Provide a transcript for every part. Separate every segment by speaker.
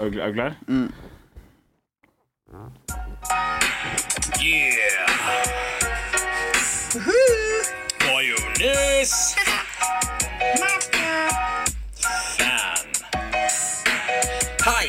Speaker 1: Er du er du klar?
Speaker 2: Yeah! Majones! Fan.
Speaker 3: Hei,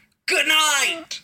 Speaker 3: Good night!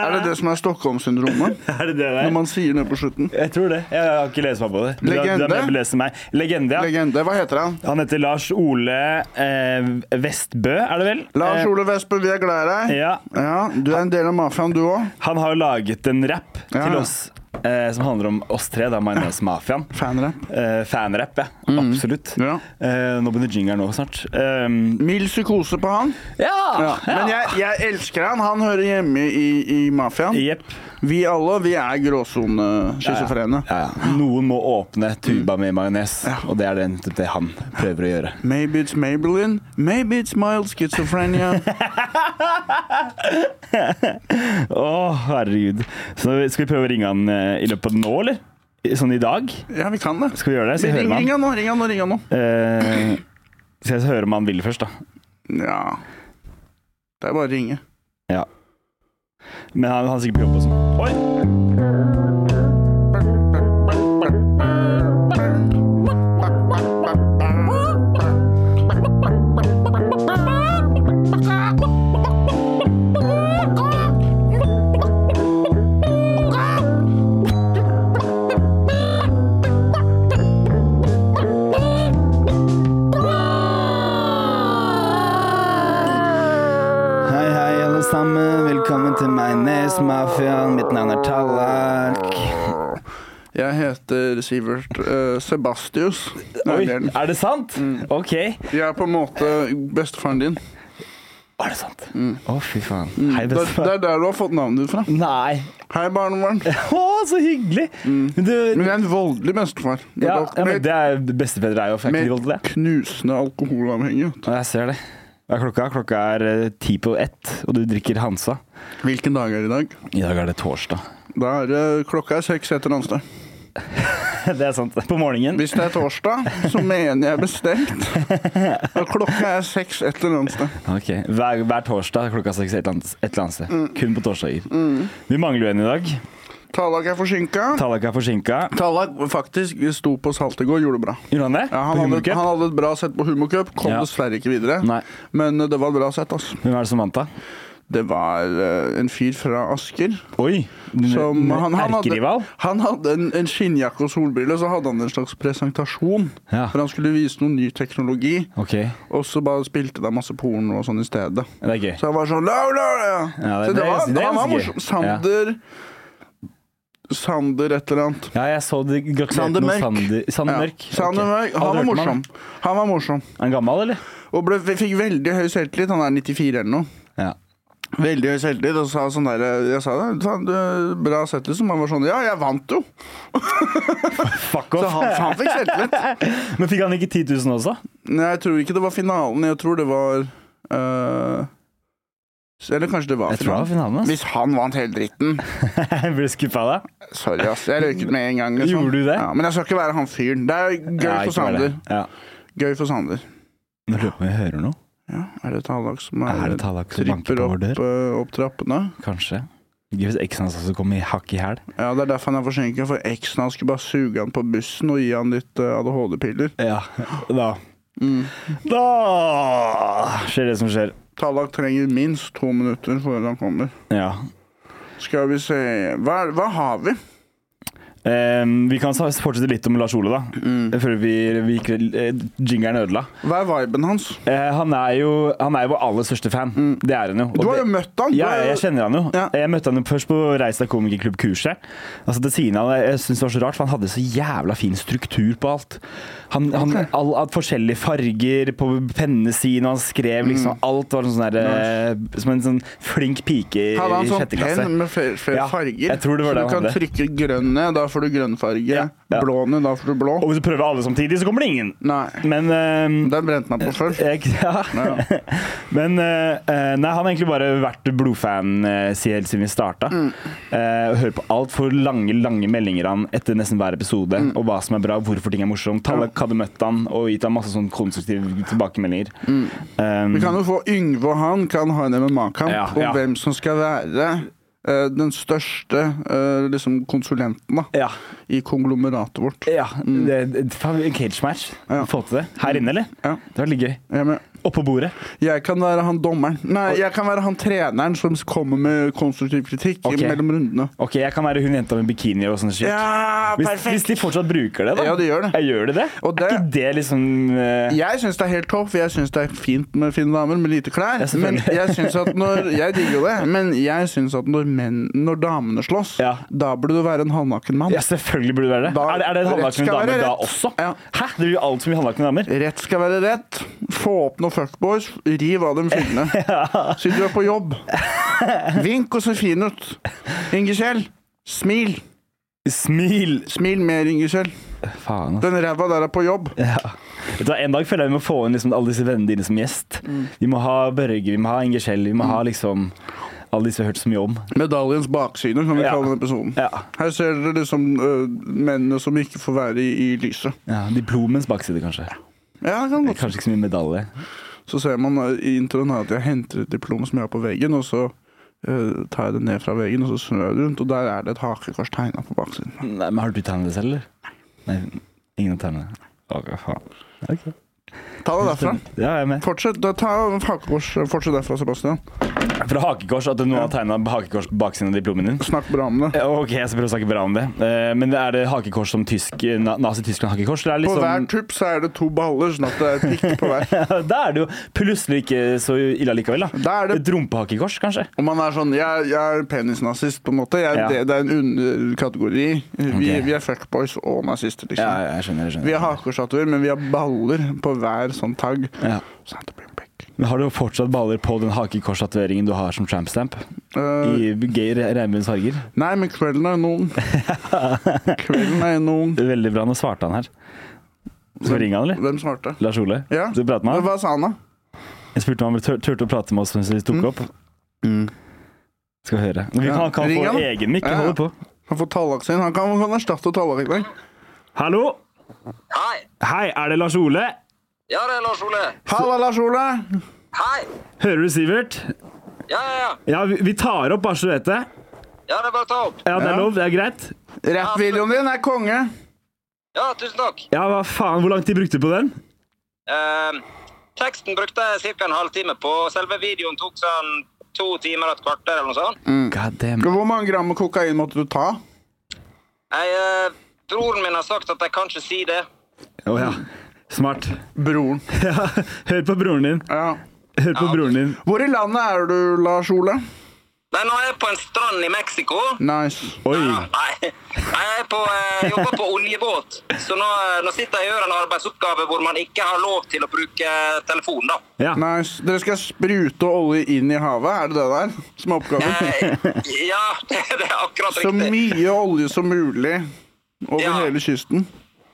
Speaker 4: Er det det som er Stockholm-syndromet?
Speaker 1: Er det det der?
Speaker 4: Når man sier noe på slutten?
Speaker 1: Jeg tror det. Jeg har ikke lest meg på det. Du er-
Speaker 4: Legende?
Speaker 1: Du er mer belest enn meg. Legende, ja.
Speaker 4: Legende. Hva heter han?
Speaker 1: Han heter Lars Ole eh, Vestbø, er det vel?
Speaker 4: Lars
Speaker 1: Eh,
Speaker 4: Ole Vestbø, vi er glad i deg.
Speaker 1: Ja.
Speaker 4: Du er en del av mafiaen, du òg.
Speaker 1: Han har jo laget en rap
Speaker 4: Ja.
Speaker 1: til oss eh, som handler om oss tre, da, Majones Mafiaen.
Speaker 4: Fanrap. Mm.
Speaker 1: Eh, fanrap, ja. Absolutt.
Speaker 4: Ja.
Speaker 1: Eh, nå begynner jingeren nå snart. Um,
Speaker 4: Mild psykose på han.
Speaker 1: ja!
Speaker 4: Ja. Men jeg, jeg elsker han. Han hører hjemme i, i mafiaen.
Speaker 1: Jepp.
Speaker 4: Vi alle, vi er gråsoneskizofrene.
Speaker 1: Ja, ja. Noen må åpne
Speaker 4: Mm.
Speaker 1: tuba med majones, og det er det, nettopp det han prøver å gjøre.
Speaker 4: Maybe it's Maybelline, maybe it's mild schizophrenia.
Speaker 1: Å, herregud. Så skal vi prøve å ringe han eh, i løpet av nå, eller? Sånn i dag?
Speaker 4: Ja, vi kan det.
Speaker 1: Skal vi gjøre det? Så
Speaker 4: Ring,
Speaker 1: hører
Speaker 4: ring
Speaker 1: man.
Speaker 4: han nå, ring han nå, ring han nå.
Speaker 1: Eh, så jeg hører om han vil først, da.
Speaker 4: Ja. Det er bare å ringe.
Speaker 1: Ja. Men han, han er sikkert på jobb og sånn. Oi! Hei, hei, alle sammen. Velkommen til Majones Mafiaen. Mitt navn er Tallak.
Speaker 4: Jeg heter Sivert eh, Sebastius.
Speaker 1: Oi,
Speaker 4: Nei, det er den. Mm.
Speaker 1: er det sant? Ok. Er
Speaker 4: Jeg er på en måte bestefaren din.
Speaker 1: det sant? Å,
Speaker 4: Mm.
Speaker 1: fy faen. Hei,
Speaker 4: Det, det
Speaker 1: bestefar.
Speaker 4: er der du har fått navnet ditt fra.
Speaker 1: Nei.
Speaker 4: Hei, barnebarn.
Speaker 1: Å, så hyggelig! Men Du,
Speaker 4: Mm. Men jeg er en voldelig bestefar.
Speaker 1: ja,
Speaker 4: Med-
Speaker 1: ja, men det er bestefedre er jo
Speaker 4: med
Speaker 1: fucking voldelige.
Speaker 4: knusende alkoholavhengig. vet du.
Speaker 1: Ja, Jeg ser det. Hva er klokka? Klokka er eh, ti på ett, og du drikker Hansa.
Speaker 4: Hvilken dag er det i dag?
Speaker 1: I dag er det torsdag.
Speaker 4: Da er det, klokka er seks etter ansdag.
Speaker 1: Det er sant. På morgenen.
Speaker 4: Hvis det er torsdag, så mener jeg bestemt at klokka er seks etter ansdag.
Speaker 1: Ok, Hver, hver torsdag klokka seks et eller annet- et eller annet sted. Kun på torsdager. Vi mangler jo en i dag.
Speaker 4: Tallak er forsinka.
Speaker 1: Tallak er forsinka.
Speaker 4: Tallak faktisk sto på salt i går, gjorde det bra.
Speaker 1: Gjorde han det?
Speaker 4: Ja, han,
Speaker 1: På
Speaker 4: hadde,
Speaker 1: Humorcup?
Speaker 4: han hadde et bra sett på Humorcup, kom
Speaker 1: Ja.
Speaker 4: dessverre ikke videre.
Speaker 1: Nei.
Speaker 4: Men eh, det var et bra sett, altså.
Speaker 1: Hvem er det som vant, da?
Speaker 4: Det var eh, en fyr fra Asker.
Speaker 1: Oi!
Speaker 4: Som, han, han, hadde,
Speaker 1: Erkerival?
Speaker 4: han hadde en, en skinnjakke og solbrille, så hadde han en slags presentasjon.
Speaker 1: Ja.
Speaker 4: For han skulle vise noe ny teknologi,
Speaker 1: Ok,
Speaker 4: og så bare spilte de masse porno og sånn i stedet.
Speaker 1: det er gøy.
Speaker 4: Så han var sånn la, la, la.
Speaker 1: Ja, det-
Speaker 4: Så
Speaker 1: det
Speaker 4: det
Speaker 1: er
Speaker 4: var,
Speaker 1: ganske- det er
Speaker 4: Han
Speaker 1: ganske
Speaker 4: var
Speaker 1: gøy.
Speaker 4: morsom. Sander Sander et eller annet.
Speaker 1: Ja, jeg så det gratulerte
Speaker 4: Sander
Speaker 1: noe
Speaker 4: Mørk.
Speaker 1: Sander, Sander
Speaker 4: Ja.
Speaker 1: Mørk.
Speaker 4: Sander
Speaker 1: Ok. Hadde
Speaker 4: Mørk. Han var
Speaker 1: hørt om
Speaker 4: morsom. Han var morsom.
Speaker 1: Er han gammel, eller?
Speaker 4: Og ble, fikk veldig høy selvtillit. Han er 94 eller noe.
Speaker 1: Ja.
Speaker 4: Veldig høy selvtillit. Og sa sånn der Jeg sa det, faen, du- bra sett, liksom. Han var sånn Ja, jeg vant jo!
Speaker 1: Fuck
Speaker 4: Så
Speaker 1: off.
Speaker 4: han, han fikk selvtillit.
Speaker 1: Men fikk han ikke 10 000 også?
Speaker 4: Nei, jeg tror ikke det var finalen. Jeg tror det var øh, Eller kanskje det var
Speaker 1: Jeg tror det var
Speaker 4: finalen.
Speaker 1: finalen. ass.
Speaker 4: Hvis han vant hele dritten
Speaker 1: Jeg ble skuffa da.
Speaker 4: Sorry, ass. Jeg røyket med en gang. Liksom.
Speaker 1: Gjorde du det?
Speaker 4: Ja, men jeg skal ikke være han fyren. Det er gøy
Speaker 1: Ja,
Speaker 4: for
Speaker 1: ikke var
Speaker 4: Sander.
Speaker 1: det. Ja.
Speaker 4: Gøy for Sander.
Speaker 1: Nå lurer jeg på om jeg hører noe.
Speaker 4: Ja, er det Tallak som er,
Speaker 1: Er det Tallak som banker
Speaker 4: tripper
Speaker 1: på vår
Speaker 4: opp,
Speaker 1: dør?
Speaker 4: øh, opp trappene?
Speaker 1: Kanskje. Gøy hvis eksen hans også kom i hakk i hæl.
Speaker 4: Ja, Det er derfor han er forsinka, for eksen hans skulle bare suge han på bussen og gi han litt eh, ADHD-piller. Mm.
Speaker 1: Ja, da Da skjer det som skjer.
Speaker 4: Tallak trenger minst to minutter før han kommer.
Speaker 1: Ja.
Speaker 4: Skal vi se Hva, er- hva har vi?
Speaker 1: Eh, vi kan sa- fortsette litt om Lars Ole, da.
Speaker 4: Mm.
Speaker 1: Før vi, vi gikk eh, Jingeren ødela.
Speaker 4: Hva er viben hans?
Speaker 1: Eh, han, er jo, han er jo vår aller største fan. Det er han jo. Og
Speaker 4: Mm. Du har
Speaker 1: det-
Speaker 4: jo møtt han. Du
Speaker 1: Ja,
Speaker 4: har
Speaker 1: ja,
Speaker 4: jo-
Speaker 1: jeg kjenner han jo.
Speaker 4: Ja.
Speaker 1: Jeg møtte han jo først på Reis deg komikerklubb-kurset. Altså til siden av det, Jeg synes det var så rart, for han hadde så jævla fin struktur på alt. Han, han, all, all, forskjellige farger på pennene sine, og han skrev
Speaker 4: Mm.
Speaker 1: liksom alt. var sånn der, eh, Som en sånn flink pike i
Speaker 4: Hadde han sånn
Speaker 1: sjette klasse.
Speaker 4: penn med flere, flere
Speaker 1: Ja,
Speaker 4: farger?
Speaker 1: jeg tror det var det
Speaker 4: så
Speaker 1: han
Speaker 4: du kan
Speaker 1: hadde.
Speaker 4: trykke grønne, da får du grønn farge.
Speaker 1: Ja, ja.
Speaker 4: Blåne, da får du blå.
Speaker 1: Og hvis du prøver alle samtidig, så kommer det ingen.
Speaker 4: Nei.
Speaker 1: Men eh,
Speaker 4: Den brente han på før.
Speaker 1: Jeg, ja. Men eh, eh, nei, han har egentlig bare vært blodfan eh, si- helt siden vi starta.
Speaker 4: Mm.
Speaker 1: Eh, og hører på altfor lange lange meldinger han etter nesten hver episode.
Speaker 4: Mm.
Speaker 1: Og hva som er bra, hvorfor ting er morsomt. Tallak hadde møtt han og gitt han masse sånn konstruktive tilbakemeldinger.
Speaker 4: Mm.
Speaker 1: Um,
Speaker 4: Vi kan jo få Yngve og han kan ha en MMA-kamp
Speaker 1: Ja,
Speaker 4: om
Speaker 1: ja.
Speaker 4: hvem som skal være eh, den største eh, liksom konsulenten da,
Speaker 1: ja,
Speaker 4: i konglomeratet vårt.
Speaker 1: ja det- det- faen, en cage match.
Speaker 4: Mm. Ja.
Speaker 1: Få til det. Her inne, eller?
Speaker 4: Ja.
Speaker 1: Det var litt gøy.
Speaker 4: Jeg, men,
Speaker 1: Oppå bordet.
Speaker 4: jeg kan være han dommeren. Nei, jeg kan være han treneren som kommer med konstruktiv kritikk
Speaker 1: Ok.
Speaker 4: mellom rundene.
Speaker 1: Ok, jeg kan være hun jenta med bikini og sånn shit.
Speaker 4: Ja,
Speaker 1: hvis,
Speaker 4: perfekt!
Speaker 1: hvis de fortsatt bruker det, da.
Speaker 4: Ja, de gjør det.
Speaker 1: Ja, gjør de det?
Speaker 4: Og
Speaker 1: Er
Speaker 4: det-
Speaker 1: ikke det liksom eh,
Speaker 4: Jeg syns det er helt topp, for jeg syns det er fint med fine damer med lite klær.
Speaker 1: Ja,
Speaker 4: men
Speaker 1: selvfølgelig.
Speaker 4: jeg synes at når Jeg digger jo det, men jeg syns at når, menn, når damene slåss,
Speaker 1: Ja.
Speaker 4: da burde du være en halvnaken mann.
Speaker 1: Ja, selvfølgelig burde det være det.
Speaker 4: Da-
Speaker 1: er det, er det
Speaker 4: rett
Speaker 1: halvnakne
Speaker 4: skal
Speaker 1: damer
Speaker 4: være
Speaker 1: da
Speaker 4: rett.
Speaker 1: også?
Speaker 4: Ja.
Speaker 1: Hæ? Det blir jo alt som blir halvnakne damer.
Speaker 4: Rett skal være rett. Få opp noen fuckboys, riv av dem fingrene. Siden du er på jobb. Vink og se fin ut. Ingeskjell, smil.
Speaker 1: Smil!
Speaker 4: Smil mer, Ingeskjell.
Speaker 1: Faen, ass.
Speaker 4: Den ræva der er på jobb.
Speaker 1: Vet du hva, En dag føler jeg vi må få inn liksom alle disse vennene dine som gjest.
Speaker 4: Mm.
Speaker 1: Vi må ha Børge, vi må ha Inger Kjell, vi må ha liksom alle disse vi har hørt så mye om.
Speaker 4: Medaljens bakside, kan vi
Speaker 1: Ja.
Speaker 4: kalle den episoden.
Speaker 1: Ja.
Speaker 4: Her ser dere liksom øh, mennene som ikke får være i, i lyset.
Speaker 1: ja Diplomens bakside, kanskje.
Speaker 4: Ja, det kan godt
Speaker 1: Kanskje ikke så mye medalje.
Speaker 4: Så ser man eh, i introen her at jeg henter et diplom som jeg har på veggen, og så eh, tar jeg det ned fra veggen, og så snur jeg det rundt, og der er det et hakekors tegna på baksiden.
Speaker 1: Nei, men Har du tegnet det selv, eller? Nei. Ingen har tegnet det? Ok, faen. Ok.
Speaker 4: Ta det derfra.
Speaker 1: Ja, jeg er med.
Speaker 4: Fortsett, da, ta hakekors. Fortsett derfra, Sebastian.
Speaker 1: Fra hakekors, at noen har tegna hakekors på baksiden av diplomen din?
Speaker 4: Snakk bra om det.
Speaker 1: Ja, Eh, Ok, jeg skal prøve å snakke bra om det. Eh, Men er det hakekors som tysk, na- Nazi-Tyskland-hakekors? eller er det
Speaker 4: På
Speaker 1: liksom-
Speaker 4: hver tupp så er det to baller, sånn at det er et prikk på hver.
Speaker 1: Da er det jo plutselig ikke så ille allikevel, da.
Speaker 4: Da er det-
Speaker 1: Et rumpehakekors, kanskje.
Speaker 4: Og man er sånn Jeg, jeg er penisnazist, på en måte. Jeg,
Speaker 1: Ja.
Speaker 4: det, det er en underkategori. Vi,
Speaker 1: Ok.
Speaker 4: vi er fuckboys og nazister, liksom.
Speaker 1: jeg skjønner. jeg
Speaker 4: Vi har hakekorsstatuer, men vi har baller på hver sånn tagg.
Speaker 1: Ja.
Speaker 4: Sånn at det blir en prikk.
Speaker 1: Men har du fortsatt baller på den hakekorstatueringen du har som trampstamp?
Speaker 4: Eh,
Speaker 1: I gay regnbuens farger?
Speaker 4: Nei, men kvelden er noen. Kvelden er noen.
Speaker 1: Veldig bra. Nå svarte han her. Skal vi ringe han, eller?
Speaker 4: Hvem svarte?
Speaker 1: Lars Ole?
Speaker 4: Ja.
Speaker 1: Skal vi prate med han?
Speaker 4: Hva sa han, da?
Speaker 1: Jeg spurte om han tur- turte å prate med oss mens vi tok opp. Skal vi høre. Vi
Speaker 4: Mm. Ja.
Speaker 1: kan, kan
Speaker 4: Ring
Speaker 1: få
Speaker 4: han.
Speaker 1: egen mikk.
Speaker 4: Ja, ja.
Speaker 1: Hold på.
Speaker 4: Han får tallak sin. Han kan, han kan erstatte tallak i dag.
Speaker 1: Hallo!
Speaker 5: Hei!
Speaker 1: Hei, er det Lars Ole?
Speaker 5: Ja, det er Lars Ole.
Speaker 4: Halla, Lars Ole!
Speaker 5: Hei!
Speaker 1: Hører du Sivert?
Speaker 5: Ja, ja, ja.
Speaker 1: Ja, vi, vi tar opp, bare så du vet det.
Speaker 5: Ja, det er bare å ta opp.
Speaker 1: Ja, det
Speaker 4: Ja.
Speaker 1: er lov. Det er greit.
Speaker 4: Rappvideoen din er konge.
Speaker 5: Ja, tusen takk.
Speaker 1: Ja, hva faen, Hvor lang tid brukte du på den?
Speaker 5: Ehm, teksten brukte jeg ca. en halvtime på. Selve videoen tok sånn to timer og et kvarter eller noe sånt.
Speaker 1: God damn.
Speaker 4: Hvor mange gram med kokain måtte du ta?
Speaker 5: Jeg, eh, broren min har sagt at jeg kan ikke si det.
Speaker 1: Å ja. Smart.
Speaker 4: Broren.
Speaker 1: Ja, hør på broren din.
Speaker 4: Ja.
Speaker 1: Hør på broren din.
Speaker 4: Hvor i landet er du, Lars Ole?
Speaker 5: Nei, nå er jeg på en strand i Mexico.
Speaker 4: Nice.
Speaker 1: Oi.
Speaker 5: Ja, Nei, jeg er på, eh, jobber på oljebåt, så nå, eh, nå sitter jeg og gjør en arbeidsoppgave hvor man ikke har lov til å bruke telefon, da.
Speaker 1: Ja.
Speaker 4: Nice. Dere skal sprute olje inn i havet, er det det der som er oppgaven?
Speaker 5: Eh, ja, det er akkurat
Speaker 4: Så
Speaker 5: riktig.
Speaker 4: mye olje som mulig over
Speaker 5: Ja.
Speaker 4: hele kysten.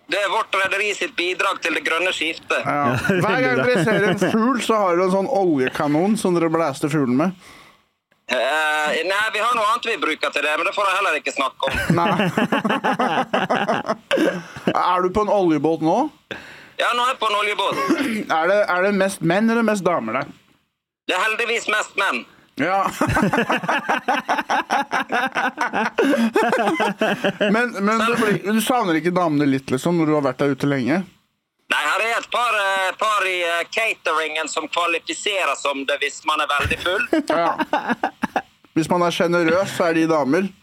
Speaker 5: Det er vårt rederi sitt bidrag til det grønne skiftet.
Speaker 4: Ja. Hver gang dere ser en fugl, så har dere en sånn oljekanon som dere blæster fuglen med.
Speaker 5: Eh, nei, vi har noe annet vi bruker til det, men det får jeg heller ikke snakke om.
Speaker 4: Nei. er du på en oljebåt nå?
Speaker 5: Ja, nå er jeg på en oljebåt.
Speaker 4: Er det, er det mest menn eller mest damer der?
Speaker 5: Det er heldigvis mest menn.
Speaker 4: Ja. men men du, du savner ikke damene litt, liksom, når du har vært der ute lenge?
Speaker 5: Nei, her er et par, eh, par i eh, cateringen som kvalifiserer som det hvis man er veldig full.
Speaker 4: Ja. Hvis man er sjenerøs, så er de damer.
Speaker 5: Ja,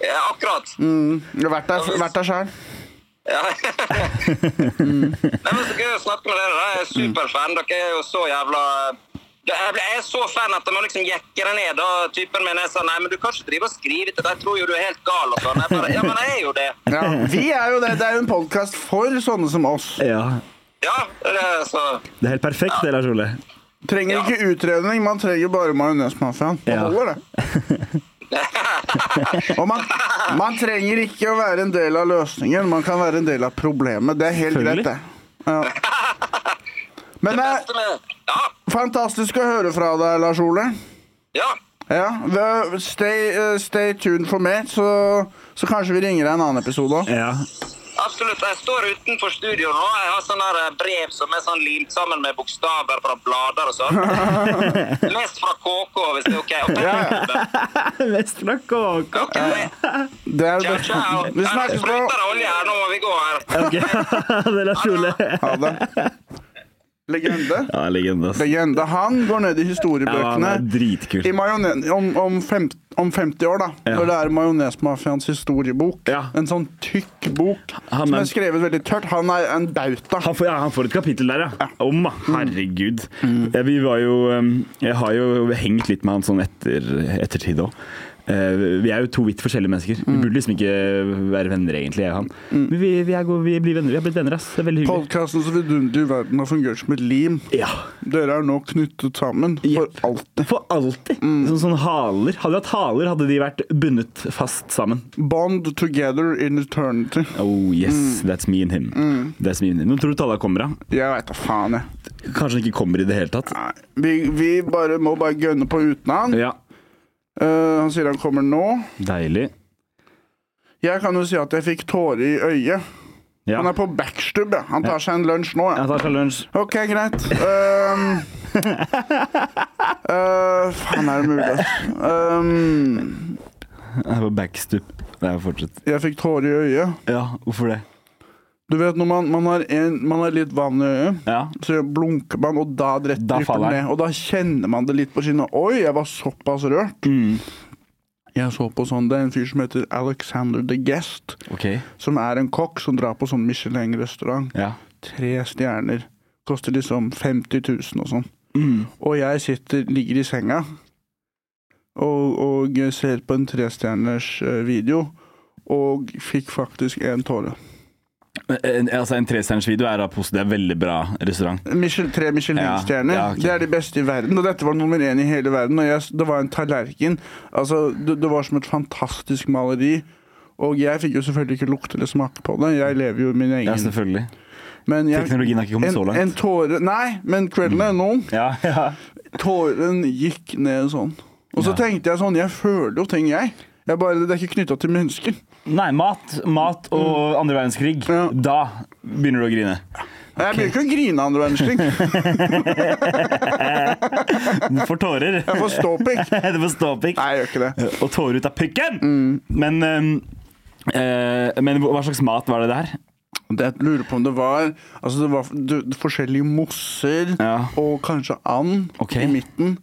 Speaker 5: Eh, akkurat.
Speaker 4: Vært der, vært der sjøl.
Speaker 5: Ja. Nei, men så gøy å snakke med dere. da. Jeg er superfan. Dere er jo så jævla jeg ble- jeg er så fan at jeg må liksom jekke det ned. da Typen min er sånn Nei, men du kan ikke drive og skrive til det. Jeg tror jo du er helt gal. og sånn. Jeg bare, Ja, men jeg er jo det.
Speaker 4: Ja. Vi er jo det. Det er jo en podkast for sånne som oss.
Speaker 1: Ja.
Speaker 5: Ja, det er så
Speaker 1: Det er helt perfekt, det, Lars Ole.
Speaker 4: Trenger
Speaker 5: Ja.
Speaker 4: ikke utredning, man trenger bare majonesmafiaen. Det
Speaker 1: Ja.
Speaker 4: holder, det. Og man, man trenger ikke å være en del av løsningen, man kan være en del av problemet. Det er helt greit,
Speaker 1: Selvfølgelig.
Speaker 4: det. Ja. Men det
Speaker 5: Beste
Speaker 4: er
Speaker 5: med Ja.
Speaker 4: fantastisk å høre fra deg, Lars Ole.
Speaker 5: Ja.
Speaker 4: Ja, the, stay, eh, stay tuned for mer, så, så kanskje vi ringer deg en annen episode òg.
Speaker 1: Ja.
Speaker 5: Absolutt. Jeg står utenfor studio nå. Jeg har sånne her, eh, brev som er sånn limt sammen med bokstaver fra blader og sånn. Mest fra KK, hvis det er OK. Og
Speaker 1: Mest fra kåka.
Speaker 5: Ok, det-
Speaker 4: Det er jo
Speaker 5: Ciao, ciao.
Speaker 4: det. Vi snakkes på.
Speaker 5: spruter olje her, nå må vi gå her.
Speaker 1: Ok, det er Lars Ole.
Speaker 4: Ha det. Legende.
Speaker 1: Ja, legende, ass.
Speaker 4: Legende. Han går ned i
Speaker 1: Ja, han
Speaker 4: historiebøkene.
Speaker 1: er dritkul.
Speaker 4: I majone- om, om, fem, om 50 år, da.
Speaker 1: Ja.
Speaker 4: Når det er Majonesmafiaens historiebok.
Speaker 1: Ja.
Speaker 4: En sånn tykk bok
Speaker 1: Han
Speaker 4: som
Speaker 1: er-
Speaker 4: er skrevet veldig tørt. Han er en bauta.
Speaker 1: Han får, ja, han får et kapittel der, ja. Om, da.
Speaker 4: Mm.
Speaker 1: Herregud. Eh, Vi var jo eh, Jeg har jo hengt litt med han sånn etter ettertid òg. Vi er jo to vidt forskjellige mennesker.
Speaker 4: Mm.
Speaker 1: Vi burde liksom ikke være venner, egentlig, jeg og han. Men vi, vi, er gode, vi blir venner. Vi har blitt venner, ass. Det er veldig hyggelig.
Speaker 4: Podkastens vidunderlige verden har fungert som et lim.
Speaker 1: Ja.
Speaker 4: Dere er nå knyttet sammen
Speaker 1: Jepp.
Speaker 4: for alltid. Mm.
Speaker 1: For alltid. Sånn, sånn haler. Hadde vi hatt haler, hadde de vært bundet fast sammen.
Speaker 4: Bond together in eternity.
Speaker 1: Oh yes,
Speaker 4: Mm.
Speaker 1: that's me and him. That's me and him. Nå tror du Talla kommer, da?
Speaker 4: Jeg veit da faen, jeg.
Speaker 1: Kanskje han ikke kommer i det hele tatt?
Speaker 4: Nei, Vi, vi bare må bare gønne på uten han.
Speaker 1: Ja.
Speaker 4: Eh, han sier han kommer nå.
Speaker 1: Deilig.
Speaker 4: Jeg kan jo si at jeg fikk tårer i øyet.
Speaker 1: Ja.
Speaker 4: Han er på backstub, ja. Han tar seg en lunsj nå, ja.
Speaker 1: Jeg tar seg lunsj.
Speaker 4: OK, greit. Um, eh, faen, er det mulig? Um,
Speaker 1: Jeg er på backstup. Nei, fortsett.
Speaker 4: jeg fikk tårer i øyet.
Speaker 1: Ja, hvorfor det?
Speaker 4: Du vet når man, man, har, en, man har litt vann i øyet,
Speaker 1: Ja.
Speaker 4: så blunker man, og da rett
Speaker 1: Da
Speaker 4: drypper
Speaker 1: faller
Speaker 4: den
Speaker 1: den.
Speaker 4: ned. Og da kjenner man det litt på kinnet. Oi, jeg var såpass rørt. Jeg så på sånn, Det er en fyr som heter Alexander The Guest,
Speaker 1: Ok.
Speaker 4: som er en kokk som drar på sånn Michelin-restaurant.
Speaker 1: Ja.
Speaker 4: Tre stjerner. Koster liksom 50 000 og sånn.
Speaker 1: Mm.
Speaker 4: Og jeg sitter, ligger i senga og, og ser på en trestjerners eh, video, og fikk faktisk en tåre.
Speaker 1: En, altså, en trestjerners video er da pos- Det er veldig bra restaurant.
Speaker 4: Michel, tre Michelin-stjerner.
Speaker 1: Ja, ja, ok.
Speaker 4: Det er de beste i verden. Og dette var nummer én i hele verden. Og jeg, det var en tallerken. Altså, det, det var som et fantastisk maleri. Og jeg fikk jo selvfølgelig ikke lukte eller smake på det. Jeg lever jo min
Speaker 1: Ja,
Speaker 4: egen.
Speaker 1: selvfølgelig.
Speaker 4: Men jeg,
Speaker 1: Teknologien har ikke kommet
Speaker 4: en,
Speaker 1: så langt. Mm.
Speaker 4: En tåre Nei, men kvelden er nå.
Speaker 1: Ja, ja.
Speaker 4: Tåren gikk ned sånn. Og så
Speaker 1: Ja.
Speaker 4: tenkte jeg sånn Jeg føler jo ting, jeg. jeg bare, det er ikke knytta til mennesker.
Speaker 1: Nei, mat, mat og andre verdenskrig.
Speaker 4: Ja.
Speaker 1: Da begynner du å grine.
Speaker 4: Jeg begynner ikke å grine andre verdenskrig.
Speaker 1: Du får tårer.
Speaker 4: Jeg får ståpikk.
Speaker 1: Du får ståpikk.
Speaker 4: Nei, jeg gjør ikke det. Mm.
Speaker 1: Og tårer ut av pikken! Men, eh, eh, men hva slags mat var det der?
Speaker 4: Det jeg lurer på om det var Altså det var du, forskjellige mosser
Speaker 1: Ja.
Speaker 4: og kanskje and
Speaker 1: Ok.
Speaker 4: i midten.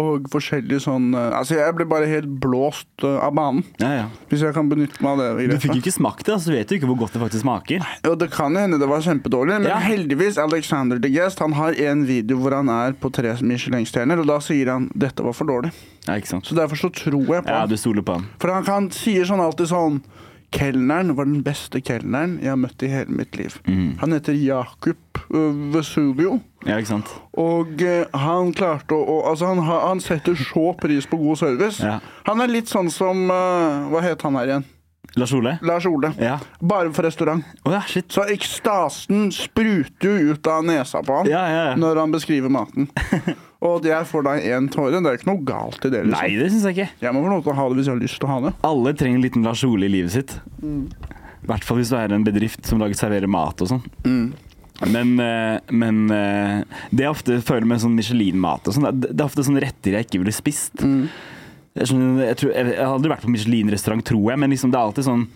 Speaker 4: Og forskjellige sånn eh, Altså jeg ble bare helt blåst eh, av banen.
Speaker 1: Ja, ja.
Speaker 4: Hvis jeg kan benytte meg av det.
Speaker 1: Du
Speaker 4: begrepet.
Speaker 1: fikk jo ikke smakt det, så du vet jo ikke hvor godt det faktisk smaker.
Speaker 4: Jo, det kan jo hende det var kjempedårlig, men
Speaker 1: Ja.
Speaker 4: heldigvis Alexander the Guest Han har en video hvor han er på tre Michelin-stjerner, og da sier han 'dette var for dårlig'.
Speaker 1: Ja, ikke sant?
Speaker 4: Så derfor så tror jeg på
Speaker 1: Ja,
Speaker 4: han.
Speaker 1: du stoler på han.
Speaker 4: For han kan, sier sånn alltid sånn Kelneren var den beste kelneren jeg har møtt i hele mitt liv.
Speaker 1: Mm.
Speaker 4: Han heter Jakup øh, Vesuvio.
Speaker 1: Ja, ikke sant?
Speaker 4: Og eh, han klarte å, å Altså, han, har- han setter så pris på god service.
Speaker 1: Ja.
Speaker 4: Han er litt sånn som eh, Hva het han her igjen?
Speaker 1: Lars Ole?
Speaker 4: Lars Ole.
Speaker 1: Ja.
Speaker 4: Bare for restaurant.
Speaker 1: Å ja, shit.
Speaker 4: Så ekstasen spruter jo ut av nesa på han
Speaker 1: Ja, ja, ja.
Speaker 4: når han beskriver maten. Og det er for deg én tåre. Det er ikke noe galt i det. liksom.
Speaker 1: Nei, det syns jeg ikke.
Speaker 4: Jeg må få lov til å ha det hvis jeg har lyst til å ha det.
Speaker 1: Alle trenger en liten Lars Ole i livet sitt. I
Speaker 4: Mm.
Speaker 1: hvert fall hvis du er en bedrift som lager serverer mat og sånn.
Speaker 4: Mm.
Speaker 1: Men, eh, men eh,
Speaker 4: Mm.
Speaker 1: det jeg ofte føler med sånn Michelin-mat og sånn, det er- det er ofte sånne retter jeg ikke ville spist. Eh, det er sånn, jeg, tror, jeg, jeg har aldri vært på Michelin-restaurant, tror jeg, men liksom, det er alltid sånn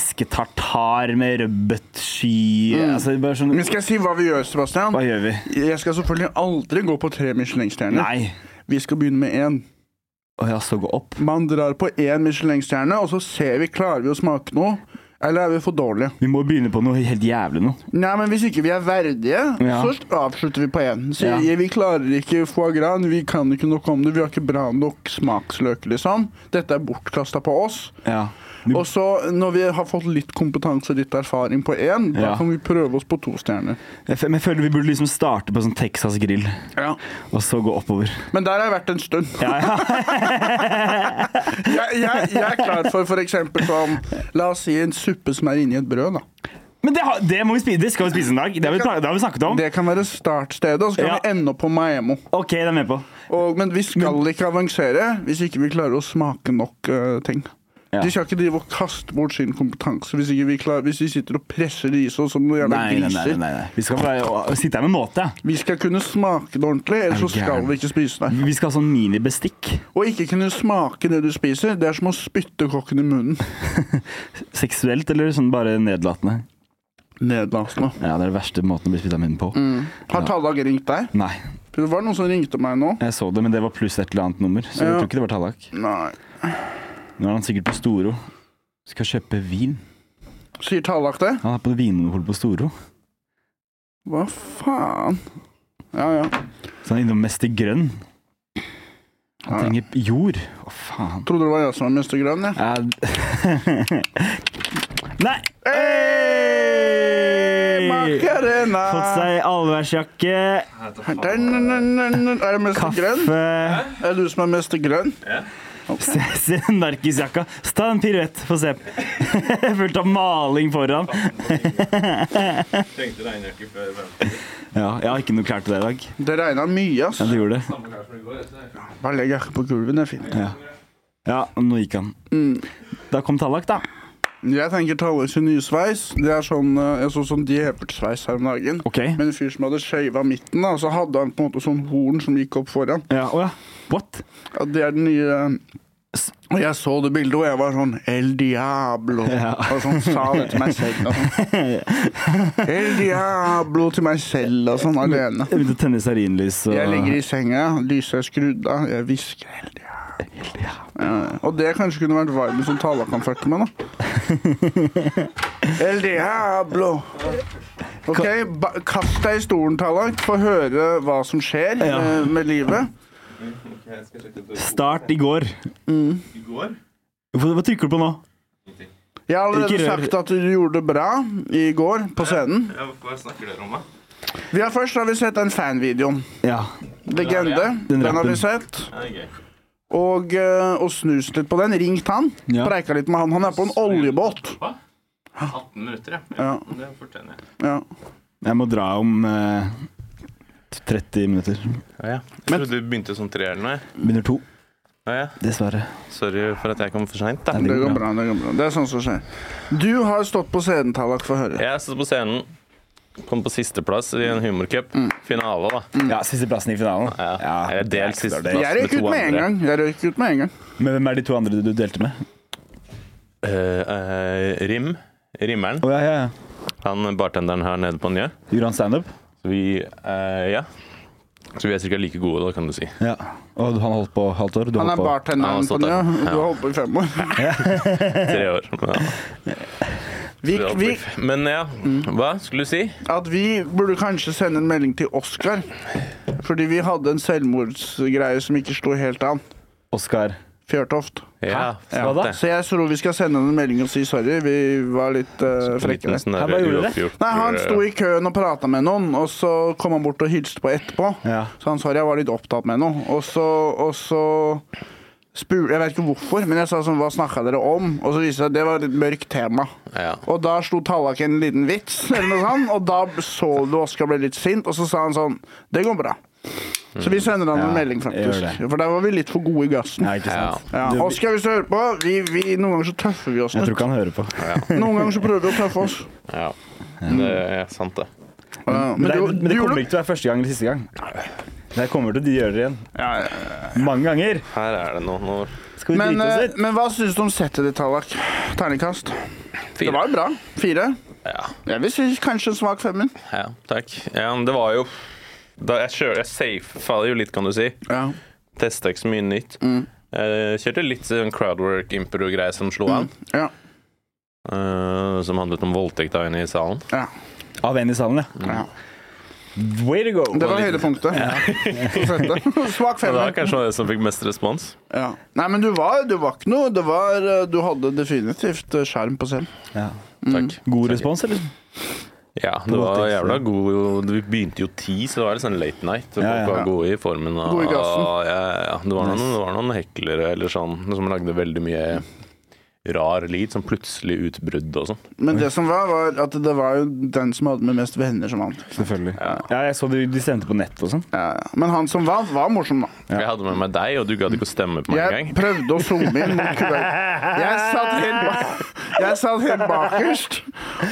Speaker 1: fisketartar med rødbetsky altså, det er bare sånn,
Speaker 4: Mm. Men skal jeg si hva vi gjør, Sebastian?
Speaker 1: Hva gjør vi?
Speaker 4: Jeg skal selvfølgelig aldri gå på tre Michelin-stjerner.
Speaker 1: Nei.
Speaker 4: Vi skal begynne med én.
Speaker 1: Å ja, så gå opp.
Speaker 4: Man drar på én Michelin-stjerne, og så ser vi klarer vi å smake noe. Eller er vi for dårlige?
Speaker 1: Vi må begynne på noe helt jævlig nå.
Speaker 4: Nei, men Hvis ikke vi er verdige,
Speaker 1: Ja.
Speaker 4: så avslutter vi på én. Sier
Speaker 1: Ja.
Speaker 4: vi klarer ikke foie gras, vi kan ikke nok om det, vi har ikke bra nok smaksløk, liksom. Dette er bortkasta på oss.
Speaker 1: Ja. Du,
Speaker 4: Og så, når vi har fått litt kompetanse og litt erfaring på én, da
Speaker 1: Ja.
Speaker 4: kan vi prøve oss på to stjerner.
Speaker 1: jeg, f- men jeg føler vi burde liksom starte på sånn Texas grill,
Speaker 4: Ja.
Speaker 1: og så gå oppover.
Speaker 4: Men der har jeg vært en stund. jeg, jeg, jeg er klar for f.eks. som La oss si en suppe som er inni et brød. da.
Speaker 1: Men det, har- det må vi spise, det skal vi spise en dag. Det har vi, pla- det har vi snakket om.
Speaker 4: Det kan være startstedet, og så kan
Speaker 1: Ja.
Speaker 4: vi ende opp på Maemmo.
Speaker 1: OK, det er jeg med på.
Speaker 4: Og, men vi skal ikke avansere hvis ikke vi klarer å smake nok eh, ting.
Speaker 1: Ja.
Speaker 4: De skal ikke drive og kaste bort sin kompetanse hvis, ikke vi, klarer, hvis vi sitter og presser i oss som noen jævla
Speaker 1: Nei, nei, nei,
Speaker 4: griser.
Speaker 1: nei, nei. Vi skal bare å, sitte her med måte. ja.
Speaker 4: Vi skal kunne smake det ordentlig, ellers så
Speaker 1: Er du
Speaker 4: skal
Speaker 1: gæren?
Speaker 4: vi ikke spise det.
Speaker 1: Vi skal ha sånn minibestikk.
Speaker 4: Og ikke kunne smake det du spiser, det er som å spytte kokken i munnen.
Speaker 1: Seksuelt eller sånn bare nedlatende?
Speaker 4: Nedlatende.
Speaker 1: Ja, Det er den verste måten å bli spytta i munnen på.
Speaker 4: Mm. Har Tallak ringt deg?
Speaker 1: Nei,
Speaker 4: For Det var noen som ringte meg nå.
Speaker 1: jeg så det, men det var pluss et eller annet nummer. Så jeg
Speaker 4: Ja.
Speaker 1: tror ikke det var Tallak.
Speaker 4: Nei.
Speaker 1: Nå er han sikkert på Storo. Skal kjøpe vin.
Speaker 4: Sier Tallak det?
Speaker 1: Han er på Vinmonopolet på Storo.
Speaker 4: Hva faen? Ja, ja.
Speaker 1: Så han er innom Mester Grønn. Han trenger jord. Å, faen.
Speaker 4: Trodde det var jeg som var Mester Grønn, jeg.
Speaker 1: Ja. Nei!
Speaker 4: Hey! Macarena!
Speaker 1: Fått seg allværsjakke,
Speaker 4: Da-na-na-na-na. Er det Mester Grønn?
Speaker 1: kaffe
Speaker 4: Er det du som er Mester Grønn?
Speaker 1: Se, se narkisjakka. Ta en piruett, få se. Fullt av maling foran.
Speaker 6: Trengte regnejakke før men
Speaker 1: Ja, jeg har ikke noe klær til deg i dag.
Speaker 4: Det regna mye, ass.
Speaker 1: Ja, du gjorde det.
Speaker 6: samme klær som i går. vet du.
Speaker 4: Bare legg jakka på gulvet, det er fint.
Speaker 1: Ja, nå gikk han.
Speaker 4: Mm.
Speaker 1: Da kom Tallak, da.
Speaker 4: Jeg tenker Tallak sin nye sveis. Det er sånn, eh, jeg så sånn djevelsveis her om dagen.
Speaker 1: Ok.
Speaker 4: Med en fyr som hadde skeiva midten, da, og så hadde han på en måte sånn horn som gikk opp foran.
Speaker 1: Ja, å ja. What?
Speaker 4: Ja, det er den nye Og jeg så det bildet, og jeg var sånn El Diablo. Og sånn sa det til meg selv. Og sånn. El Diablo til meg selv og sånn alene.
Speaker 1: Jeg begynte å tenne stearinlys og
Speaker 4: Jeg ligger i senga, lyset er skrudd av, jeg hvisker El Diablo. Ja, og det kanskje kunne vært viben som Tala kan fucke med, da. El Diablo. OK, ba kast deg i stolen, Tallak. Få høre hva som skjer
Speaker 1: Ja.
Speaker 4: eh, med livet.
Speaker 6: Ok, jeg skal sjekke ut det.
Speaker 1: Start i går.
Speaker 6: I går?
Speaker 1: Hva, hva trykker du på nå?
Speaker 4: Jeg har allerede
Speaker 1: Ikke rør-
Speaker 4: sagt at du gjorde det bra i går på scenen.
Speaker 6: Ja, hva snakker dere om, da?
Speaker 4: Vi har først har vi sett den fanvideoen.
Speaker 1: Ja.
Speaker 4: Legende.
Speaker 1: Den
Speaker 4: Den, har
Speaker 1: rappen.
Speaker 4: vi sett.
Speaker 6: Ja, det er gøy.
Speaker 4: Og, eh, og snust litt på den. Ringt han.
Speaker 1: Ja.
Speaker 4: Preika litt med han. Han er på en oljebåt.
Speaker 6: Hva? 18 minutter, ja.
Speaker 4: Ja.
Speaker 6: Men Det fortjener jeg.
Speaker 4: Ja.
Speaker 1: Jeg må dra om eh, 30 minutter.
Speaker 6: Jeg trodde du begynte sånn tre eller noe.
Speaker 1: Begynner to,
Speaker 6: Ja, ja.
Speaker 1: dessverre.
Speaker 6: Sorry for at jeg kom for seint.
Speaker 1: Nei,
Speaker 6: Jeg
Speaker 4: Det går bra. Det går bra. Det er sånt som skjer. Du har stått på scenen, Tallak, for å høre.
Speaker 6: satt på scenen, kom på sisteplass i en humorcup. Finale, da.
Speaker 1: Ja, Sisteplassen i finalen.
Speaker 6: Ja, jeg er
Speaker 1: det er
Speaker 6: delt
Speaker 1: ikke så
Speaker 6: siste
Speaker 1: dårlig.
Speaker 6: plass.
Speaker 4: Jeg røyk
Speaker 6: Med
Speaker 4: ut
Speaker 6: to
Speaker 4: med en
Speaker 6: andre.
Speaker 4: gang. Jeg røyk ut med en gang.
Speaker 1: Men hvem er de to andre du delte med?
Speaker 6: Eh, eh, Rim, rimmeren,
Speaker 1: Å ja, ja, ja.
Speaker 6: han bartenderen her nede på Njø.
Speaker 1: Gjorde han standup?
Speaker 6: Så vi eh, Ja. Så vi er ca. like gode, da, kan du si.
Speaker 1: Ja. Og han holdt på halvt år? Du
Speaker 4: Han
Speaker 1: holdt
Speaker 4: er
Speaker 1: på.
Speaker 6: Ja,
Speaker 4: bartenderen
Speaker 6: han
Speaker 4: på Njø.
Speaker 6: satt der.
Speaker 4: Du
Speaker 6: Ja.
Speaker 4: har holdt på i fem år.
Speaker 6: Tre år. Ja.
Speaker 4: Vi, vi,
Speaker 6: Men ja, hva skulle du si?
Speaker 4: at vi burde kanskje sende en melding til Oskar. Fordi vi hadde en selvmordsgreie som ikke slo helt an.
Speaker 1: Oskar.
Speaker 4: Fjørtoft.
Speaker 6: Ja,
Speaker 1: Hæ?
Speaker 6: sant
Speaker 1: Hva da?
Speaker 6: det.
Speaker 4: Så jeg tror vi skal sende han en melding og si sorry. Vi var litt eh, frekke
Speaker 6: Liten
Speaker 4: der.
Speaker 6: sånn der
Speaker 1: Hæ, hva gjorde dere?
Speaker 6: uoppgjort, eh,
Speaker 4: Nei, Han sto i køen og prata med noen, og så kom han bort og hilste på etterpå.
Speaker 1: Ja.
Speaker 4: Så han sorry, jeg var litt opptatt med noe. Og så, og så spur, Jeg vet ikke hvorfor, men jeg sa sånn Hva snakka dere om? Og så viste det seg at det var et litt mørkt tema.
Speaker 6: Ja.
Speaker 4: Og da slo Tallak en liten vits, eller noe sånt, og da så du Oskar ble litt sint, og så sa han sånn Det går bra. Så vi sender han
Speaker 1: Ja,
Speaker 4: en melding,
Speaker 1: gjør det.
Speaker 4: faktisk. For der var vi litt for gode i gassen.
Speaker 1: Ja, ikke sant?
Speaker 4: Ja,
Speaker 1: Du,
Speaker 4: Oskar, hvis du hører på, vi, vi, noen ganger så tøffer vi oss
Speaker 1: jeg
Speaker 4: litt.
Speaker 1: tror ikke han hører på.
Speaker 4: Noen ganger så prøver vi å tøffe oss.
Speaker 6: Ja. Det er sant, det.
Speaker 4: Ja,
Speaker 1: Men det,
Speaker 4: du-
Speaker 1: men det
Speaker 4: du
Speaker 1: kommer
Speaker 4: gjorde-
Speaker 1: ikke til å være første gang eller siste gang. Det her kommer til å gjøre det igjen.
Speaker 4: Ja, ja,
Speaker 1: Mange ganger.
Speaker 6: Her er det noe. Nå
Speaker 1: Skal vi
Speaker 4: Men,
Speaker 1: drite oss
Speaker 4: eh,
Speaker 1: litt?
Speaker 4: men hva syns du om settet ditt, Tallak? Terningkast. Det var jo bra. Fire.
Speaker 6: Ja.
Speaker 4: Jeg vil si kanskje en svak femmer.
Speaker 6: Ja, takk. Ja, men det var jo da Jeg kjører, jeg safe-faller jo litt, kan du si.
Speaker 4: Ja.
Speaker 6: Testa ikke så mye nytt.
Speaker 4: Mm.
Speaker 6: Eh, kjørte litt sånn crowdwork-impro-greie som slo an.
Speaker 4: Ja. Mm.
Speaker 6: eh, som handlet om voldtekt av en i salen.
Speaker 4: ja.
Speaker 1: Av en i salen, ja.
Speaker 4: ja.
Speaker 1: Way to go.
Speaker 4: Det var høydepunktet. på settet. Svak
Speaker 6: Det
Speaker 4: femmer.
Speaker 6: var kanskje det som fikk mest respons.
Speaker 4: Ja. Nei, men du var, du var ikke noe det var, eh, Du hadde definitivt eh, skjerm på selv.
Speaker 1: Ja.
Speaker 4: Mm.
Speaker 6: Takk.
Speaker 1: God respons, eller?
Speaker 6: Ja, det var
Speaker 1: voldtekts-
Speaker 6: jævla god Vi begynte jo ti, så det var litt sånn late night. Og
Speaker 1: Ja,
Speaker 6: folk
Speaker 1: ja.
Speaker 6: var gode i formen. Og,
Speaker 4: Gode i gassen.
Speaker 6: Ja, ja. Det, var noen, det var noen heklere eller sånn som lagde veldig mye rar lyd, som plutselig utbrudd og sånn.
Speaker 4: Men det som var, var at det var jo den som hadde med mest venner, som vant.
Speaker 1: Selvfølgelig. Ja, jeg så de, de sendte på nett og sånn.
Speaker 4: Ja, ja. Men han som vant, var morsom, da.
Speaker 6: Jeg hadde med meg deg, og du gadd ikke å stemme på meg
Speaker 4: Jeg
Speaker 6: engang.
Speaker 4: prøvde å zoome inn mot Kuwait. Jeg satt helt, ba jeg satt helt bakerst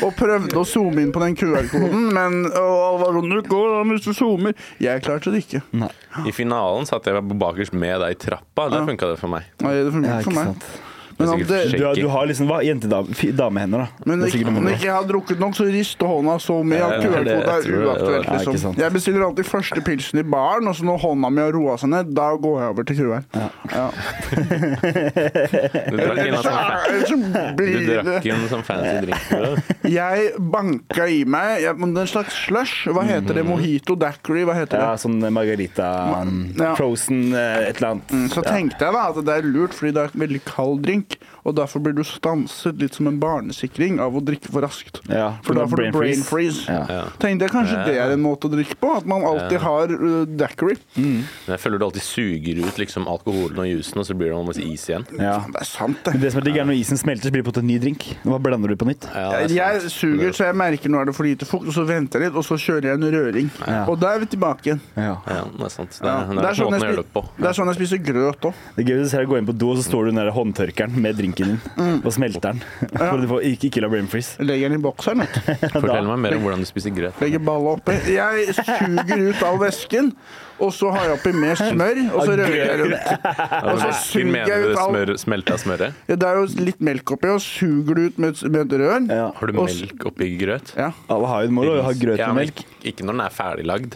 Speaker 4: og prøvde å zoome inn på den QR-koden, men og alle var sånn, det går an hvis du zoomer. Jeg klarte det ikke. Nei,
Speaker 6: I finalen satt jeg på bakerst med deg i trappa. Der funka det for meg.
Speaker 4: det
Speaker 1: Ja,
Speaker 4: funket
Speaker 1: ikke
Speaker 4: for meg.
Speaker 1: sant.
Speaker 4: Men,
Speaker 6: Det er
Speaker 4: om det,
Speaker 6: sikkert
Speaker 1: Du,
Speaker 6: Shaky.
Speaker 1: har- du har liksom hva, jentedame, fi- damehender, da.
Speaker 4: men
Speaker 1: Det er
Speaker 4: ikke,
Speaker 1: sikkert noe
Speaker 4: om
Speaker 1: bra.
Speaker 4: ikke jeg har drukket nok, så rister hånda så mye
Speaker 6: Ja,
Speaker 4: at
Speaker 6: det er det.
Speaker 4: QR-koden
Speaker 6: Jeg
Speaker 4: er
Speaker 6: tror det.
Speaker 4: uaktuelt.
Speaker 1: Ja, ikke
Speaker 4: Liksom.
Speaker 1: sant.
Speaker 4: Jeg bestiller alltid første pilsen i baren, og så når hånda mi har roa seg ned, da går jeg over til QR. Ja.
Speaker 6: Du drakk inn en
Speaker 4: Ellers
Speaker 6: sånn, fa-
Speaker 4: så
Speaker 6: du
Speaker 4: blir det
Speaker 6: drakk inn en sånn fancy drink. du.
Speaker 4: Jeg banka i meg jeg, men det er en slags slush. Hva heter det? Mojito, daiquiri, hva heter
Speaker 1: Ja,
Speaker 4: det?
Speaker 1: sånn margarita, um,
Speaker 4: Ja. Mm.
Speaker 1: frozen, eh, et eller annet.
Speaker 4: Så tenkte jeg da at det er lurt, fordi det er en veldig kald drink. Og derfor blir du stanset litt som en barnesikring av å drikke for raskt.
Speaker 1: Ja,
Speaker 4: For da får du brain
Speaker 1: freeze.
Speaker 4: freeze.
Speaker 1: Ja.
Speaker 6: Ja.
Speaker 4: Tenkte jeg kanskje det er en måte å drikke på? At man alltid har uh, daiquiri.
Speaker 6: Men jeg føler du alltid suger ut liksom, alkoholen og jusen, og så blir det noe masse is igjen.
Speaker 1: Ja.
Speaker 4: Faen, Det er sant,
Speaker 1: Men
Speaker 4: det.
Speaker 1: Det som er digg, er når isen smelter, så blir det på en ny drink. Hva blander du på nytt?
Speaker 6: Ja, det er
Speaker 4: Jeg, jeg
Speaker 6: sant.
Speaker 4: suger, så jeg merker nå er det for lite fukt, og så venter jeg litt, og så kjører jeg en røring.
Speaker 1: Ja.
Speaker 4: Og da er vi tilbake igjen.
Speaker 1: Ja.
Speaker 6: Ja, det er sant. Det
Speaker 4: Ja.
Speaker 6: er, det er,
Speaker 4: Det er sånn jeg
Speaker 6: måten å gjøre det
Speaker 4: spi-
Speaker 6: på.
Speaker 4: det er sånn jeg spiser grøt òg.
Speaker 1: Det er gøy hvis du går inn på do, og så står du under håndtørkeren med drinken din og smelter den. For du får ikke, ikke la brain freeze.
Speaker 4: Legger den i bokseren, vet du.
Speaker 6: Fortell meg mer om hvordan du spiser grøt.
Speaker 4: Legger balla oppi. Jeg suger ut all væsken, og så har jeg oppi mer smør, og så rører jeg rundt. Og så
Speaker 6: Hvilken
Speaker 4: suger
Speaker 6: mener
Speaker 4: jeg
Speaker 6: du
Speaker 4: ut all
Speaker 6: smør, smelta smøret?
Speaker 4: ja, Det er jo litt melk oppi, og suger det ut med, et- med et rør.
Speaker 1: Ja.
Speaker 6: Har du
Speaker 4: Og s-
Speaker 6: melk oppi grøt?
Speaker 4: Ja.
Speaker 1: Alle har jo må jo ha grøt
Speaker 6: Ja,
Speaker 1: med
Speaker 6: men
Speaker 1: melk.
Speaker 6: ikke- Ikke når den er ferdiglagd.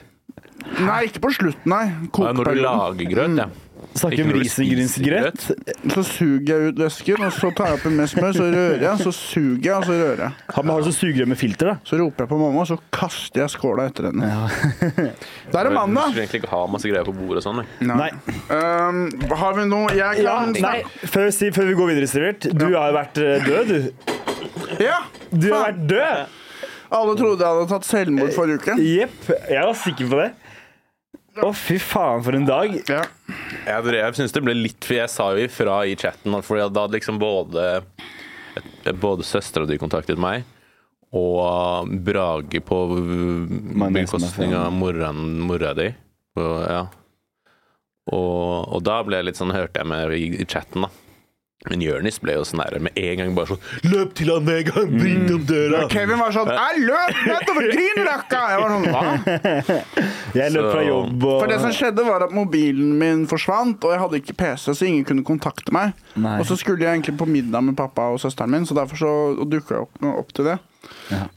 Speaker 4: Nei, ikke på slutten, nei.
Speaker 6: Ja, Når du
Speaker 4: Kokeperioden.
Speaker 6: lager grøt, ja.
Speaker 1: Mm. Snakker
Speaker 6: ikke
Speaker 1: om
Speaker 6: når du
Speaker 1: risengrynsgrøt.
Speaker 6: spiser
Speaker 4: Så suger jeg ut væsken, og så tar jeg oppi mer smør, så rører jeg, så suger jeg, og så rører jeg.
Speaker 1: Har man har du sånn sugerør med filter, da?
Speaker 4: Så roper jeg på mamma, og så kaster jeg skåla etter henne. Der er
Speaker 6: Du
Speaker 4: mandag!
Speaker 6: skulle egentlig ikke ha masse greier på bordet og sånn. men.
Speaker 1: Nei.
Speaker 4: Um, har vi noe Jeg
Speaker 1: Ja,
Speaker 4: kan
Speaker 1: nei. Før, si, før vi går videre, Sivert. Du har jo vært eh, død, du.
Speaker 4: Ja!
Speaker 1: Du har
Speaker 4: Faen.
Speaker 1: vært død!
Speaker 4: Alle trodde jeg hadde tatt selvmord forrige uke.
Speaker 1: Jepp. Jeg var sikker på det. Å, fy faen, for en dag.
Speaker 4: Ja.
Speaker 6: Jeg, drev- jeg synes det ble litt For jeg sa jo ifra i chatten, for da hadde liksom både Både søstera di kontaktet meg, og um, Brage på bekostning av moren- mora di. Og, ja. og, og da ble jeg litt sånn, hørte jeg med i, i chatten, da. Men Jonis ble jo sånn der med en gang bare sånn Løp til han med en gang! Bring dem døra!
Speaker 4: Kevin var sånn Jeg løp nedover Grünerløkka! Jeg var sånn, hva?
Speaker 1: Jeg løp
Speaker 6: Så-
Speaker 1: fra jobb og
Speaker 4: For det som skjedde, var at mobilen min forsvant, og jeg hadde ikke PC, så ingen kunne kontakte meg.
Speaker 1: Nei.
Speaker 4: Og så skulle jeg egentlig på middag med pappa og søsteren min, så derfor så dukka jeg opp, opp til det.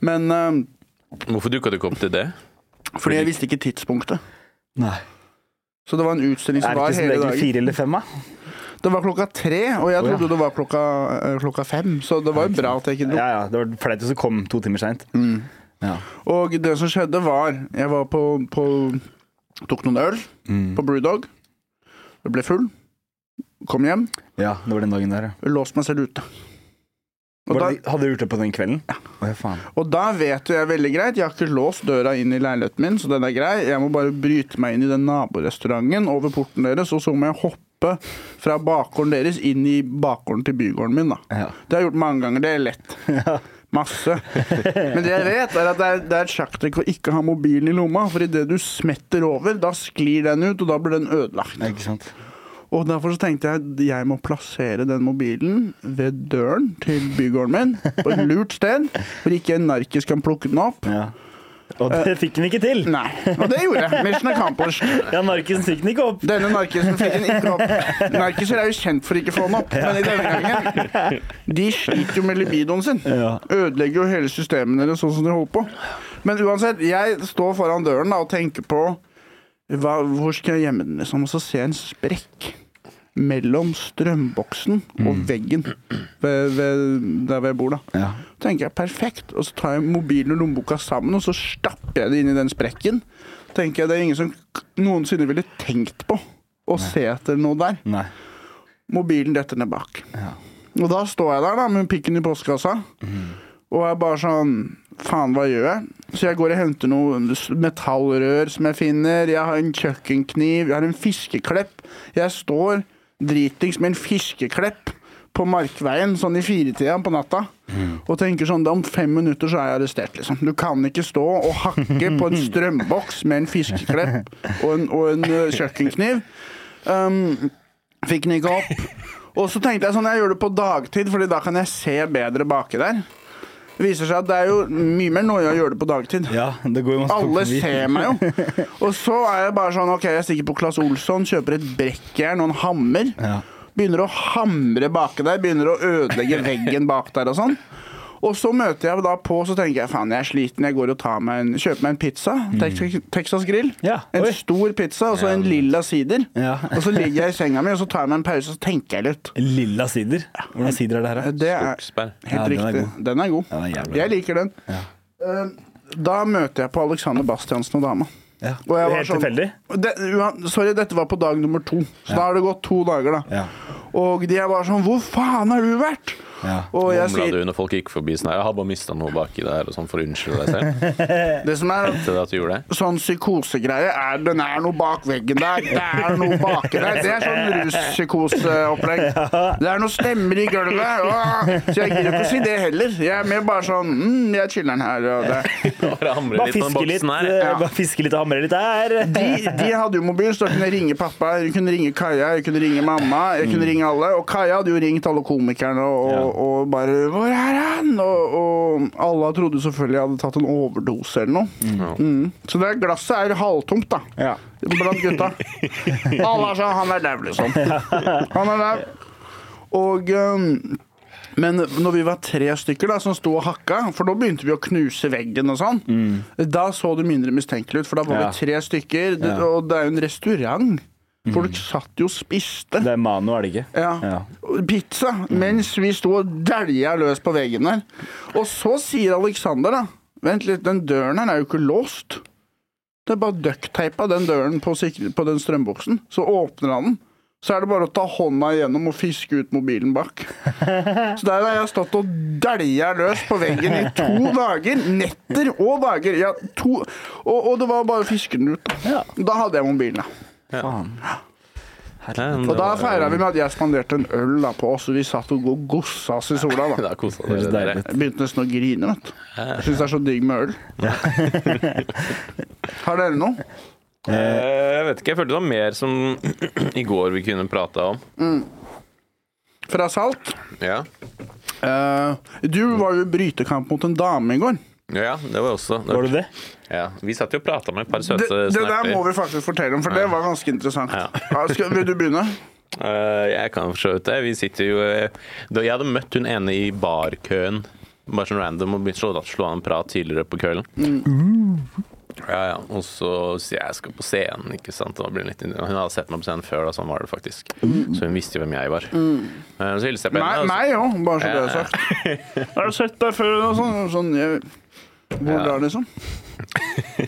Speaker 4: Men eh,
Speaker 6: Hvorfor dukka du ikke opp til det?
Speaker 4: fordi jeg visste ikke tidspunktet.
Speaker 1: Nei.
Speaker 4: Så det var en utstilling
Speaker 1: Er
Speaker 4: som
Speaker 1: det
Speaker 4: var
Speaker 1: ikke som
Speaker 4: hele
Speaker 1: regel
Speaker 4: dagen.
Speaker 1: fire eller fem, da?
Speaker 4: Det var klokka tre, og jeg
Speaker 1: ja.
Speaker 4: trodde det var klokka, eh, klokka fem, så det var jo bra at jeg ikke dro.
Speaker 1: Ja, ja. Det var flaut hvis du kom to timer seint.
Speaker 4: Mm.
Speaker 1: Ja.
Speaker 4: Og det som skjedde var Jeg var på, på Tok noen øl
Speaker 1: Mm.
Speaker 4: på Brewdog. Jeg ble full. Kom hjem.
Speaker 1: ja, det var den dagen der, ja.
Speaker 4: Låste meg selv ute. Og da,
Speaker 1: Var det, hadde du gjort det på den kvelden? Ja. faen.
Speaker 4: og da vet jo jeg veldig greit Jeg har ikke låst døra inn i leiligheten min, så den er grei. Jeg må bare bryte meg inn i den naborestauranten over porten deres, og så må jeg hoppe fra bakgården deres inn i bakgården til bygården min, da.
Speaker 1: Ja.
Speaker 4: Det har jeg gjort mange ganger. Det er lett. Masse. Men det jeg vet, er at det er, det er et sjakktrekk å ikke ha mobilen i lomma, for idet du smetter over, da sklir den ut, og da blir den ødelagt.
Speaker 1: Ikke sant?
Speaker 4: Og derfor så tenkte jeg at jeg må plassere den mobilen ved døren til bygården min, på et lurt sted, hvor ikke en narkis kan plukke den opp.
Speaker 1: Ja. Og
Speaker 4: Eh,
Speaker 1: det fikk den ikke til.
Speaker 4: Nei. Og det gjorde jeg. Mission accomplished.
Speaker 1: Ja, narkisen fikk den ikke opp.
Speaker 4: Denne narkisen fikk den ikke opp. Narkiser er jo kjent for ikke å få den opp, men i denne gangen De sliter jo med libidoen sin.
Speaker 1: Ja.
Speaker 4: Ødelegger jo hele systemet deres sånn som de holder på. Men uansett, jeg står foran døren da, og tenker på hva, hvor skal jeg gjemme den, liksom? Og så ser jeg en sprekk mellom strømboksen og veggen ved, ved, der hvor jeg bor, da.
Speaker 1: Mm. Ja.
Speaker 4: Så tenker jeg perfekt, og så tar jeg mobilen og lommeboka sammen, og så stapper jeg det inn i den sprekken. Tenker jeg det er ingen som k- noensinne ville tenkt på å se etter noe der.
Speaker 1: Nei.
Speaker 4: Mobilen detter ned bak. Og da står jeg der da, med pikken i postkassa, og er bare sånn Faen, hva gjør jeg? Så jeg går og henter noe s- metallrør som jeg finner. Jeg har en kjøkkenkniv, jeg har en fiskeklepp. Jeg står dritings med en fiskeklepp på Markveien sånn i firetida på natta og tenker sånn Om fem minutter så er jeg arrestert, liksom. Du kan ikke stå og hakke på en strømboks med en fiskeklepp og en, og en ø, kjøkkenkniv. Um, Fikk den ikke opp. Og så tenkte jeg sånn, jeg gjør det på dagtid, Fordi da kan jeg se bedre baki der. Det viser seg at det er jo mye mer noe å gjøre det på dagtid.
Speaker 1: Ja, det går jo masse
Speaker 4: Alle
Speaker 1: folk forbi.
Speaker 4: ser meg jo. Og så er jeg bare sånn, ok, jeg stikker på Claes Olsson, kjøper et brekkjern og en hammer.
Speaker 1: Ja.
Speaker 4: Begynner å hamre baki der, begynner å ødelegge veggen bak der og sånn. Og så møter jeg da på, så tenker jeg faen, jeg er sliten, jeg går og tar meg en, kjøper meg en pizza. Tex- Texas grill.
Speaker 1: Mm. Ja,
Speaker 4: en
Speaker 1: oi.
Speaker 4: stor pizza, og så en lilla sider.
Speaker 1: Ja.
Speaker 4: og så ligger jeg i senga mi, og så tar jeg meg en pause, og så tenker jeg litt.
Speaker 1: Lilla sider. Hvordan sider er det her? da?
Speaker 4: Det er
Speaker 6: Skogsbær.
Speaker 1: Ja,
Speaker 4: helt
Speaker 1: den er
Speaker 4: riktig.
Speaker 1: god.
Speaker 4: Den er god.
Speaker 1: Ja, den er jævlig
Speaker 4: jeg liker den. Eh, Da møter jeg på Alexander Bastiansen og dama.
Speaker 1: Ja.
Speaker 4: Og jeg var
Speaker 1: Helt
Speaker 4: sånn-
Speaker 1: tilfeldig?
Speaker 4: Det, uan- sorry, dette var på dag nummer to. Så da har det gått to dager, da.
Speaker 1: Ja.
Speaker 4: Og de er bare sånn Hvor faen har du vært?
Speaker 1: Ja.
Speaker 4: Og jeg
Speaker 6: Mumla
Speaker 4: sier
Speaker 6: du når folk gikk forbi sånn her? Jeg har bare mista noe baki der, og sånn for å unnskylde deg selv.
Speaker 4: Det som er
Speaker 6: Til det at du gjorde det.
Speaker 4: sånn psykosegreie, er den er noe bak veggen der. Det er noe baki der. Det er sånn ruspsykoseopplegg. Det er noe stemmer i gulvet. Åh! Så jeg gidder ikke å si det heller. Jeg er mer bare sånn mm, Jeg chiller den her. Og det.
Speaker 6: Bare hamre
Speaker 1: Bare
Speaker 6: litt på den
Speaker 1: fiske litt,
Speaker 6: boksen her.
Speaker 1: eh, bare fiske litt og hamre litt der.
Speaker 4: De, de hadde jo mobil, så da kunne jeg ringe pappa, jeg kunne ringe Kaja, jeg kunne ringe mamma. Jeg kunne ringe alle. Og Kaja hadde jo ringt alle komikerne og, og, og bare 'Hvor er han?' Og, og alle trodde selvfølgelig jeg hadde tatt en overdose eller noe. Mm. Så det glasset er halvtomt, da.
Speaker 1: Ja.
Speaker 4: Blant gutta. Alle er sånn 'Han er dau', liksom. Han er dau. Og um, men når vi var tre stykker da, som sto og hakka, for da begynte vi å knuse veggen og sånn, da så det mindre mistenkelig ut, for da var
Speaker 1: Mm. Ja.
Speaker 4: vi tre stykker, det,
Speaker 1: Ja. Mm.
Speaker 4: og det er jo en restaurant. Folk satt jo og spiste.
Speaker 1: Det er Mano, er det ikke?
Speaker 4: Ja.
Speaker 1: Ja.
Speaker 4: Og Pizza, mens vi sto og dælja løs på veggen der. Og så sier Alexander, da Vent litt, den døren her er jo ikke låst. Det er bare duckteipa den døren på, sikre, på den strømboksen. Så åpner han den. Så er det bare å ta hånda igjennom og fiske ut mobilen bak. Så der har jeg stått og dælja løs på veggen i to dager. Netter og dager. Ja, to. Og, og det var bare å fiske den ut.
Speaker 1: Ja.
Speaker 4: Da. da hadde jeg mobilen, da.
Speaker 1: Faen.
Speaker 6: Ja, men
Speaker 4: Og
Speaker 6: det
Speaker 4: da
Speaker 6: var-
Speaker 4: feira vi med at jeg spanderte en øl da på oss, og vi satt og og gossa oss i sola. da.
Speaker 6: Da kosa
Speaker 1: Det
Speaker 6: dere
Speaker 1: høres
Speaker 6: dere.
Speaker 1: deilig ut.
Speaker 4: Jeg begynte nesten å grine, vet du. Jeg syns det er så digg med øl. Har dere noe?
Speaker 6: Eh, Jeg vet ikke, jeg følte det var mer som i går vi kunne prata om.
Speaker 4: Fra Salt?
Speaker 6: Ja.
Speaker 4: Eh, du var jo i brytekamp mot en dame i går.
Speaker 6: ja, det var også
Speaker 1: Var det det?
Speaker 6: Ja, Vi satt jo og prata med et par
Speaker 4: Det,
Speaker 6: søte
Speaker 4: det der må
Speaker 6: snapper.
Speaker 4: vi faktisk fortelle om, for det var ganske interessant. Ja, skal, vil du begynne?
Speaker 6: Eh, jeg kan for så vidt det. Vi sitter jo eh, da Jeg hadde møtt hun ene i barkøen, bare sånn random, og begynte å slå- slå an en prat tidligere på kvelden. Ja, ja. Og så sier jeg jeg skal på scenen, ikke sant. Og da blir hun, litt, hun hadde sett meg på scenen før, da, sånn var det faktisk. Så hun visste jo hvem jeg var. Eh, Så hilste jeg på
Speaker 4: Mm. Nei,
Speaker 6: henne. og så-
Speaker 4: meg òg, bare så det er sagt. Har du sett deg før? Og sånn, sånn jeg, Hvor da, liksom?
Speaker 6: Eh,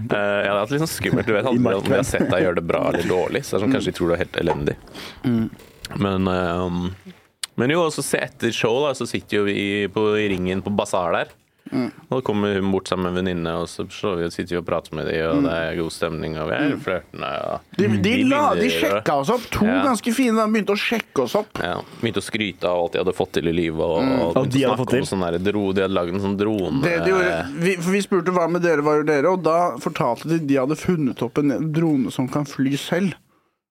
Speaker 6: ja, det er alltid litt sånn skummelt. Du vet aldri om de har sett deg gjøre det bra eller dårlig. Så det
Speaker 4: Mm.
Speaker 6: er sånn, kanskje de tror du er helt elendig. Men, eh, men jo, også se etter show, da, så sitter jo vi på, i ringen på basar der.
Speaker 4: Mm.
Speaker 6: Og da kommer hun bort sammen med en venninne, og så slår vi, sitter vi og prater med dem, og det er god stemning, og vi er flørtende. Og,
Speaker 4: Mm. De, de, la, de
Speaker 6: vinner,
Speaker 4: sjekka oss opp. To
Speaker 6: Ja.
Speaker 4: ganske fine da, begynte å sjekke oss opp.
Speaker 6: ja, begynte å skryte av alt de hadde fått til i livet. Og,
Speaker 4: Mm.
Speaker 6: og
Speaker 1: Og de
Speaker 6: begynte å
Speaker 1: hadde fått
Speaker 6: snakke om sånn der, dro, De hadde lagd en sånn drone.
Speaker 4: Det de gjorde, vi, for vi spurte hva med dere, hva gjør dere? Og da fortalte de de hadde funnet opp en drone som kan fly selv.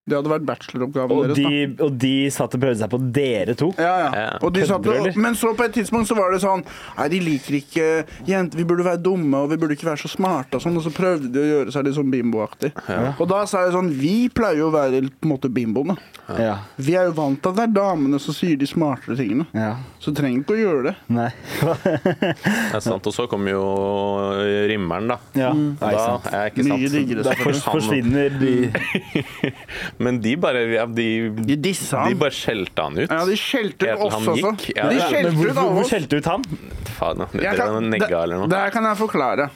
Speaker 4: Det hadde vært bacheloroppgaven
Speaker 1: Og
Speaker 4: deres. da.
Speaker 1: de, og de satt og prøvde seg på dere to.
Speaker 4: Ja, ja.
Speaker 6: Ja.
Speaker 4: Og de satt,
Speaker 1: Kødder du,
Speaker 4: og-
Speaker 1: eller?
Speaker 4: men så på et tidspunkt så var det sånn Nei, de liker ikke jenter. Vi burde være dumme, og vi burde ikke være så smarte og sånn. Og så prøvde de å gjøre seg litt sånn bimboaktig. Og da sa jeg sånn Vi pleier jo å være på en måte bimboene.
Speaker 1: Ja.
Speaker 4: Vi er jo vant til at det er damene som sier de smartere tingene.
Speaker 1: ja.
Speaker 4: Så trenger ikke å gjøre det.
Speaker 1: Nei.
Speaker 6: Det er sant. Og så kom jo rimmeren, da.
Speaker 1: Ja. Mm.
Speaker 6: Da
Speaker 1: Nei, sant.
Speaker 6: er jeg ikke
Speaker 4: Mye diggere,
Speaker 6: sant.
Speaker 1: Da fors- forsvinner de
Speaker 6: Men de bare ja, de,
Speaker 4: De dissa
Speaker 6: de
Speaker 4: han.
Speaker 6: bare skjelte han ut.
Speaker 4: Ja, de skjelte
Speaker 6: Helt
Speaker 4: ut
Speaker 6: til
Speaker 4: oss
Speaker 6: han
Speaker 4: også.
Speaker 6: gikk. Ja,
Speaker 4: de
Speaker 6: ja.
Speaker 1: Men
Speaker 4: skjelte ut
Speaker 1: Hvorfor
Speaker 4: alle
Speaker 1: hvor
Speaker 4: oss.
Speaker 1: skjelte ut han?
Speaker 6: Faen, det
Speaker 4: Jeg
Speaker 6: er
Speaker 4: kan-
Speaker 6: en
Speaker 4: det-
Speaker 6: negga eller
Speaker 4: Det
Speaker 6: noe.
Speaker 4: her kan jeg forklare.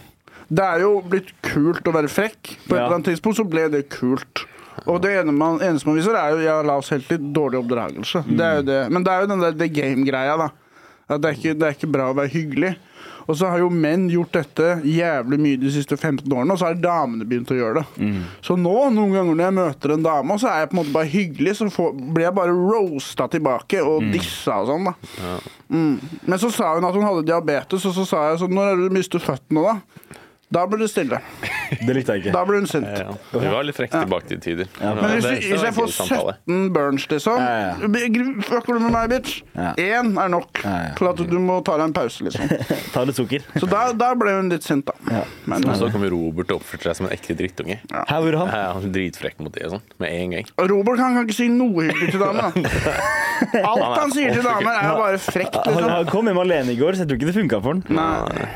Speaker 4: Det er jo blitt kult å være frekk. På et
Speaker 1: Ja.
Speaker 4: eller annet tidspunkt så ble det kult. Og det ene man, eneste man viser, er jo ja, lav selvtillit, dårlig oppdragelse. Det er jo det. Men det er jo den der the game-greia, da. At det, er ikke, det er ikke bra å være hyggelig. Og så har jo menn gjort dette jævlig mye de siste 15 årene, og så har damene begynt å gjøre det.
Speaker 6: Mm.
Speaker 4: Så nå, noen ganger når jeg møter en dame, og så er jeg på en måte bare hyggelig, så får, blir jeg bare roasta tilbake og
Speaker 6: Mm.
Speaker 4: dissa og sånn, da. Men så sa hun at hun hadde diabetes, og så sa jeg sånn Når er det du mister føttene, da? Da ble det stille.
Speaker 1: Det likte jeg
Speaker 4: Da
Speaker 1: ikke.
Speaker 4: ble hun sint.
Speaker 6: Ja. Du var litt frekk tilbake til tider.
Speaker 4: Men hvis, du,
Speaker 6: Det- det
Speaker 4: hvis
Speaker 6: var
Speaker 4: jeg
Speaker 6: en
Speaker 4: får
Speaker 6: gøy samtale.
Speaker 4: 17 burns, liksom
Speaker 1: Ja, ja.
Speaker 4: begri- Fucker du med meg, bitch?
Speaker 1: Ja.
Speaker 4: Én er nok
Speaker 1: Ja, ja.
Speaker 4: til at du må ta deg en pause, liksom.
Speaker 1: Ta litt sukker.
Speaker 4: Så da, da ble hun litt sint, da.
Speaker 1: Ja.
Speaker 4: Men, eh,
Speaker 6: Og så kom Robert og oppførte seg som en ekte drittunge. Ja.
Speaker 1: Her var han.
Speaker 6: han var Dritfrekk mot de og sånn, med en gang.
Speaker 4: og Robert han kan ikke si noe hyggelig til damer. da. Alt han sier til damer, er jo bare frekt,
Speaker 1: Han,
Speaker 4: liksom.
Speaker 1: han kom hjem alene i går, så jeg tror ikke det funka for han.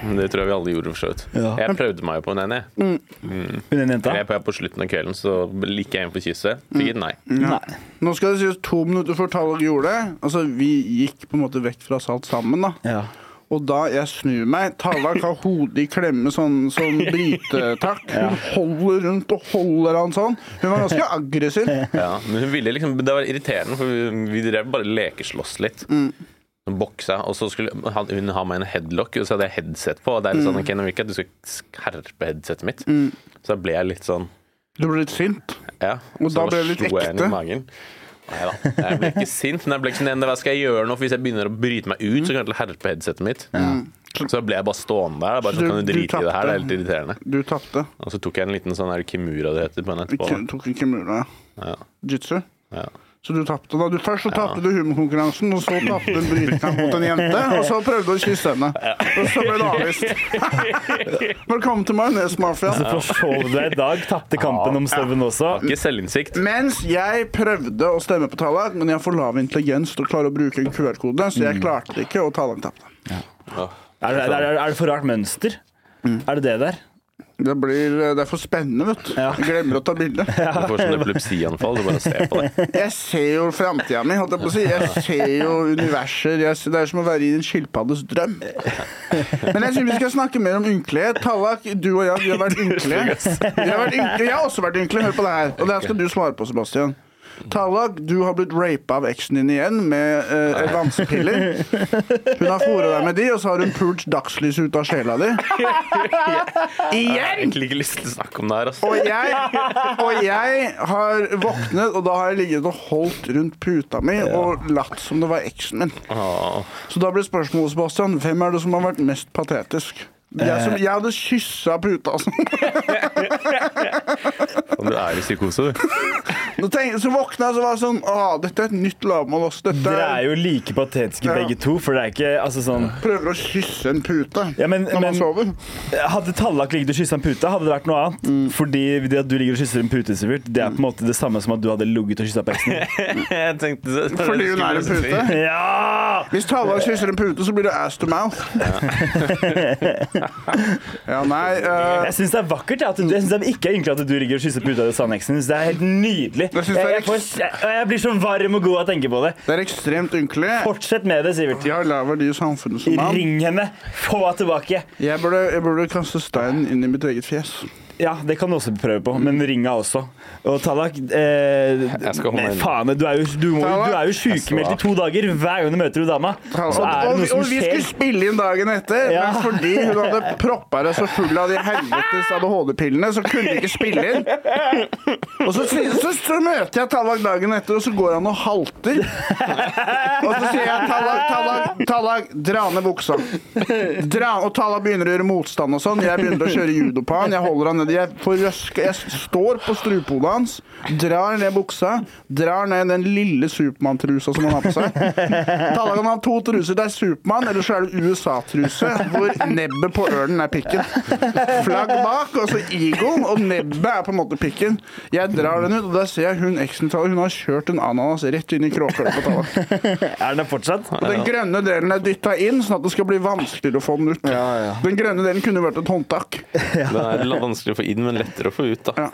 Speaker 6: Men Det tror jeg vi alle gjorde, for så vidt.
Speaker 1: Ja.
Speaker 6: Jeg prøvde meg jo på en en, jeg.
Speaker 1: Hun ene jenta?
Speaker 6: Jeg på, på slutten av kvelden så liker jeg en på kysset. Fikk
Speaker 4: Mm.
Speaker 6: et nei.
Speaker 1: Nei.
Speaker 4: Nå skal det sies to minutter før Tallak gjorde det. Altså, vi gikk på en måte vekk fra oss alt sammen, da.
Speaker 1: Ja.
Speaker 4: Og da jeg snur meg, Tallak har hodet i klemme sånn, sånn brytetakk. Hun holder rundt og holder han sånn. Hun var ganske aggressiv.
Speaker 6: Ja, men hun ville liksom, det var irriterende, for vi, vi drev bare lekeslåss litt.
Speaker 4: Mm.
Speaker 6: Hun Boksa, og så skulle han- hun ha meg i en headlock, og så hadde jeg headset på. Og det er litt
Speaker 4: Mm.
Speaker 6: sånn, ok, nå vil jeg ikke at du skal skjerpe headsetet mitt. Så da ble jeg litt sånn
Speaker 4: Du ble litt sint.
Speaker 6: Ja.
Speaker 4: Mm. Og
Speaker 6: så
Speaker 4: da
Speaker 6: bare
Speaker 4: ble jeg litt
Speaker 6: slo jeg henne
Speaker 4: ekte.
Speaker 6: i magen. Nei da. Jeg ble ikke sint, men jeg ble ikke sånn, hva skal jeg gjøre nå? For hvis jeg begynner å bryte meg ut, så kan jeg til å herpe headsetet mitt. Så da ble jeg bare stående der. Bare
Speaker 4: Så
Speaker 6: sånn,
Speaker 4: du-
Speaker 6: kan du
Speaker 4: du
Speaker 6: drite i det her, det er helt
Speaker 4: tapte.
Speaker 6: irriterende.
Speaker 4: Du tapte.
Speaker 6: Og så tok jeg en liten sånn her kimura det heter på henne
Speaker 4: Vi
Speaker 6: etterpå. da.
Speaker 4: Tok ikke mula.
Speaker 6: Ja,
Speaker 4: Jitsu.
Speaker 6: ja.
Speaker 4: Så du tapte. da. Du, først så tapte du humorkonkurransen, og så tapte du en brytekamp mot en jente. Og så prøvde du å kysse henne. Og så ble det avvist. Velkommen til
Speaker 1: Så
Speaker 4: majonesmafiaen.
Speaker 1: forsov du deg i dag. Tapte kampen om støven også.
Speaker 6: Ikke selvinnsikt.
Speaker 4: Mens jeg prøvde å stemme på Tallak, men jeg har for lav intelligens til å klare å bruke en QR-kode, så jeg klarte det ikke, og Tallak tapte.
Speaker 1: Er det, er, er det for rart mønster? Er det det der?
Speaker 4: Det, blir, eh, det er for spennende, vet du. Jeg glemmer å ta bilde.
Speaker 6: Du får sånn epilepsianfall, så bare se på det.
Speaker 4: Jeg ser jo framtida mi, holdt jeg på å si. Jeg ser jo universer. Jeg ser, det er som å være i en skilpaddes drøm. Men jeg synes vi skal snakke mer om ynkelighet. Tallak, du og jeg, vi har vært ynkelige. Vi har vært ynkelige. Jeg har også vært ynkelig. Hør på det her. Og det her skal du svare på, Sebastian. Tallak, du har blitt rapa av eksen din igjen med eh, vansepiller. Hun har fôra deg med de, og så har hun pult dagslyset ut av sjela di.
Speaker 6: Jeg har egentlig ikke lyst til å snakke om det her, altså.
Speaker 4: Og jeg, og jeg har våknet, og da har jeg ligget og holdt rundt puta mi og latt som det var eksen min.
Speaker 6: Åh.
Speaker 4: Så da blir spørsmålet, Sebastian, hvem er det som har vært mest patetisk? Jeg,
Speaker 1: Eh.
Speaker 4: som, jeg hadde kyssa puta, altså.
Speaker 6: Du er i psykose, du.
Speaker 4: Nå tenk, så våkna jeg så var jeg sånn Å, dette er et nytt lavmål, ass. Dette
Speaker 1: Dere er
Speaker 4: er
Speaker 1: jo like patetiske
Speaker 4: Ja.
Speaker 1: begge to, for det er ikke altså sånn
Speaker 4: Prøver å kysse en pute
Speaker 1: Ja, men-
Speaker 4: når man
Speaker 1: men-
Speaker 4: sover.
Speaker 1: Hadde Tallak ligget og kyssa en pute, hadde det vært noe annet.
Speaker 4: Mm.
Speaker 1: Fordi det at du ligger og kysser en pute, Sivert, det er på en måte det samme som at du hadde ligget og kyssa på eksen.
Speaker 6: Jeg tenkte så,
Speaker 4: Fordi hun er en pute.
Speaker 1: Ja!
Speaker 4: Hvis Tallak kysser en pute, så blir det ass to mouth. Ja, nei eh,
Speaker 1: Jeg syns det er vakkert. ja, At du, jeg synes det er ikke er ynkelig at du ligger og kysser puta di sann eksen. Jeg synes Det er helt nydelig.
Speaker 4: Jeg synes det er
Speaker 1: jeg, jeg, får, jeg, jeg blir så varm og god av å tenke på det.
Speaker 4: Det er ekstremt ynkelig.
Speaker 1: Fortsett med det, Sivert.
Speaker 4: Jeg har lav verdi i samfunnet som mann.
Speaker 1: Ring henne. Få henne tilbake.
Speaker 4: Jeg burde, jeg burde kaste steinen inn i mitt eget fjes.
Speaker 1: Ja, det kan du også prøve på, men ringa også. Og Tallak eh,
Speaker 6: Jeg skal holde
Speaker 1: nei,
Speaker 6: meg inne.
Speaker 1: Faen, du er jo, du må,
Speaker 4: Tallak.
Speaker 1: du er jo sykemeldt i to dager. Hver gang du møter hun dama, så er det
Speaker 4: og,
Speaker 1: noe som
Speaker 4: og vi skulle
Speaker 1: skjer.
Speaker 4: spille inn dagen etter,
Speaker 1: Ja.
Speaker 4: men fordi hun hadde proppa det så full av de helvetes ADHD-pillene, så kunne vi ikke spille inn. Og så, sier- så, så møter jeg Tallak dagen etter, og så går han og halter. Og så sier jeg Tallak, Tallak, Tallak, dra ned buksa. Dra, og Tallak begynner å gjøre motstand og sånn. Jeg begynner å kjøre judo på han. Jeg holder han ned jeg får røska Jeg står på strupehodet hans, drar ned buksa, drar ned den lille Supermann-trusa som han har på seg. Talla kan ha to truser. Det er Supermann, eller så er det USA-truse, hvor nebbet på ørnen er pikken. Flagg bak, og så eaglen, og nebbet er på en måte pikken. Jeg drar den ut, og der ser jeg hun eksen-Talla. Hun har kjørt en ananas rett inn i kråkehullet på Talla.
Speaker 1: Er den der fortsatt?
Speaker 4: Og den grønne delen er dytta inn, sånn at det skal bli vanskeligere å få den ut. Den grønne delen kunne vært et håndtak.
Speaker 6: Den er litt vanskelig å få inn, men lettere å få ut. da
Speaker 4: Ja.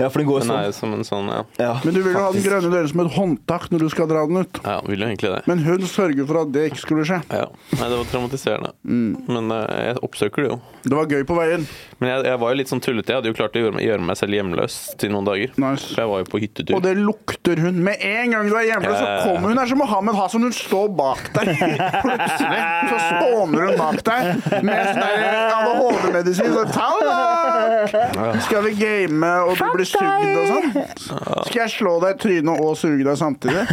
Speaker 1: Ja, for den går
Speaker 6: Den er
Speaker 1: sånn.
Speaker 6: jo som en sånn, ja.
Speaker 1: Ja,
Speaker 4: Men du vil jo ha den
Speaker 1: faktisk.
Speaker 4: grønne delen som et håndtak når du skal dra den ut.
Speaker 6: ja vil jo egentlig det.
Speaker 4: Men hun sørger for at det ikke skulle skje.
Speaker 6: Ja. Nei, det var traumatiserende.
Speaker 4: Mm.
Speaker 6: Men eh, jeg oppsøker det jo.
Speaker 4: Det var gøy på veien.
Speaker 6: Men jeg, jeg var jo litt sånn tullete. Jeg hadde jo klart å gjøre meg, gjøre meg selv hjemløs til noen dager.
Speaker 4: Nice.
Speaker 6: For jeg var jo på hyttetur.
Speaker 4: Og det lukter hun. Med en gang du er hjemme, så
Speaker 6: Ja, ja, ja.
Speaker 4: kommer hun her som Mohammed Hassan. Hun står bak deg plutselig. Så spåner hun bak deg med sånn der ADHD-medisin. Så Tallak! Skal vi game, og du blir sugd og sånn? Skal jeg slå deg i trynet og suge deg samtidig?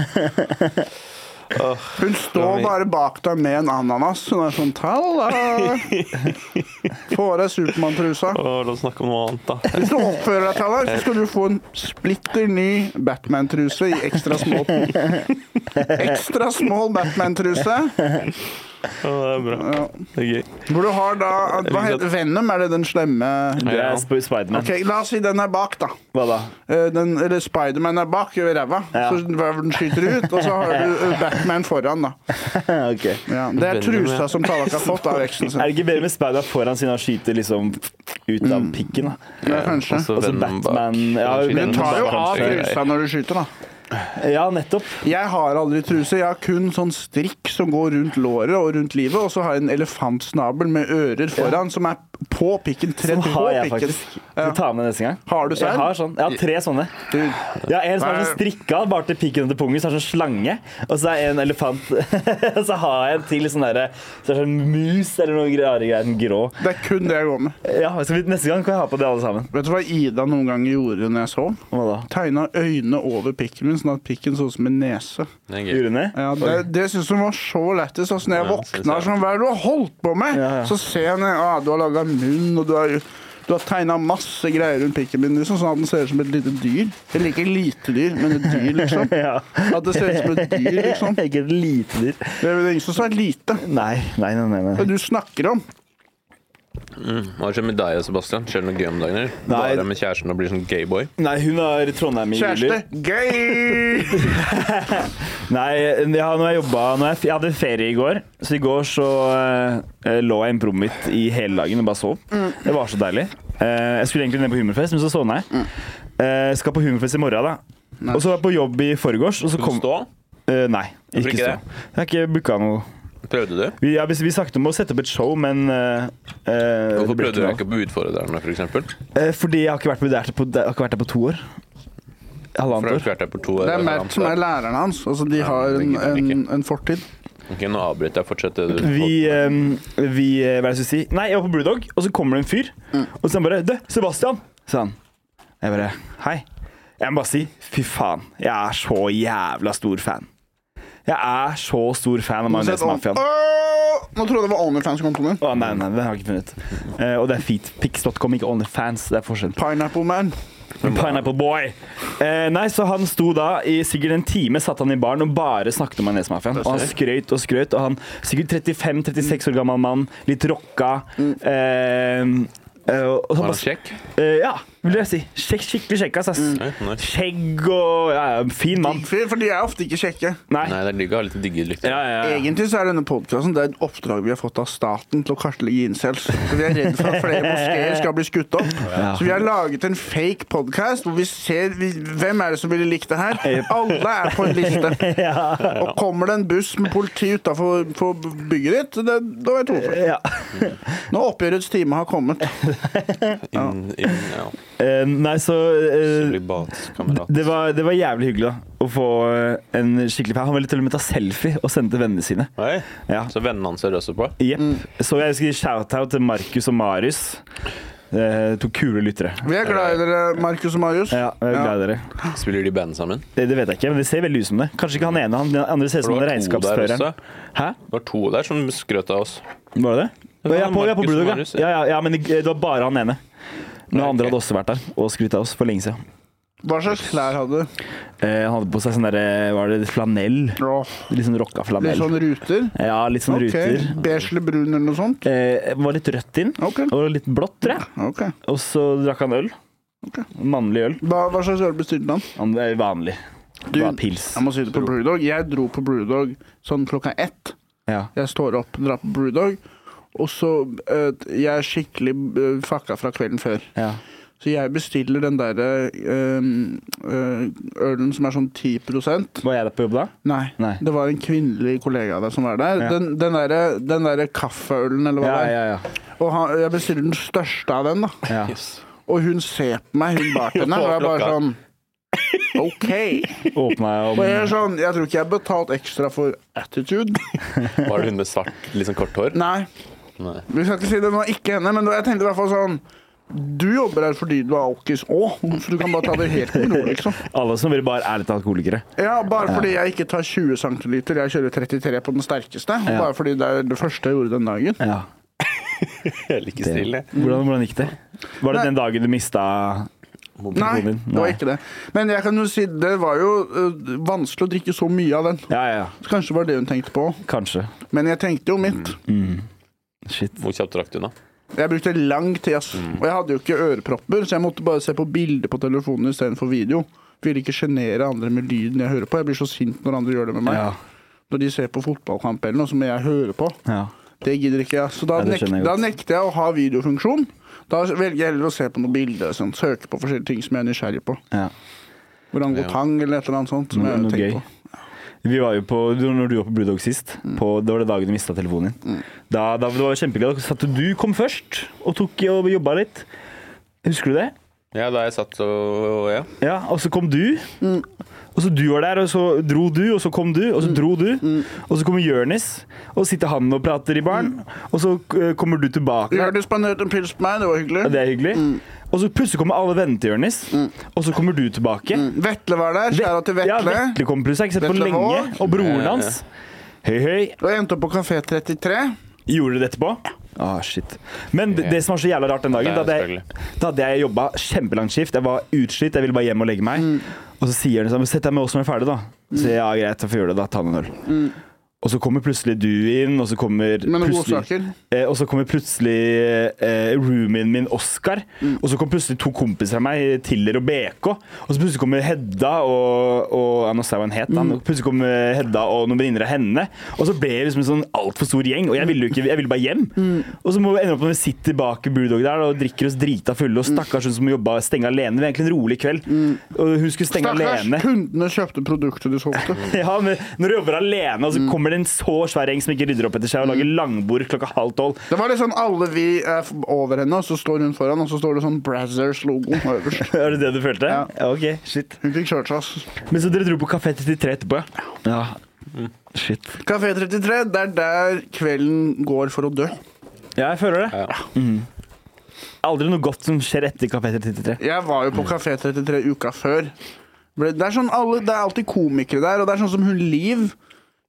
Speaker 4: Hun står bare bak deg med en ananas. Hun er sånn Tallak! Få av deg Supermann-trusa.
Speaker 6: Å, la oss snakke om noe annet, da.
Speaker 4: Hvis du oppfører deg, Tallak, så skal du få en splitter ny Batman-truse i ekstra small. Ekstra small Batman-truse.
Speaker 6: Å, det er bra.
Speaker 4: Ja.
Speaker 6: Det er gøy.
Speaker 4: Hvor du har da Hva heter Venom? Er det den slemme
Speaker 1: Det
Speaker 6: Ja.
Speaker 1: er Sp- Spiderman.
Speaker 4: Ok, La oss si den er bak, da.
Speaker 1: Hva da?
Speaker 4: Eh, Den, eller Spiderman er bak i ræva.
Speaker 1: Ja.
Speaker 4: Så den skyter ut, og så har du eh, Batman foran, da.
Speaker 1: ok. Er
Speaker 4: Ja. Det er
Speaker 6: Venom, ja.
Speaker 4: trusa som Tallak har fått av eksen sin.
Speaker 1: det ikke bedre med Spider foran siden han skyter liksom ut
Speaker 4: Mm.
Speaker 1: av pikken? da?
Speaker 4: Ja, kanskje.
Speaker 6: Også
Speaker 1: Og så
Speaker 6: Venom
Speaker 4: Altså,
Speaker 6: bak.
Speaker 1: Batman ja,
Speaker 6: Den
Speaker 1: Venom
Speaker 4: Den tar jo
Speaker 1: bak
Speaker 4: av
Speaker 1: kanskje.
Speaker 4: trusa når du skyter, da.
Speaker 1: Ja, nettopp. Sånn
Speaker 4: Jeg har aldri truse. Jeg har kun sånn strikk som går rundt låret og rundt livet, og så har jeg en elefantsnabel med ører foran som er på pikken. Tredd
Speaker 1: Den
Speaker 4: på
Speaker 1: Sånn har jeg
Speaker 4: pikken.
Speaker 1: faktisk.
Speaker 4: Ja.
Speaker 1: Skal ta med neste gang.
Speaker 4: Har du selv?
Speaker 1: Jeg har sånn. Jeg har tre sånne.
Speaker 4: Du,
Speaker 1: Jeg har en som er
Speaker 4: Nei.
Speaker 1: sånn strikka bare til pikken og til pungen, så er det sånn slange. Og så er en elefant Og så har jeg en til sånn derre Så er det sånn mus eller noe rare greier. den Grå.
Speaker 4: det er kun det jeg går med.
Speaker 1: Ja, skal vi, neste gang kan jeg ha på det alle sammen.
Speaker 4: Vet du hva Ida noen ganger gjorde når jeg sov?
Speaker 1: Hva da?
Speaker 4: Tegna øyne over pikken min, sånn at pikken så ut som en nese.
Speaker 6: Det er gøy.
Speaker 1: Gjorde hun det?
Speaker 4: Ja, det det syns hun var så lættis. Altså, når jeg
Speaker 6: Ja, synes
Speaker 4: våkna
Speaker 6: jeg.
Speaker 4: sånn, hva er det du har holdt på med?
Speaker 1: Ja, ja.
Speaker 4: Så ser jeg ned, ah, du har laga munn, og du har, du har tegna masse greier rundt pikken min, liksom, sånn at den ser ut som et lite dyr. Jeg liker lite dyr, men et dyr, liksom.
Speaker 1: Ja.
Speaker 4: At det ser ut som et dyr, liksom.
Speaker 1: Ikke et lite dyr.
Speaker 4: Det er vel ingen som sa lite.
Speaker 1: Nei, nei, nei. nei,
Speaker 4: Hva
Speaker 1: nei.
Speaker 4: du snakker om?
Speaker 6: Hva skjer med deg og Sebastian? Skjer det noe gøy om dagen? eller?
Speaker 1: Nei.
Speaker 6: Bare med kjæresten og blir sånn gayboy?
Speaker 1: nei hun er Trondheim i juli.
Speaker 4: Kjæreste? Gøy!
Speaker 1: Nei, ja, når jeg jobba når jeg, f- jeg hadde ferie i går, så i går så eh, lå jeg inne på rommet mitt i hele dagen og bare sov. Det var så deilig. Eh, jeg skulle egentlig ned på Humorfest, men så sovna jeg. Eh, skal på Humorfest i morgen, da. Og så var jeg på jobb i forgårs, og så kom
Speaker 6: Stå?
Speaker 1: Eh, Nei,
Speaker 6: Hvorfor
Speaker 1: ikke,
Speaker 6: ikke
Speaker 1: stå.
Speaker 6: det?
Speaker 1: Jeg har ikke booka noe.
Speaker 6: Prøvde du?
Speaker 1: Vi, ja, vi, vi snakket om å sette opp et show, men eh, eh, det
Speaker 6: Hvorfor
Speaker 1: ble
Speaker 6: prøvde du
Speaker 1: noe.
Speaker 6: deg ikke på Utfordrerne, for eksempel?
Speaker 1: Eh, fordi jeg har ikke vært på- der på, jeg har ikke vært der på to år.
Speaker 6: For du har
Speaker 1: Halvannet år.
Speaker 6: ikke vært der på to
Speaker 4: Det
Speaker 6: år.
Speaker 4: er
Speaker 6: eller
Speaker 4: Mert
Speaker 6: annet
Speaker 4: som
Speaker 6: der.
Speaker 4: er læreren hans. Altså, de har
Speaker 6: det
Speaker 4: en,
Speaker 6: gidder jeg
Speaker 4: en,
Speaker 6: ikke.
Speaker 4: en fortid.
Speaker 6: Ok, nå avbryter jeg. Fortsett det du
Speaker 1: Vi, eh, vi eh, Hva er det jeg skulle si? Nei, jeg var på Brewdog, og så kommer det en fyr. Og så han bare 'Du, Sebastian!' sa han. Jeg bare 'Hei'. Jeg må bare si 'fy faen, jeg er så jævla stor fan'. Jeg er så stor fan av Majones Mafiaen.
Speaker 4: Åh! Nå trodde jeg det var OnlyFans-kontoen din.
Speaker 1: Å, nei, nei, den har jeg ikke funnet. Eh, og det er feetpix.com, ikke OnlyFans. Det er forskjell.
Speaker 4: Pineapple Man.
Speaker 1: Pineapple Boy. Eh, nei, så han sto da i sikkert en time, satt han i baren og bare snakket om majonesmafiaen. Og han skrøt og skrøt, og han sikkert 35-36 år gammel mann, litt rocka. Eh, eh, og så
Speaker 6: Var
Speaker 1: bare-
Speaker 6: han kjekk?
Speaker 1: Eh, ja, vil jeg si. Sjekk, skikkelig sjekka, ass.
Speaker 6: Nei, nice.
Speaker 1: Skjegg og ja, ja, Fin mann.
Speaker 4: For de er ofte ikke kjekke.
Speaker 1: Nei.
Speaker 6: Nei, det er digg å ha litt digge lykter.
Speaker 1: eh, Ja, ja, ja.
Speaker 4: Egentlig så er denne podcasten det er et oppdrag vi har fått av staten til å kartlegge incels. Så vi er redd for at flere moskeer skal bli skutt opp. Så vi har laget en fake podcast hvor vi ser vi, hvem er det som ville likt det her. Alle er på en liste. Og kommer det en buss med politi utafor bygget ditt, det, da vet du hvorfor.
Speaker 1: Ja.
Speaker 4: Når oppgjørets time har kommet.
Speaker 6: Inn, inn, ja.
Speaker 1: Eh, nei, så eh,
Speaker 6: Sølibatskamerat.
Speaker 1: det var, det var jævlig hyggelig da, å få eh, en skikkelig fan. Han ville til og med ta selfie og sende til vennene sine.
Speaker 6: Oi.
Speaker 1: Ja.
Speaker 6: Så vennene hans hører også på?
Speaker 1: Jepp.
Speaker 4: Mm.
Speaker 1: Så jeg skal gi shout-out til Markus og Marius. Eh, to kule lyttere.
Speaker 4: Vi er glad i dere, Markus og Marius.
Speaker 1: Ja, jeg er glad i dere.
Speaker 6: Spiller de band sammen?
Speaker 1: Det, det vet jeg ikke, men det ser veldig ut som det. Kanskje ikke han ene. Han, den andre ser ut som
Speaker 6: For
Speaker 1: han er
Speaker 6: det var to der
Speaker 1: regnskapsføreren.
Speaker 6: også.
Speaker 1: Hæ?
Speaker 6: Det var to der som skrøt av oss.
Speaker 1: Var det det?
Speaker 6: var
Speaker 1: Jeg er på, jeg er på
Speaker 6: Markus og
Speaker 1: Bulldog,
Speaker 6: Marius,
Speaker 1: ja.
Speaker 6: ja.
Speaker 1: Ja, ja. ja. Men det det var bare han ene. Noen andre hadde også vært der og skrytt av oss for lenge siden.
Speaker 4: Hva slags klær hadde du?
Speaker 1: Eh, han hadde på seg sånn derre Var det flanell?
Speaker 4: Åh,
Speaker 1: Litt sånn rocka
Speaker 4: Litt
Speaker 1: flanell.
Speaker 4: sånn ruter?
Speaker 1: Ja, litt sånn
Speaker 4: Ok,
Speaker 1: ruter.
Speaker 4: Beige eller brun eller noe sånt?
Speaker 1: Eh, var litt rødt inn,
Speaker 4: Ok.
Speaker 1: og litt blått, tror jeg.
Speaker 4: Ok.
Speaker 1: Og så drakk han øl.
Speaker 4: Ok.
Speaker 1: Mannlig øl.
Speaker 4: Hva, hva slags øl bestilte han?
Speaker 1: Han er vanlig.
Speaker 4: Du,
Speaker 1: Bare pils.
Speaker 4: Jeg må si det på Brewdog. Jeg dro på Brewdog sånn klokka ett.
Speaker 1: Ja.
Speaker 4: Jeg står opp, drar på Brewdog, og så eh, Jeg er skikkelig eh, fucka fra kvelden før.
Speaker 1: Ja.
Speaker 4: Så jeg bestiller den derre eh, eh, ølen som er sånn 10
Speaker 1: Var jeg der på jobb da?
Speaker 4: Nei,
Speaker 1: Nei.
Speaker 4: det var en kvinnelig kollega av deg som var der.
Speaker 1: Ja.
Speaker 4: Den, den derre den derre kaffeølen, eller hva
Speaker 1: Ja,
Speaker 4: det er.
Speaker 1: ja, ja.
Speaker 4: Og han, jeg bestiller den største av den, da.
Speaker 1: ja.
Speaker 4: Og hun ser på meg, hun bartenderen, og jeg bare sånn OK.
Speaker 1: Åpna
Speaker 4: Og jeg
Speaker 1: jeg
Speaker 4: er sånn Jeg tror ikke jeg har betalt ekstra for attitude.
Speaker 6: Var det hun med svart, litt sånn kort hår?
Speaker 4: Nei,
Speaker 6: Nei.
Speaker 4: vi skal ikke si det nå, ikke henne, men jeg tenkte i hvert fall sånn Du jobber her fordi du er alkis òg, så du kan bare ta det helt med ro, liksom.
Speaker 1: om Alle som vil bare er litt alkoholikere.
Speaker 4: Ja, bare fordi jeg ikke tar 20 cm, jeg kjører 33 på den sterkeste. Og
Speaker 1: Ja.
Speaker 4: bare fordi det er det første jeg gjorde den dagen.
Speaker 1: Ja.
Speaker 6: Jeg liker stille.
Speaker 1: Hvordan, hvordan gikk det? Var det
Speaker 4: Nei.
Speaker 1: den dagen du mista
Speaker 4: Nei,
Speaker 1: mobilen din?
Speaker 4: det var ikke det. Men jeg kan jo si, det var jo øh, vanskelig å drikke så mye av den.
Speaker 1: Ja, ja, ja.
Speaker 4: Så kanskje det var det hun tenkte på.
Speaker 1: Kanskje.
Speaker 4: Men jeg tenkte jo mitt.
Speaker 1: Shit.
Speaker 6: Hvor kjapt rakk du unna?
Speaker 4: Jeg brukte lang tid, ass.
Speaker 1: Mm.
Speaker 4: Og jeg hadde jo ikke ørepropper, så jeg måtte bare se på bilder på telefonen istedenfor video. Ville ikke sjenere andre med lyden jeg hører på. Jeg blir så sint når andre gjør det med meg.
Speaker 1: Ja.
Speaker 4: Når de ser på fotballkamp eller noe, så må jeg høre på.
Speaker 1: Ja.
Speaker 4: Det gidder ikke jeg. Så da,
Speaker 1: Nei, det
Speaker 4: nek
Speaker 1: skjønner jeg
Speaker 4: da
Speaker 1: godt.
Speaker 4: nekter jeg å ha videofunksjon. Da velger jeg heller å se på noen bilder. Sånn. Søke på forskjellige ting som jeg er nysgjerrig på.
Speaker 1: ja.
Speaker 4: Orangutang eller et eller annet sånt. Som
Speaker 1: Noe,
Speaker 4: jeg
Speaker 1: noe
Speaker 4: tenker
Speaker 1: gøy.
Speaker 4: på.
Speaker 1: Vi var jo på, du- når du var på Brewdog sist, på, det var det dagen du mista telefonen din. Da, da det var jo kjempegøy. Da satt du kom først og tok og jobba litt. Husker du det?
Speaker 6: Ja, da jeg satt og ja.
Speaker 1: Ja, og så kom du. Og så du var der, og så dro du, og så kom du, og så dro du. Og så kommer Jonis, og så sitter han og prater i baren. Og så eh, kommer du tilbake.
Speaker 4: Lørdag spanderte en pils på meg, det var
Speaker 1: Ja,
Speaker 4: hyggelig.
Speaker 1: det er hyggelig. Og så plutselig kommer alle vennene til Jonis, og så kommer du tilbake.
Speaker 4: Vetle var der, kjære til
Speaker 1: Ja,
Speaker 4: Vetle.
Speaker 1: Vetle kom plutselig, jeg har ikke sett på
Speaker 4: Vetle
Speaker 1: lenge.
Speaker 4: Våg.
Speaker 1: Og broren
Speaker 6: Ja, ja.
Speaker 1: hans. Høy, høy.
Speaker 4: Og jeg endte opp på Kafé 33.
Speaker 1: Gjorde dere det etterpå? Ah, shit. Men det, det som var så jævla rart den dagen,
Speaker 6: Det
Speaker 1: da
Speaker 6: er
Speaker 1: hadde jeg, da hadde jeg jobba kjempelangt skift. Jeg var utslitt, jeg ville bare hjem og legge meg. Og så sier han sånn Sett deg med oss når vi er ferdig, da. Så jeg, ja, greit, da får vi gjøre det, da. Ta med en øl. Og så kommer plutselig du inn, og så kommer
Speaker 4: Men noen
Speaker 1: plutselig,
Speaker 4: godsaker.
Speaker 1: eh, og så kommer plutselig eh, roomien min, Oskar. Og så kom plutselig to kompiser av meg, Tiller og BK. Og så plutselig kommer Hedda og, og ja, Nå sa jeg hva hun het. da. Plutselig kom eh, Hedda og noen venninner av henne. Og så ble vi liksom en sånn altfor stor gjeng, og jeg ville jo ikke, jeg ville bare hjem. Og så må vi ende opp med at vi sitter bak i Brewdog der og drikker oss drita fulle, og stakkars hun som jobba stenge alene. Det var egentlig en rolig kveld, og hun skulle stenge
Speaker 4: Stakkars
Speaker 1: alene.
Speaker 4: kundene kjøpte produktet de solgte.
Speaker 1: Ja, men når du jobber alene, og så kommer det en så svær gjeng som ikke rydder opp etter seg, og lager langbord klokka halv tolv.
Speaker 4: Det var liksom alle vi er f- over henne, og så står hun foran, og så står det sånn Brazzers-logo øverst.
Speaker 1: Er det det du følte?
Speaker 4: Ja.
Speaker 1: ok, shit.
Speaker 4: Hun fikk kjørt seg, altså. ass.
Speaker 1: Men så dere dro på Kafé 33 etterpå, ja? Ja. Shit.
Speaker 4: Kafé 33, det er der kvelden går for å dø.
Speaker 1: Ja, jeg føler det. Mhm. Aldri noe godt som skjer etter Kafé 33.
Speaker 4: Jeg var jo på Kafé 33 uka før. Ble- Det er, sånn alle, det er alltid komikere der, og det er sånn som hun Liv.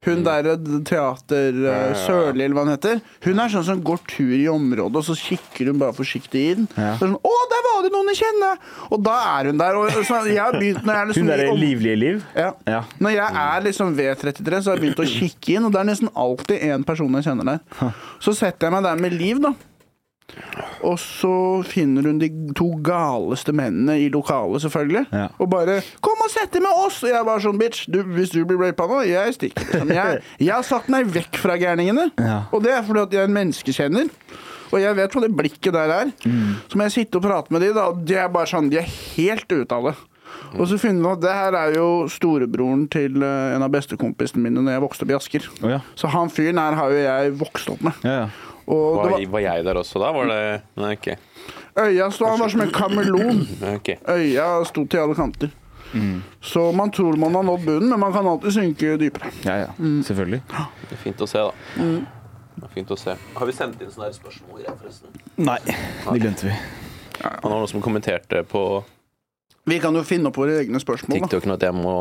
Speaker 4: Hun der eh, teater eh, Sørli, eller hva hun heter. Hun er sånn som går tur i området, og så kikker hun bare forsiktig inn.
Speaker 1: Ja.
Speaker 4: Så er det sånn, 'Å, der var det noen jeg kjenner!' Og da er hun der. Og så jeg har begynt når jeg er liksom
Speaker 1: Hun
Speaker 4: i
Speaker 1: derre
Speaker 4: om-
Speaker 1: livlige liv.
Speaker 4: ja.
Speaker 1: Ja.
Speaker 4: Når jeg er liksom ved 33, så har jeg begynt å kikke inn, og det er nesten alltid én person jeg kjenner der. Så setter jeg meg der med Liv, da. Og så finner hun de to galeste mennene i lokalet, selvfølgelig.
Speaker 1: Ja.
Speaker 4: Og bare 'Kom og sett deg med oss!' Og jeg bare sånn, bitch, du, hvis du blir rapa nå, jeg stikker. Liksom. Jeg, jeg har satt meg vekk fra gærningene,
Speaker 1: Ja.
Speaker 4: og det er fordi at jeg er en menneskekjenner. Og jeg vet hva det blikket der er. Så må jeg sitte og prate med de, da, og de er bare sånn De er helt ute av det. Og så finner man at det her er jo storebroren til eh, en av bestekompisene mine når jeg vokste opp i Asker.
Speaker 1: Å ja.
Speaker 4: Så han fyren her har jo jeg vokst opp med.
Speaker 1: Ja, ja.
Speaker 4: Og det
Speaker 6: Var, var jeg der også da? Var det Nei, OK.
Speaker 4: var øya så han var som en kameleon.
Speaker 6: Nei, ok.
Speaker 4: Øya sto til alle kanter. Så man tror man har nådd bunnen, men man kan alltid synke dypere.
Speaker 1: ja, ja. Selvfølgelig.
Speaker 6: Det er fint å se, da.
Speaker 1: Mm.
Speaker 6: Det er fint å se. Har vi sendt inn sånne her spørsmål? greier, forresten?
Speaker 1: Nei, det glemte vi.
Speaker 6: Han var noen som kommenterte på
Speaker 4: Vi kan jo finne opp våre egne spørsmål. Da.
Speaker 6: TikTok nå at jeg må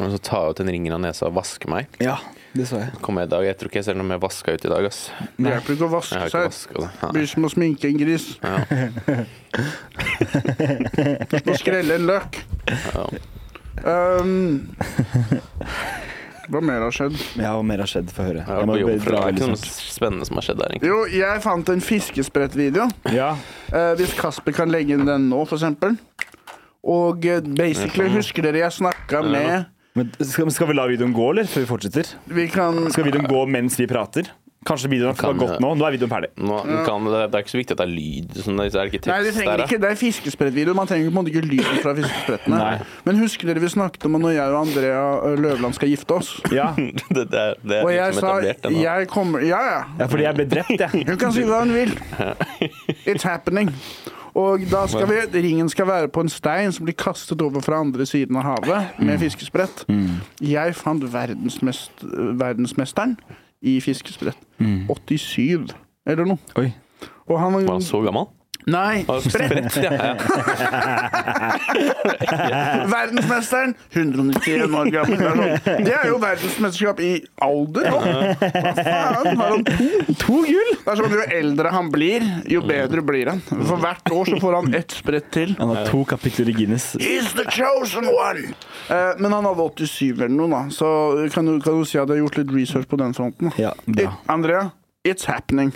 Speaker 6: må så ta ut en ringen av nesa og vaske meg.
Speaker 1: Ja, det så jeg.
Speaker 6: Kom med i dag. Jeg tror ikke jeg ser noe mer vaska ut i dag, ass.
Speaker 4: Det hjelper ikke å
Speaker 6: Jeg
Speaker 4: vaske
Speaker 6: har ikke
Speaker 4: seg.
Speaker 6: vaska det.
Speaker 4: Blir som å sminke en gris. Og skrelle en løk.
Speaker 6: Ja.
Speaker 4: Um, hva mer har skjedd?
Speaker 1: Ja, og mer har skjedd. Få høre.
Speaker 6: Jeg
Speaker 1: Jeg
Speaker 6: har
Speaker 1: må
Speaker 6: vært på jobb, for det
Speaker 1: dra liksom.
Speaker 6: er ikke
Speaker 1: veldig
Speaker 6: noe spennende som har skjedd der. egentlig.
Speaker 4: Jo, jeg fant en fiskesprettvideo.
Speaker 1: snart. Ja.
Speaker 4: Eh, hvis Kasper kan legge inn den nå, f.eks. Og eh, basically, husker dere jeg snakka med
Speaker 1: Men skal, skal vi la videoen gå, eller? Før vi fortsetter?
Speaker 4: Vi kan
Speaker 1: Skal videoen gå mens vi prater? Kanskje videoen har
Speaker 6: Kan
Speaker 1: gått
Speaker 6: det.
Speaker 1: nå? Nå er videoen ferdig.
Speaker 6: Nå, kan, det, det er ikke så viktig at det er lyd. Sånn, det er ikke tekst
Speaker 4: Nei, det trenger
Speaker 6: der,
Speaker 4: ikke, det er fiskesprettvideo. Man trenger på en måte ikke lyden fra fiskesprettene.
Speaker 1: Nei.
Speaker 4: Men husker dere vi snakket om at når jeg og Andrea eh, Løvland skal gifte oss?
Speaker 1: Ja.
Speaker 6: da. det, det, er- det er
Speaker 4: Og jeg
Speaker 6: liksom
Speaker 4: sa
Speaker 6: etablert ennå.
Speaker 4: jeg kommer, Ja, ja.
Speaker 1: ja, fordi jeg ble drept, jeg.
Speaker 4: Hun kan si hva hun vil. It's happening. Og da skal vi, ringen skal være på en stein som blir kastet over fra andre siden av havet
Speaker 1: Mm.
Speaker 4: med fiskesprett. Jeg fant verdensmest, verdensmesteren i fiskesprett.
Speaker 1: Mm.
Speaker 4: 87 eller noe.
Speaker 1: Oi.
Speaker 4: Og han
Speaker 6: Var han så gammel?
Speaker 4: Nei,
Speaker 6: Var han
Speaker 4: sprett!
Speaker 6: Spredt, ja, ja.
Speaker 4: Verdensmesteren! 191 år gammel. Det er sånn. Det er jo verdensmesterskap i alder nå. Hva faen? Har han to?
Speaker 1: To gull!
Speaker 4: Det er sånn, Jo eldre han blir, jo bedre blir han. For hvert år så får han ett sprett til.
Speaker 1: Han har to kapitler i Guinness.
Speaker 4: He's the chosen one! Eh, men han hadde 87 eller noe, da. Så kan du, kan du si at jeg har gjort litt research på den fronten. da?
Speaker 1: Ja, bra.
Speaker 4: It, Andrea, it's happening.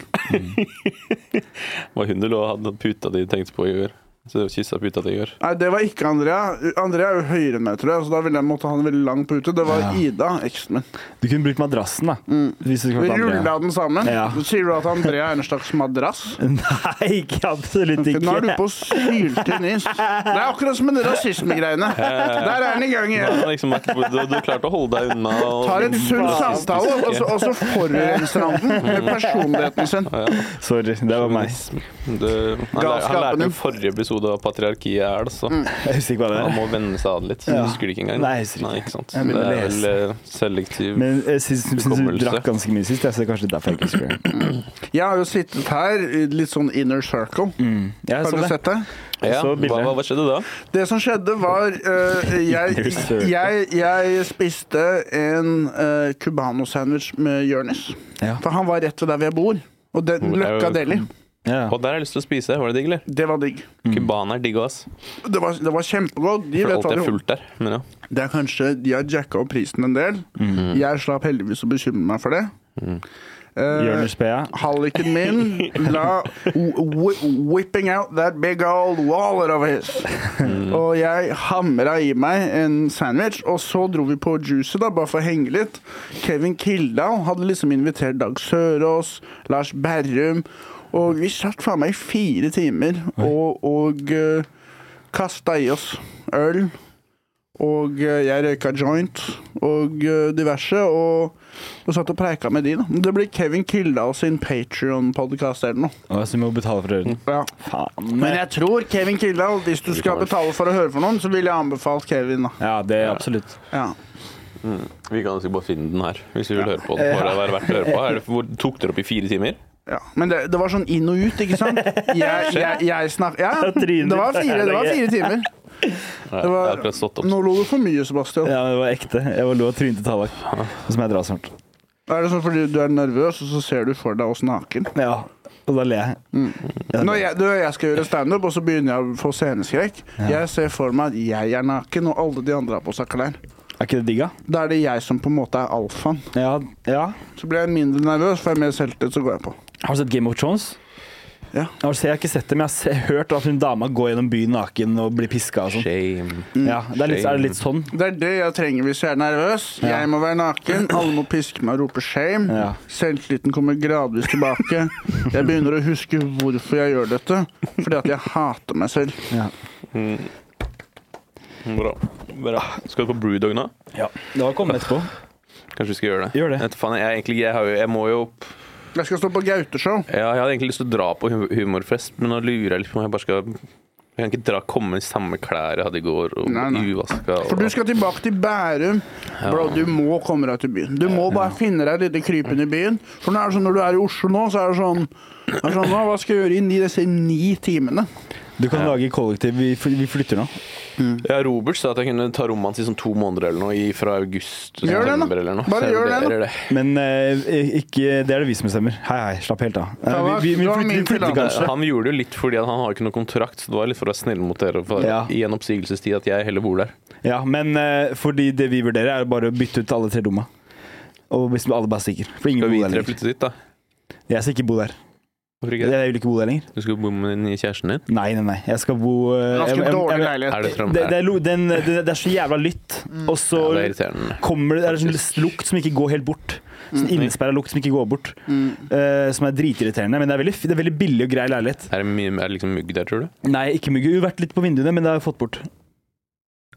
Speaker 6: Var hun du lå og hadde puta di tenkte på i går? Så kyssa puta di i går.
Speaker 4: Nei, det var ikke Andrea. Andrea er jo høyere enn meg, tror jeg. Så da ville jeg måtte ha den veldig lang pute. Det var
Speaker 1: Ja.
Speaker 4: Ida, eksen min.
Speaker 1: Du kunne brukt madrassen, da.
Speaker 4: Mm.
Speaker 1: Hvis du skulle
Speaker 4: Vi
Speaker 1: vært
Speaker 4: rulla
Speaker 1: Andrea.
Speaker 4: den sammen.
Speaker 1: Ja.
Speaker 4: Så Sier du at Andrea er en slags madrass?
Speaker 1: Nei, ikke absolutt ikke.
Speaker 4: Nå er du på syltynn is. Det er akkurat som med de rasismegreiene. Der er den i gang
Speaker 6: Ja,
Speaker 4: igjen.
Speaker 6: liksom, du, du klarte å holde deg unna. Og,
Speaker 4: Tar en sunn samtale, og så- og så forurenser han den med personligheten sin.
Speaker 1: Sorry, det var meg.
Speaker 6: Nice. Du, han, lær- han
Speaker 4: Galskapen
Speaker 6: lærte
Speaker 4: din.
Speaker 6: jo forrige episode av patriarkiet er det, så
Speaker 1: Jeg husker ikke hva det
Speaker 6: han
Speaker 1: er.
Speaker 6: må venne seg av det litt. Du
Speaker 1: Mm. Ja.
Speaker 6: husker det ikke engang?
Speaker 1: Nei, jeg husker
Speaker 6: Nei,
Speaker 1: ikke.
Speaker 6: ikke sant?
Speaker 1: Jeg
Speaker 6: Det
Speaker 1: begynner å
Speaker 6: er vel eh, selektiv
Speaker 1: Men jeg syns syns du
Speaker 6: Hukommelse.
Speaker 1: drakk ganske mye sist, jeg, så det er kanskje derfor jeg ikke husker det.
Speaker 4: Jeg har jo sittet her i litt sånn inner circle.
Speaker 1: Mm. Jeg
Speaker 4: Har
Speaker 1: så
Speaker 4: du
Speaker 1: det.
Speaker 4: sett det?
Speaker 6: ja,
Speaker 1: så
Speaker 6: hva,
Speaker 1: bildet.
Speaker 6: hva, hva skjedde da?
Speaker 4: Det som skjedde, var eh, jeg,
Speaker 1: Inner circle.
Speaker 4: jeg, jeg spiste en eh, Cubano-sandwich med Jonis.
Speaker 1: Ja.
Speaker 4: For han var rett ved der vi bor. Og den
Speaker 6: Hvor er
Speaker 4: Løkka
Speaker 6: jo-
Speaker 4: Deli.
Speaker 1: Ja.
Speaker 6: Og der har jeg lyst til å spise. Var det digg, eller?
Speaker 4: Det var digg.
Speaker 1: Mm.
Speaker 6: Cubaner er digg, ass.
Speaker 4: Det var, det var kjempegodt. De
Speaker 6: For
Speaker 4: vet
Speaker 6: alt
Speaker 4: hva
Speaker 6: er
Speaker 4: de
Speaker 6: fullt der. Men ja.
Speaker 4: Det er kanskje, De har jacka opp prisen en del.
Speaker 1: Mm.
Speaker 4: Jeg slapp heldigvis å bekymre meg for det. Mm.
Speaker 1: Jonis Pea.
Speaker 4: Halliken min la whi- whipping out that big old wallet of his. Og jeg hamra i meg en sandwich, og så dro vi på juicet, da, bare for å henge litt. Kevin Kildahl hadde liksom invitert Dag Sørås, Lars Berrum, og vi satt faen meg i fire timer og, og uh, kasta i oss øl. Og eh, jeg røyka joint og eh, diverse, og, og satt og preika med de. da. Det blir Kevin Kildahl sin Patrion-podkast eller noe.
Speaker 1: Å, Så vi må betale for ølen.
Speaker 4: Ja.
Speaker 1: Faen.
Speaker 4: Men jeg tror Kevin Kildahl, hvis du skal betale for å høre for noen, så ville jeg anbefalt Kevin, da.
Speaker 1: Ja, det er absolutt.
Speaker 4: Ja.
Speaker 6: Vi kan sikkert bare finne den her, hvis vi vil høre på den. Bare det være verdt å høre på. Er det, hvor, tok dere opp i fire timer?
Speaker 4: Ja. Men det, det var sånn inn og ut, ikke sant? Jeg, jeg, jeg snak... Ja, det var fire, det var fire timer.
Speaker 6: Ja,
Speaker 4: Det
Speaker 6: jeg har
Speaker 4: var,
Speaker 6: akkurat stått opp.
Speaker 4: nå lo du for mye, Sebastian.
Speaker 1: Ja, det var ekte. Jeg var lå og trynte tallak. Så må jeg dra snart.
Speaker 4: Er det sånn fordi du er nervøs, og så ser du for deg oss naken?
Speaker 1: Ja. Og da ler jeg.
Speaker 4: Mm. Når jeg, når jeg skal gjøre standup, og så begynner jeg å få sceneskrekk Jeg ser for meg at jeg er naken, og alle de andre har på seg klær.
Speaker 1: Er ikke det digg, da?
Speaker 4: Da er det jeg som på en måte er alfaen.
Speaker 1: Ja, ja.
Speaker 4: Så blir jeg mindre nervøs, får jeg mer selvtillit, så går jeg på.
Speaker 1: Har du sett Game of Thrones?
Speaker 4: Ja.
Speaker 1: Jeg har, jeg har ikke sett det, men jeg har se- hørt at hun dama går gjennom byen naken og blir piska og sånn.
Speaker 6: Shame.
Speaker 1: Ja, det er, litt, er det litt sånn?
Speaker 4: Det er det jeg trenger hvis jeg er nervøs.
Speaker 1: Ja.
Speaker 4: Jeg må være naken, alle må piske meg og rope shame.
Speaker 1: Ja.
Speaker 4: Selvtilliten kommer gradvis tilbake. Jeg begynner å huske hvorfor jeg gjør dette. Fordi at jeg hater meg selv.
Speaker 1: Ja.
Speaker 6: Bra. Bra. Skal du på Brewdog nå?
Speaker 1: Det var kommet etterpå.
Speaker 6: Kanskje vi skal gjøre det?
Speaker 1: Gjør det.
Speaker 6: Jeg, vet faen, jeg, er egentlig, jeg, har jo, jeg må jo
Speaker 4: Jeg skal stå på Gauteshow.
Speaker 6: ja, Jeg hadde egentlig lyst til å dra på hum- humorfest, men nå lurer jeg litt på om jeg bare skal Jeg kan ikke dra, komme i samme klær jeg hadde i går, og
Speaker 4: Nei, nei.
Speaker 6: uvaska og
Speaker 4: For du skal tilbake til Bærum. Bro, du må komme deg til byen. Du må bare finne deg et lite krypinn i byen. For nå er det sånn, når du er i Oslo nå, så er det sånn, det er sånn «Å, Hva skal jeg gjøre i ni- disse ni timene?
Speaker 1: Du kan lage kollektiv. Vi, fly- vi flytter nå.
Speaker 6: Ja, Robert sa at jeg kunne ta rommet hans i sånn to måneder eller noe, i- fra august til
Speaker 4: Gjør det, da.
Speaker 6: september eller noe.
Speaker 4: Bare
Speaker 6: Så jeg
Speaker 4: gjør det, da.
Speaker 6: vurderer
Speaker 1: Men eh, ikke, det er det vi som bestemmer. Hei, hei, slapp helt av. Eh,
Speaker 4: Ta
Speaker 1: vi, vi, vi flytter, vi
Speaker 4: vekk, du har min
Speaker 1: flytter kanskje.
Speaker 6: Eh, Han gjorde det jo litt fordi at han har ikke noe kontrakt, så det var litt for å være snill mot dere og for
Speaker 1: Ja.
Speaker 6: i en oppsigelsestid at jeg heller bor der.
Speaker 1: Ja, men eh, fordi det vi vurderer, er bare å bytte ut alle tre romma. Og hvis alle bare stikker. For ingen
Speaker 6: Skal vi
Speaker 1: bor der
Speaker 6: tre
Speaker 1: lenger.
Speaker 6: flytte dit, da?
Speaker 1: Jeg skal ikke bo der.
Speaker 6: Hvorfor ikke?
Speaker 1: Jeg vil ikke bo der lenger.
Speaker 6: Du skal bo med den nye kjæresten din?
Speaker 1: Nei, nei, nei. Jeg skal bo eh, jeg-
Speaker 4: Ganske
Speaker 1: jeg-
Speaker 4: dårlig
Speaker 1: jeg-
Speaker 4: leilighet. Mm.
Speaker 6: Er det Trondheim?
Speaker 1: Det, det, er, lo- den, det, det er så jævla lytt, og så
Speaker 6: Ja, det er irriterende.
Speaker 1: kommer det, det er en sånn lukt som ikke går helt bort. Sånn
Speaker 4: Mm.
Speaker 1: innesperra lukt som ikke går bort. eh, som er dritirriterende. Men det er, veldig, f- det er veldig billig og grei leilighet.
Speaker 6: Er det, mye, er det liksom mugg der, tror du?
Speaker 1: Nei, ikke mugg. Jo, vært litt på vinduene, men det har jeg fått bort.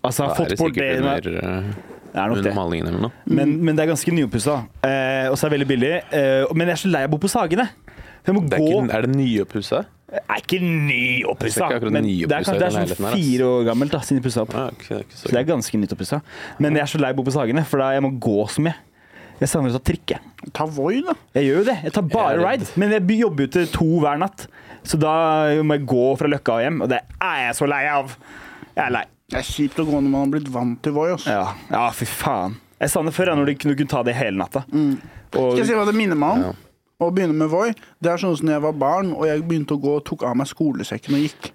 Speaker 1: Altså, jeg har
Speaker 6: Da er
Speaker 1: fått
Speaker 6: det
Speaker 1: bort det.
Speaker 6: sikkert
Speaker 1: men-
Speaker 6: under, eh,
Speaker 1: Det er nok
Speaker 6: under
Speaker 1: det.
Speaker 6: malingen eller noe.
Speaker 1: Men, men det er ganske nyoppussa. Eh, og så er det veldig billig. Eh, men jeg er så lei av å bo på Sagene. Jeg må
Speaker 6: Det er,
Speaker 1: gå
Speaker 6: ikke, er det nyoppussa?
Speaker 1: Det er ikke
Speaker 6: Det er
Speaker 1: nyoppussa,
Speaker 6: ikke akkurat
Speaker 1: men det er,
Speaker 6: nyoppussa
Speaker 1: kanskje, det er
Speaker 6: i den
Speaker 1: sånn
Speaker 6: leiligheten her, ass.
Speaker 1: fire år gammelt da, siden de pussa opp.
Speaker 6: Ah, ok, det er ikke så
Speaker 1: Så det er ganske nytt oppussa. Men jeg er så lei av å bo på Sagene, for da jeg må gå så mye. Jeg savner å ta trikk. jeg.
Speaker 4: Ta Voi, da.
Speaker 1: Jeg gjør jo det. Jeg tar bare
Speaker 6: Jeg er redd.
Speaker 1: ride. Men jeg by- jobber jo til to hver natt. Så da må jeg gå fra Løkka og hjem, og det er jeg så lei av. Jeg er lei.
Speaker 4: Det er kjipt å gå når man har blitt vant til Voi. altså. ass.
Speaker 1: Ja, ja fy faen. Jeg savner før, jeg, når du kunne kunne ta det hele natta.
Speaker 4: Skal jeg
Speaker 1: Og
Speaker 4: si hva det minner meg om? Å begynne med Voi. Det er sånn som når jeg var barn og jeg begynte å gå og tok av meg skolesekken og gikk.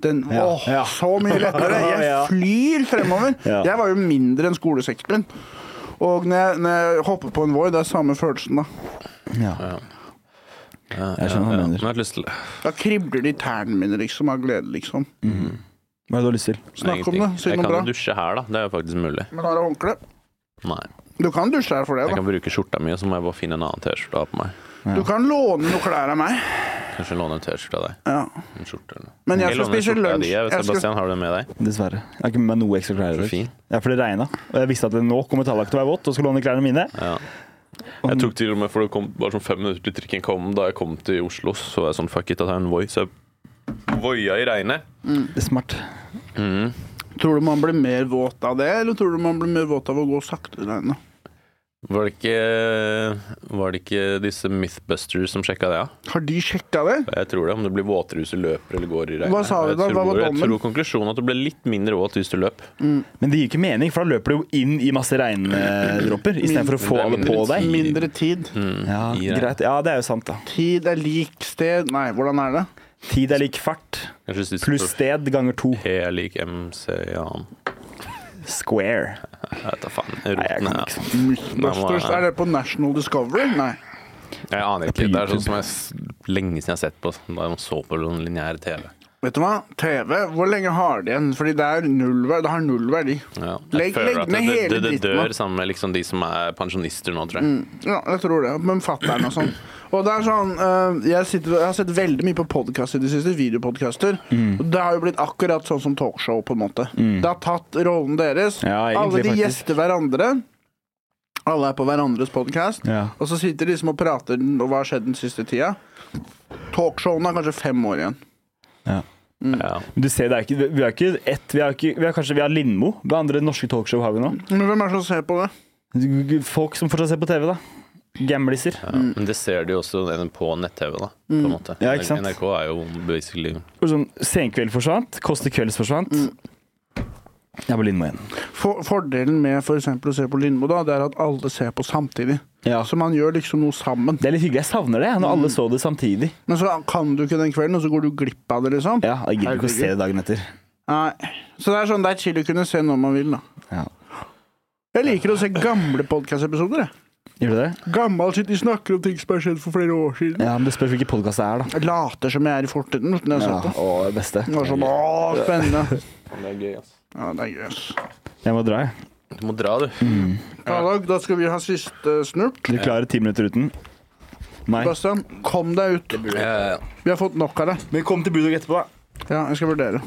Speaker 4: Den, Åh,
Speaker 1: ja.
Speaker 4: så mye lettere! Jeg
Speaker 1: Ja.
Speaker 4: flyr fremover.
Speaker 1: Ja.
Speaker 4: Jeg var jo mindre enn skolesekken min. Og når jeg, når jeg hopper på en Voi, det er samme følelsen, da.
Speaker 1: Jeg skjønner hva du mener.
Speaker 6: Nå har jeg lyst til
Speaker 4: Da kribler det i tærne mine, liksom, av glede, liksom.
Speaker 1: Hva har du lyst til?
Speaker 4: Snakk om det, si
Speaker 6: Jeg
Speaker 4: noe
Speaker 6: kan
Speaker 4: bra.
Speaker 6: jo dusje her, da. Det er jo faktisk mulig.
Speaker 4: Men har du håndkle?
Speaker 6: Nei.
Speaker 4: Du kan dusje her for det,
Speaker 6: Jeg
Speaker 4: da.
Speaker 6: kan bruke skjorta mi, og så må jeg bare finne en annen T-skjorte å ha på meg.
Speaker 4: Du kan låne noen klær av meg.
Speaker 6: Kanskje låne en T-skjorte av deg.
Speaker 4: Ja.
Speaker 6: En skjorte eller noe.
Speaker 4: Men jeg
Speaker 6: Jeg
Speaker 4: skal
Speaker 6: låner
Speaker 4: spise
Speaker 6: skjorta di,
Speaker 4: lunsj.
Speaker 6: jeg.
Speaker 4: Jeg skal...
Speaker 6: Sebastian, har du den med deg?
Speaker 1: Dessverre. Jeg har ikke med meg noe ekstra klær. i
Speaker 6: Så
Speaker 1: dag.
Speaker 6: fin.
Speaker 1: Ja, for det regna, og jeg visste at nå kommer Tallak til å være våt og skal låne klærne mine.
Speaker 6: Jeg tok til og med, for det kom bare sånn fem minutter til trikken kom, da jeg kom til Oslo, så var jeg sånn fuck it, at jeg har en Voi. Så jeg voia i regnet.
Speaker 1: Det er smart.
Speaker 4: Tror du man blir mer våt av det, eller tror du man blir mer våt av å gå sakte i regnet?
Speaker 6: Var det ikke, var det ikke disse Mythbusters som sjekka det, ja?
Speaker 4: Har de sjekka det?
Speaker 6: Jeg tror det, om du blir våtere hvis du løper eller går i regnet.
Speaker 4: Hva sa du
Speaker 6: Jeg
Speaker 4: da? Hva
Speaker 6: tror-
Speaker 4: var
Speaker 6: Jeg
Speaker 4: dommen?
Speaker 6: tror konklusjonen er at du ble litt mindre våt hvis du løp.
Speaker 1: Men det gir ikke mening, for da løper du jo inn i masse regndråper istedenfor å få
Speaker 6: Det er
Speaker 1: alle på
Speaker 6: mindre
Speaker 1: deg.
Speaker 6: tid.
Speaker 4: Mindre tid.
Speaker 1: Ja,
Speaker 6: i regn.
Speaker 1: greit. ja, det er jo sant, da.
Speaker 4: Tid er lik sted Nei, hvordan er det?
Speaker 1: Tid er lik fart
Speaker 6: Kanskje synes
Speaker 1: pluss
Speaker 6: det
Speaker 1: sted ganger to.
Speaker 6: P er lik MC, ja.
Speaker 1: Square.
Speaker 6: Jeg vet da faen.
Speaker 1: Nei, jeg
Speaker 6: Roten,
Speaker 1: kan
Speaker 6: ja.
Speaker 1: ikke
Speaker 4: sånn.
Speaker 1: sånt.
Speaker 4: Mythbusters, er det på National Discovery? Nei.
Speaker 6: Jeg aner ikke. Det er sånn som jeg s- lenge siden jeg har sett på da man så på sånn lineær TV.
Speaker 4: Vet du hva? TV, hvor lenge har de igjen? Fordi det, er null, ver- det har null verdi.
Speaker 6: Ja. Jeg
Speaker 4: Legg,
Speaker 6: føler
Speaker 4: legg
Speaker 6: at
Speaker 4: ned
Speaker 6: det,
Speaker 4: hele
Speaker 6: det, det, det
Speaker 4: dritten.
Speaker 6: dør
Speaker 4: da. Mm,
Speaker 6: sammen med liksom de som er pensjonister nå, tror jeg.
Speaker 4: Ja, jeg tror det. Men fatter'n og sånn. Og det er sånn eh, jeg, sitter, jeg har sett veldig mye på podkaster i det siste, videopodkaster.
Speaker 1: Mm.
Speaker 4: Og det har jo blitt akkurat sånn som talkshow, på en måte. Det har tatt rollen deres.
Speaker 1: Ja, egentlig,
Speaker 4: Alle de
Speaker 1: faktisk.
Speaker 4: gjester hverandre. Alle er på hverandres podkast.
Speaker 1: Ja.
Speaker 4: Og så sitter de liksom og prater og hva har skjedd den siste tida. Talkshowene har kanskje fem år igjen. mm,
Speaker 6: Ja.
Speaker 1: Men du ser, det er ikke, vi har ikke ett Vi har, ikke, vi har kanskje vi har Lindmo. Hva andre norske talkshow har vi nå?
Speaker 4: Men hvem er det som ser på det?
Speaker 1: Folk som fortsatt ser på TV, da. Gamliser.
Speaker 6: Ja.
Speaker 4: mm.
Speaker 6: Men det ser de jo også på nett-TV, da. På en måte.
Speaker 1: Ja, ikke sant?
Speaker 6: NRK er jo basically
Speaker 1: Og Sånn, Senkveld forsvant. Kåss til kvelds forsvant. Jeg er på Lindmo igjen.
Speaker 4: For, fordelen med for eksempel å se på Lindmo, da, det er at alle ser på samtidig.
Speaker 1: Ja. Mm.
Speaker 4: Så man gjør liksom noe sammen.
Speaker 1: Det er litt hyggelig. Jeg savner det, når alle så det samtidig.
Speaker 4: Men så kan du ikke den kvelden, og så går du glipp av det, liksom.
Speaker 1: Ja, Jeg gidder ikke å se det dagen etter.
Speaker 4: Nei. Så det er sånn, det er chill å kunne se når man vil, da.
Speaker 1: Ja.
Speaker 4: Jeg liker å se gamle podkastepisoder.
Speaker 1: Gjør du det?
Speaker 4: Gammel shit, de snakker om ting som har skjedd for flere år siden.
Speaker 1: Ja, men Det spørs hvilken podkast det er, da.
Speaker 4: Jeg later som jeg er i fortiden. uten jeg har sett det.
Speaker 1: Å, det beste.
Speaker 4: Det var sånn, åh, spennende.
Speaker 6: Det er gøy, altså.
Speaker 4: Ja, det er gøy. ass.
Speaker 1: Jeg må dra, jeg.
Speaker 6: Du må dra, du.
Speaker 4: Ja, da, da skal vi ha siste snurp.
Speaker 1: Dere klarer ti minutter uten? Nei.
Speaker 4: Bastian, kom deg ut.
Speaker 6: Ja, ja.
Speaker 4: Vi har fått nok av det.
Speaker 1: Men kom til Budok etterpå, da.
Speaker 4: Ja, jeg skal vurdere.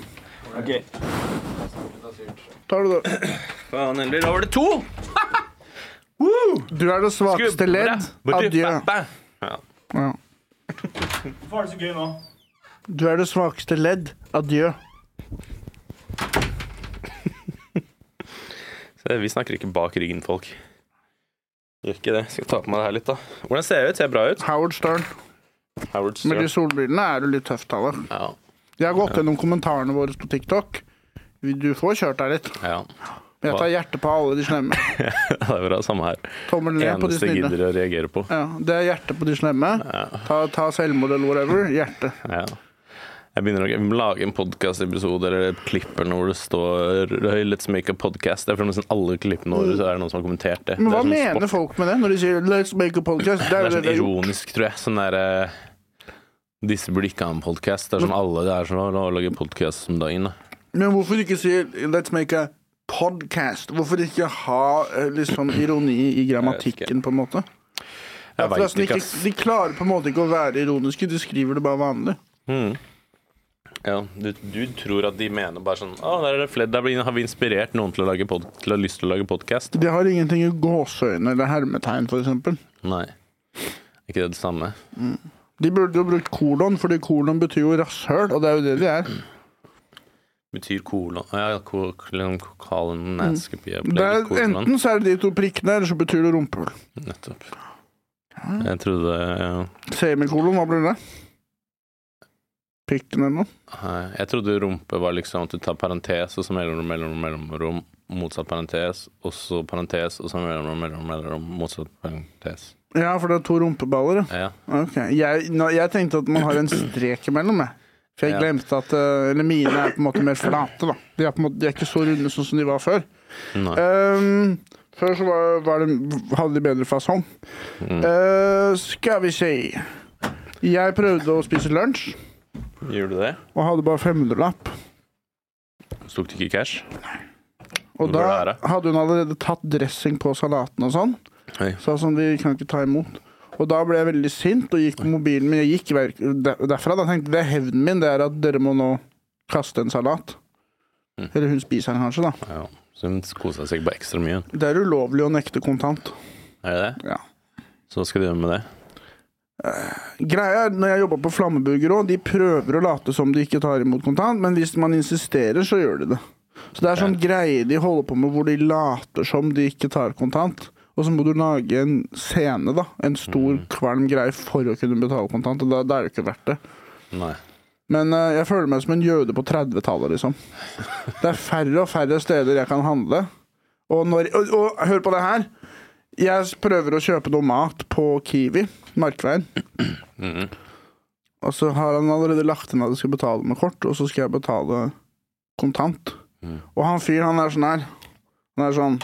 Speaker 4: Tar du det?
Speaker 6: Faen heller. Da var det to!
Speaker 4: Du er det svakeste ledd. Adjø. Ja.
Speaker 1: Hvorfor er det så gøy nå?
Speaker 4: Du er det svakeste ledd. Adjø.
Speaker 6: Se, Vi snakker ikke bak ryggen, folk. Gjør ikke det. Skal ta på meg det her litt, da. Hvordan ser jeg ut? Ser jeg bra ut?
Speaker 4: Howard Stern.
Speaker 6: Howard
Speaker 4: Med de
Speaker 6: Stern.
Speaker 4: solbrillene er du litt tøff, Tallak.
Speaker 6: Ja.
Speaker 4: Jeg har gått gjennom kommentarene våre på TikTok. Du får kjørt deg litt.
Speaker 6: Ja.
Speaker 4: Men jeg tar hjertet på alle de slemme.
Speaker 6: Det er bra, samme her.
Speaker 4: Tommelen ned på de
Speaker 6: Eneste jeg
Speaker 4: snille.
Speaker 6: gidder å reagere på.
Speaker 4: Ja, det er hjertet på de slemme. Ta, ta selvmord eller whatever. Hjerte.
Speaker 6: Ja. Jeg begynner å jeg må lage en podkastepisode eller et klipp eller noe hvor det står Let's make a podcast. Det er for nesten alle klippene våre så er det noen som har kommentert det.
Speaker 4: Men hva
Speaker 6: det er sånn
Speaker 4: mener
Speaker 6: spot-
Speaker 4: folk med det når de sier 'let's make a podcast'? Det
Speaker 6: Det
Speaker 4: er jo
Speaker 6: er
Speaker 4: det
Speaker 6: sånn
Speaker 4: de har gjort.
Speaker 6: ironisk, tror jeg. Sånn derre Disse burde ikke ha en podkast. Det er sånn alle det er som å lage podkast om dagen. Da.
Speaker 4: Men hvorfor ikke si 'let's make a podcast'? Hvorfor ikke ha eh, liksom ironi i grammatikken, på en måte? For
Speaker 6: Jeg veit
Speaker 4: altså,
Speaker 6: ikke,
Speaker 4: ikke,
Speaker 6: ass.
Speaker 4: de klarer på en måte ikke å være ironiske, de skriver det bare vanlig.
Speaker 6: Ja, du, du tror at de mener bare sånn Å, der, er det flere, der blir- har vi inspirert noen til å, lage pod, til å ha lyst til å lage podkast.
Speaker 4: De har ingenting i gåseøyne eller hermetegn, f.eks.
Speaker 6: Nei. Er ikke det det samme?
Speaker 4: De burde jo brukt kolon, fordi kolon betyr jo rasshøl, og det er jo det de er.
Speaker 6: Betyr kolon Ja, ko- liksom kolon
Speaker 4: Det er Mm. enten så er det de to prikkene, eller så betyr det rumpehull.
Speaker 6: Nettopp. Jeg trodde ja.
Speaker 4: Semikolon, hva blir det? Pikken eller noe?
Speaker 6: Nei, Jeg trodde rumpe var liksom at du tar parentes, og så mellomrom, mellomrom, mellomrom, motsatt parentes, og så parentes, og så mellomrom, mellomrom, mellomrom, motsatt parentes.
Speaker 4: Ja, for det er to rumpeballer, ja.
Speaker 6: Ja,
Speaker 4: Ok. Jeg, nå, jeg tenkte at man har en strek imellom, jeg. For jeg
Speaker 6: Ja.
Speaker 4: glemte at eh, Eller mine er på en måte mer flate, da. De er, på en måte, de er ikke så runde sånn som de var før.
Speaker 6: Nei.
Speaker 4: Ehm, før så var, var det, hadde de bedre fasong.
Speaker 6: Mm.
Speaker 4: Eh, skal vi se Jeg prøvde å spise lunsj,
Speaker 6: Gjorde du det?
Speaker 4: og hadde bare 500-lapp.
Speaker 6: Tok du ikke cash?
Speaker 4: Og
Speaker 6: Hvor
Speaker 4: da
Speaker 6: er det?
Speaker 4: hadde hun allerede tatt dressing på salaten og sånn.
Speaker 6: Oi.
Speaker 4: Sa sånn, vi kan ikke ta imot. Og da ble jeg veldig sint og gikk på mobilen min. Jeg gikk ver- der- derfra da tenkte jeg, det er hevnen min, det er at dere må nå kaste en salat.
Speaker 6: Mm.
Speaker 4: Eller hun spiser den kanskje, da.
Speaker 6: Ja. Så hun kosa seg bare ekstra mye.
Speaker 4: Det er ulovlig å nekte kontant.
Speaker 6: Er det det?
Speaker 4: Ja.
Speaker 6: Så hva skal du gjøre med det?
Speaker 4: Greia er, når jeg jobber på Flammeburger òg, de prøver å late som de ikke tar imot kontant, men hvis man insisterer, så gjør de det. Så det er sånn greie de holder på med, hvor de later som de ikke tar kontant. Og så må du lage en scene, da. En stor, kvalm greie for å kunne betale kontant. Og da, da er det ikke verdt det.
Speaker 6: Nei.
Speaker 4: Men eh, jeg føler meg som en jøde på 30-tallet, liksom. Det er færre og færre steder jeg kan handle. Og, når, og, og hør på det her. Jeg prøver å kjøpe noe mat på Kiwi, Markveien. Og så har han allerede lagt inn at jeg skal betale med kort, og så skal jeg betale kontant. Og han fyren, han er sånn her. Han er sånn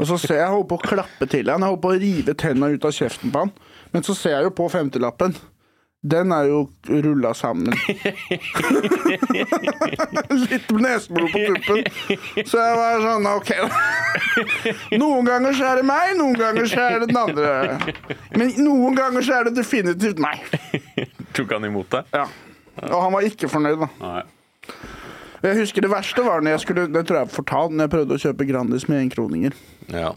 Speaker 4: Og så ser jeg jeg holder på å klappe til han, jeg holder på å rive tenna ut av kjeften på han. Men så ser jeg jo på femtilappen. Den er jo rulla sammen. Litt neseblod på tuppen. Så jeg var sånn OK. Noen ganger så er det meg, noen ganger så er det den andre. Men noen ganger så er det definitivt meg.
Speaker 6: Tok han imot deg?
Speaker 4: Ja. Og han var ikke fornøyd, da.
Speaker 6: Nei.
Speaker 4: Og Jeg husker det verste var når jeg skulle Det tror jeg jeg fortalte når jeg prøvde å kjøpe Grandis med enkroninger.
Speaker 6: Ja.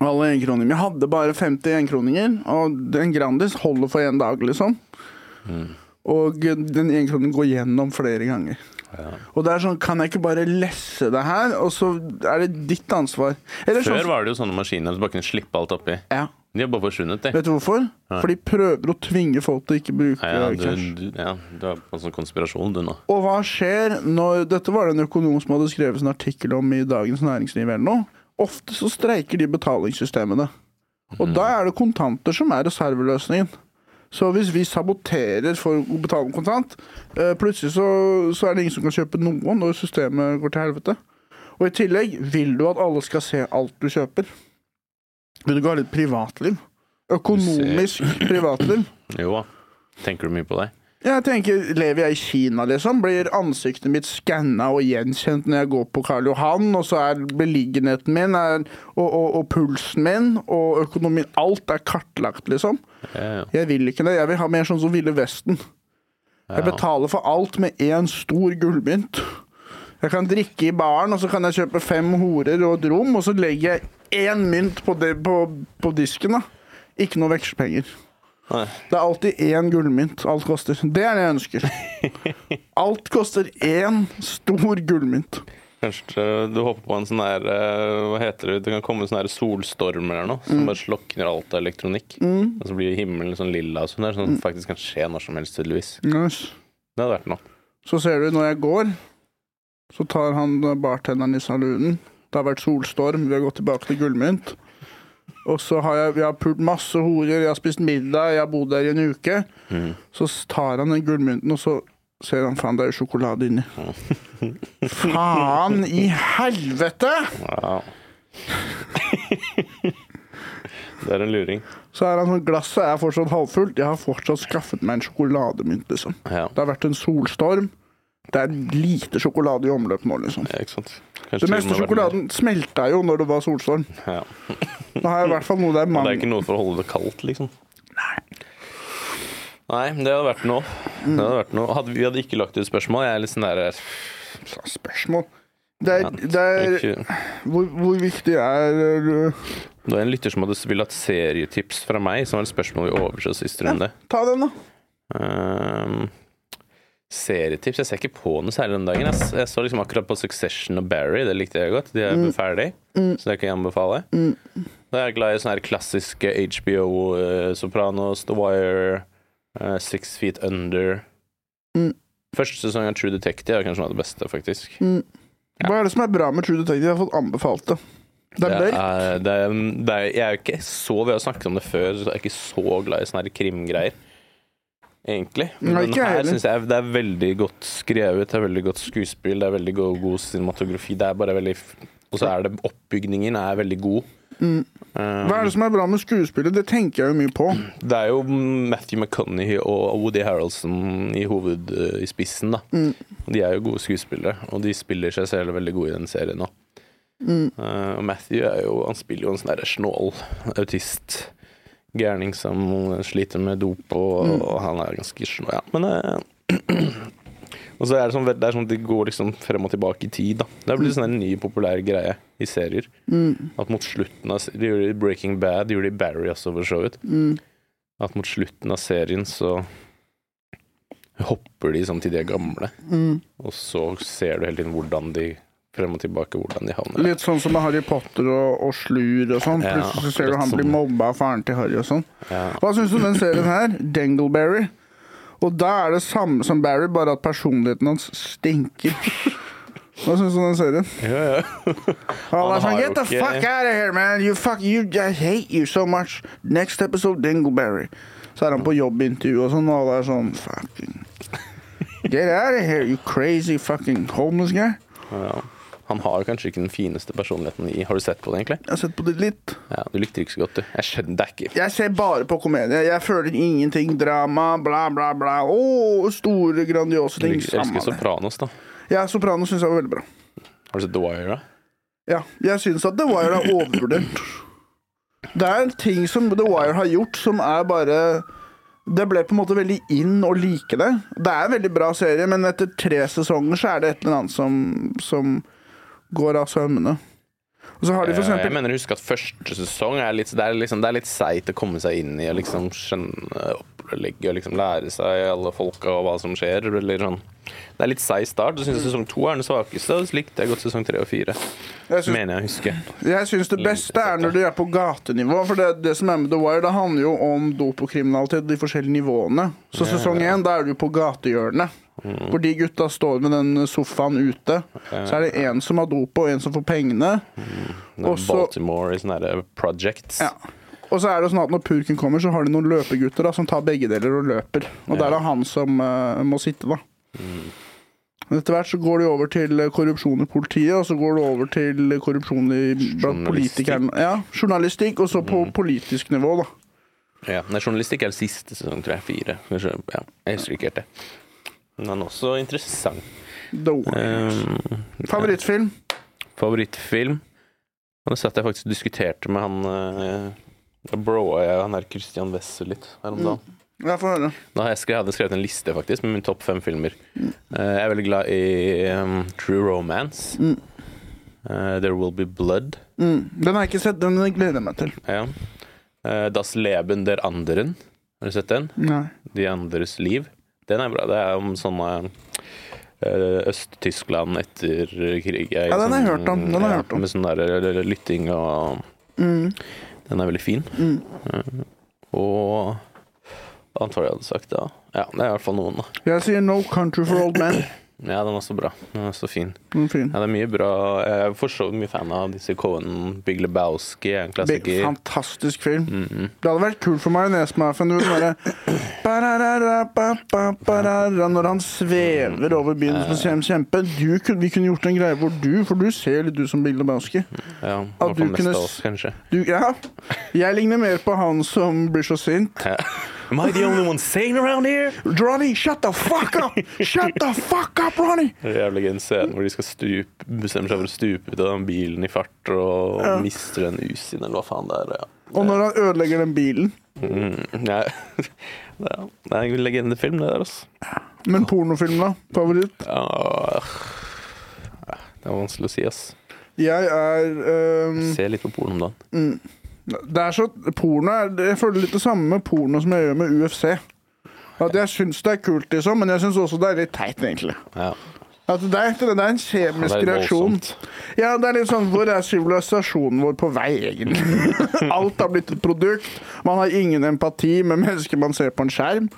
Speaker 4: Alle enkroninger. Jeg hadde bare 50 enkroninger, og den Grandis holder for én dag, liksom.
Speaker 6: Mm.
Speaker 4: Og den enkroningen går gjennom flere ganger. Og det er sånn, kan jeg ikke bare lesse det her, og så er det ditt ansvar? Eller
Speaker 6: Før
Speaker 4: sånn,
Speaker 6: var det jo sånne maskiner som bare kunne slippe alt oppi.
Speaker 4: ja.
Speaker 6: De har bare forsvunnet, de.
Speaker 4: Vet du hvorfor? For de prøver å tvinge folk til å ikke bruke
Speaker 6: Ja, du,
Speaker 4: cash.
Speaker 6: du, ja, du har på en sånn konspirasjon, du nå.
Speaker 4: Og hva skjer når Dette var det en økonom som hadde skrevet en artikkel om i Dagens Næringsliv eller noe. Ofte så streiker de betalingssystemene. Og da er det kontanter som er reserveløsningen. Så hvis vi saboterer for å betale med kontant, eh, plutselig så, så er det ingen som kan kjøpe noe når systemet går til helvete. Og i tillegg vil du at alle skal se alt du kjøper. Vil du ikke ha litt privatliv? Økonomisk privatliv.
Speaker 6: Jo da. Tenker du mye på det?
Speaker 4: Jeg tenker, Lever jeg i Kina, liksom? Blir ansiktet mitt skanna og gjenkjent når jeg går på Karl Johan? Og så er beliggenheten min er, og, og, og pulsen min og økonomien Alt er kartlagt, liksom.
Speaker 6: Ja, ja.
Speaker 4: Jeg vil ikke det. Jeg vil ha mer sånn som Ville Vesten. Jeg betaler for alt med én stor gullmynt. Jeg kan drikke i baren, og så kan jeg kjøpe fem horer og et rom, og så legger jeg én mynt på, det, på, på disken. da. Ikke noe vekslepenger.
Speaker 6: Nei.
Speaker 4: Det er alltid én gullmynt alt koster. Det er det jeg ønsker. Alt koster én stor gullmynt.
Speaker 6: Kanskje du håper på en sånn her eh, Hva heter det? Det kan komme en sånn her solstorm eller noe
Speaker 4: Mm.
Speaker 6: som bare slukner alt av elektronikk. Og så blir himmelen sånn lilla og sånn der, sånn
Speaker 4: Mm.
Speaker 6: at det faktisk kan skje når som helst, tydeligvis.
Speaker 4: Nice.
Speaker 6: Det hadde vært noe.
Speaker 4: Så ser du, når jeg går, så tar han eh, bartenderen i saloonen. Det har vært solstorm, vi har gått tilbake til gullmynt. Og så har jeg, vi har pult masse horer, jeg har spist middag, jeg har bodd der i en uke. Så s- tar han den gullmynten, og så ser han faen, det er jo sjokolade inni. faen i helvete!
Speaker 6: Wow. det er en luring.
Speaker 4: Så er han sånn, glasset er fortsatt halvfullt. Jeg har fortsatt skaffet meg en sjokolademynt, liksom.
Speaker 6: Ja,
Speaker 4: Det har vært en solstorm. Det er lite sjokolade i omløp nå, liksom.
Speaker 6: ja ikke sant. Kanskje
Speaker 4: Det
Speaker 6: til og
Speaker 4: meste
Speaker 6: med vært mer.
Speaker 4: sjokoladen smelta jo når det var solstorm.
Speaker 6: Ja.
Speaker 4: Nå har jeg i hvert fall noe der
Speaker 6: Men det er
Speaker 4: mange
Speaker 6: ikke noe for å holde det kaldt, liksom. Nei, det hadde vært noe. Det hadde vært noe. Hadde, vi hadde ikke lagt ut spørsmål. Jeg er litt sånn der
Speaker 4: spørsmål. Det er, Eh, det er
Speaker 6: ikke-
Speaker 4: hvor, hvor viktig er øh,
Speaker 6: Det var en lytter som hadde ville hatt serietips fra meg, som var et spørsmål vi overså sist runde.
Speaker 4: Ta den, da.
Speaker 6: Ehm, serietips? Jeg ser ikke på noe særlig den dagen. ass. Jeg så liksom akkurat på Succession og Barry, det likte jeg godt. De er ferdig, så det kan jeg anbefale. Da er jeg glad i sånne her klassiske HBO, eh, Sopranos, The Wire, eh, Six Feet Under.
Speaker 4: Mm.
Speaker 6: Første sesong av True Detective er kanskje noe av det beste, faktisk.
Speaker 4: Hva er det som er bra med True Detective? Jeg har fått anbefalt det. Det er
Speaker 6: Det
Speaker 4: mørkt.
Speaker 6: er, det er, det er, jeg er jo ikke så Vi har snakket om det før, så jeg er ikke så glad i sånne her krimgreier. Egentlig.
Speaker 4: Nei,
Speaker 6: Men
Speaker 4: ikke jeg
Speaker 6: her
Speaker 4: heller.
Speaker 6: syns jeg det er veldig godt skrevet, det er veldig godt skuespill, det er veldig god, god cinematografi. Det er bare veldig f- Og så er det oppbygningen er veldig god. Um,
Speaker 4: Hva er det som er bra med skuespillet? Det tenker jeg jo mye på.
Speaker 6: det er jo Matthew McConaughey og Woody Harroldson i hoved eh, i spissen, da.
Speaker 4: Mm.
Speaker 6: Og De er jo gode skuespillere, og de spiller seg selv veldig gode i den serien nå. Eh, og Matthew er jo, han spiller jo en sånn der snål autist. Gærning som sliter med dop, og, og han er ganske snål. Ja, men eh, Og så er det sånn, det er sånn at de går liksom frem og tilbake i tid. da Det er blitt sånn en ny populær greie i serier. At mot slutten av de gjorde det i Breaking Bad, de gjorde det i Barry også, for så vidt. At mot slutten av serien så hopper de sånn til de er gamle. Og så ser du hele tiden hvordan de frem og tilbake, hvordan de havner der.
Speaker 4: Litt sånn som med Harry Potter og, og Slur og sånn.
Speaker 6: Ja,
Speaker 4: Plutselig så ser du
Speaker 6: akkurat
Speaker 4: han blir
Speaker 6: sånn.
Speaker 4: mobba av faren til Harry og sånn.
Speaker 6: Ja.
Speaker 4: Hva syns du om den serien her? Dengleberry. Og da er det samme som Barry, bare at personligheten hans stinker. Hva syns du om den serien?
Speaker 6: Ja, ja.
Speaker 4: Han
Speaker 6: Han
Speaker 4: er sånn,
Speaker 6: har jo
Speaker 4: Get the
Speaker 6: ikke-
Speaker 4: fuck out of here, man! You fuck, you, I hate you so much! Next episode, Dingleberry. Så er han på jobbintervju og sånn, og alle er sånn Fucking Get out of here, you crazy fucking homeless guy!
Speaker 6: Ja. Han har kanskje ikke den fineste personligheten i Har du sett på det, egentlig?
Speaker 4: Jeg har sett på det litt.
Speaker 6: Ja, Du likte det ikke så godt, du. Jeg skjønner det er ikke.
Speaker 4: Jeg ser bare på komedie. Jeg føler ingenting. Drama, bla, bla, bla. Å, store, grandiose
Speaker 6: Du
Speaker 4: ting.
Speaker 6: liker- elsker
Speaker 4: Samme det.
Speaker 6: Sopranos, da.
Speaker 4: Ja, Soprano syns jeg var veldig bra.
Speaker 6: Har du sett The Wire, da?
Speaker 4: Ja, jeg syns at The Wire er overvurdert. Det er en ting som The Wire har gjort, som er bare Det ble på en måte veldig inn å like det. Det er en veldig bra serie, men etter tre sesonger så er det et eller annet som, som går av sømmene. Og så har de for
Speaker 6: Ja, Eh, Jeg
Speaker 4: eksempel
Speaker 6: mener å huske at første sesong er litt, det er liksom, det er litt seigt å komme seg inn i og liksom skjønne opplegget og liksom lære seg alle folka og hva som skjer. Eller sånn. Det er litt seig start. Så syns
Speaker 4: Mm.
Speaker 6: jeg sesong to er den svakeste, og så likte jeg godt sesong tre og fire.
Speaker 4: Jeg syns-
Speaker 6: Mener jeg å huske.
Speaker 4: Jeg syns det beste er når du er på gatenivå. For det, det som er med The Wire, det handler jo om dop og kriminalitet, de forskjellige nivåene. Så sesong én, da er du på gatehjørnet. Hvor de gutta står med den sofaen ute. Så er det én som har dop, og én som får pengene.
Speaker 6: Når
Speaker 4: Og så-
Speaker 6: Baltimore i sånne her projects.
Speaker 4: Ja. Og så er det sånn at når purken kommer, så har de noen løpegutter da, som tar begge deler og løper. Og der er han som eh, må sitte, da.
Speaker 6: Mm.
Speaker 4: Men etter hvert så går det jo over til eh, korrupsjon i politiet, og så går det over til korrupsjon i, blant
Speaker 6: Journalistikk. Mm.
Speaker 4: politikerne. Ja, journalistikk, og så på politisk nivå, da.
Speaker 6: Ja, nei, journalistikk er siste sesong, tror jeg. Fire. Kanskje, ja, jeg husker ikke helt det. Men den er også interessant.
Speaker 4: The Wire.
Speaker 6: Eh,
Speaker 4: Favorittfilm?
Speaker 6: favorittfilm. Og det satt jeg faktisk og diskuterte med han eh, broa jeg, han er Christian Wessel litt her om dagen.
Speaker 4: Ja, få høre.
Speaker 6: Da har jeg, skrevet, jeg hadde skrevet en liste faktisk med mine topp fem filmer. Eh, jeg er veldig glad i ehm, True Romance. Eh, There Will Be Blood.
Speaker 4: Mm. Den har jeg ikke sett, den gleder jeg meg til.
Speaker 6: Ja. Eh, das Leben der Anderen. Har du sett den?
Speaker 4: Nei.
Speaker 6: De andres liv. Den er bra. Det er om sånne eh, Øst-Tyskland etter krig. er
Speaker 4: Ja, den har jeg
Speaker 6: sånn-
Speaker 4: hørt om, den har jeg
Speaker 6: ja,
Speaker 4: hørt om. Mm.
Speaker 6: Med sånn der eh, lytting og Den er veldig fin. Eh, Og hva annet var det jeg hadde sagt da? Ja, det er i hvert fall noen, da.
Speaker 4: Jeg sier No Country for Old Men.
Speaker 6: Ja, den er også bra. Den er så fin.
Speaker 4: Den er fin.
Speaker 6: Ja, det er mye bra Jeg er for så vidt mye fan av disse Cohen, Big Lebowski, er en
Speaker 4: Big,
Speaker 6: klassiker. Mhm.
Speaker 4: fantastisk film. Det hadde vært kult for majonesmafen å bare bararara, ba, ba, barara, Når han svever over byen som
Speaker 6: Mm.
Speaker 4: kjem- kjempe. Du, kunne- vi kunne gjort en greie hvor du, for du ser litt ut som Bill Lebowski.
Speaker 6: Ja, i
Speaker 4: At
Speaker 6: hvert
Speaker 4: du
Speaker 6: fall mest
Speaker 4: kunne
Speaker 6: av
Speaker 4: s-
Speaker 6: oss, kanskje.
Speaker 4: Du, ja. Jeg ligner mer på han som blir så sint.
Speaker 6: Ja. Am I the only one sane around here?
Speaker 4: Ronny, shut the fuck up! Shut the fuck up, Ronny!
Speaker 6: Det er jævlig gøy en scene hvor de skal stupe, bestemmer seg for å stupe ut av den bilen i fart og mister den Usien, eller hva faen det er. Ja.
Speaker 4: Og når han ødelegger den bilen.
Speaker 6: Mm, ja. Det er- det er en legendefilm, det der, altså.
Speaker 4: Men pornofilm, da? Favoritt?
Speaker 6: Ja. Det er vanskelig å si, ass.
Speaker 4: Jeg er ehm, øhm,
Speaker 6: Se litt på porno om dagen.
Speaker 4: Det er så Porno er Jeg føler litt det samme med porno som jeg gjør med UFC. At jeg syns det er kult, liksom, men jeg syns også det er litt teit, egentlig.
Speaker 6: Ja.
Speaker 4: At det, er, det er en kjemisk
Speaker 6: Ja, det er
Speaker 4: reaksjon.
Speaker 6: voldsomt.
Speaker 4: Ja, det er litt sånn Hvor er sivilisasjonen vår på vei, egentlig? Alt har blitt et produkt. Man har ingen empati med mennesker man ser på en skjerm.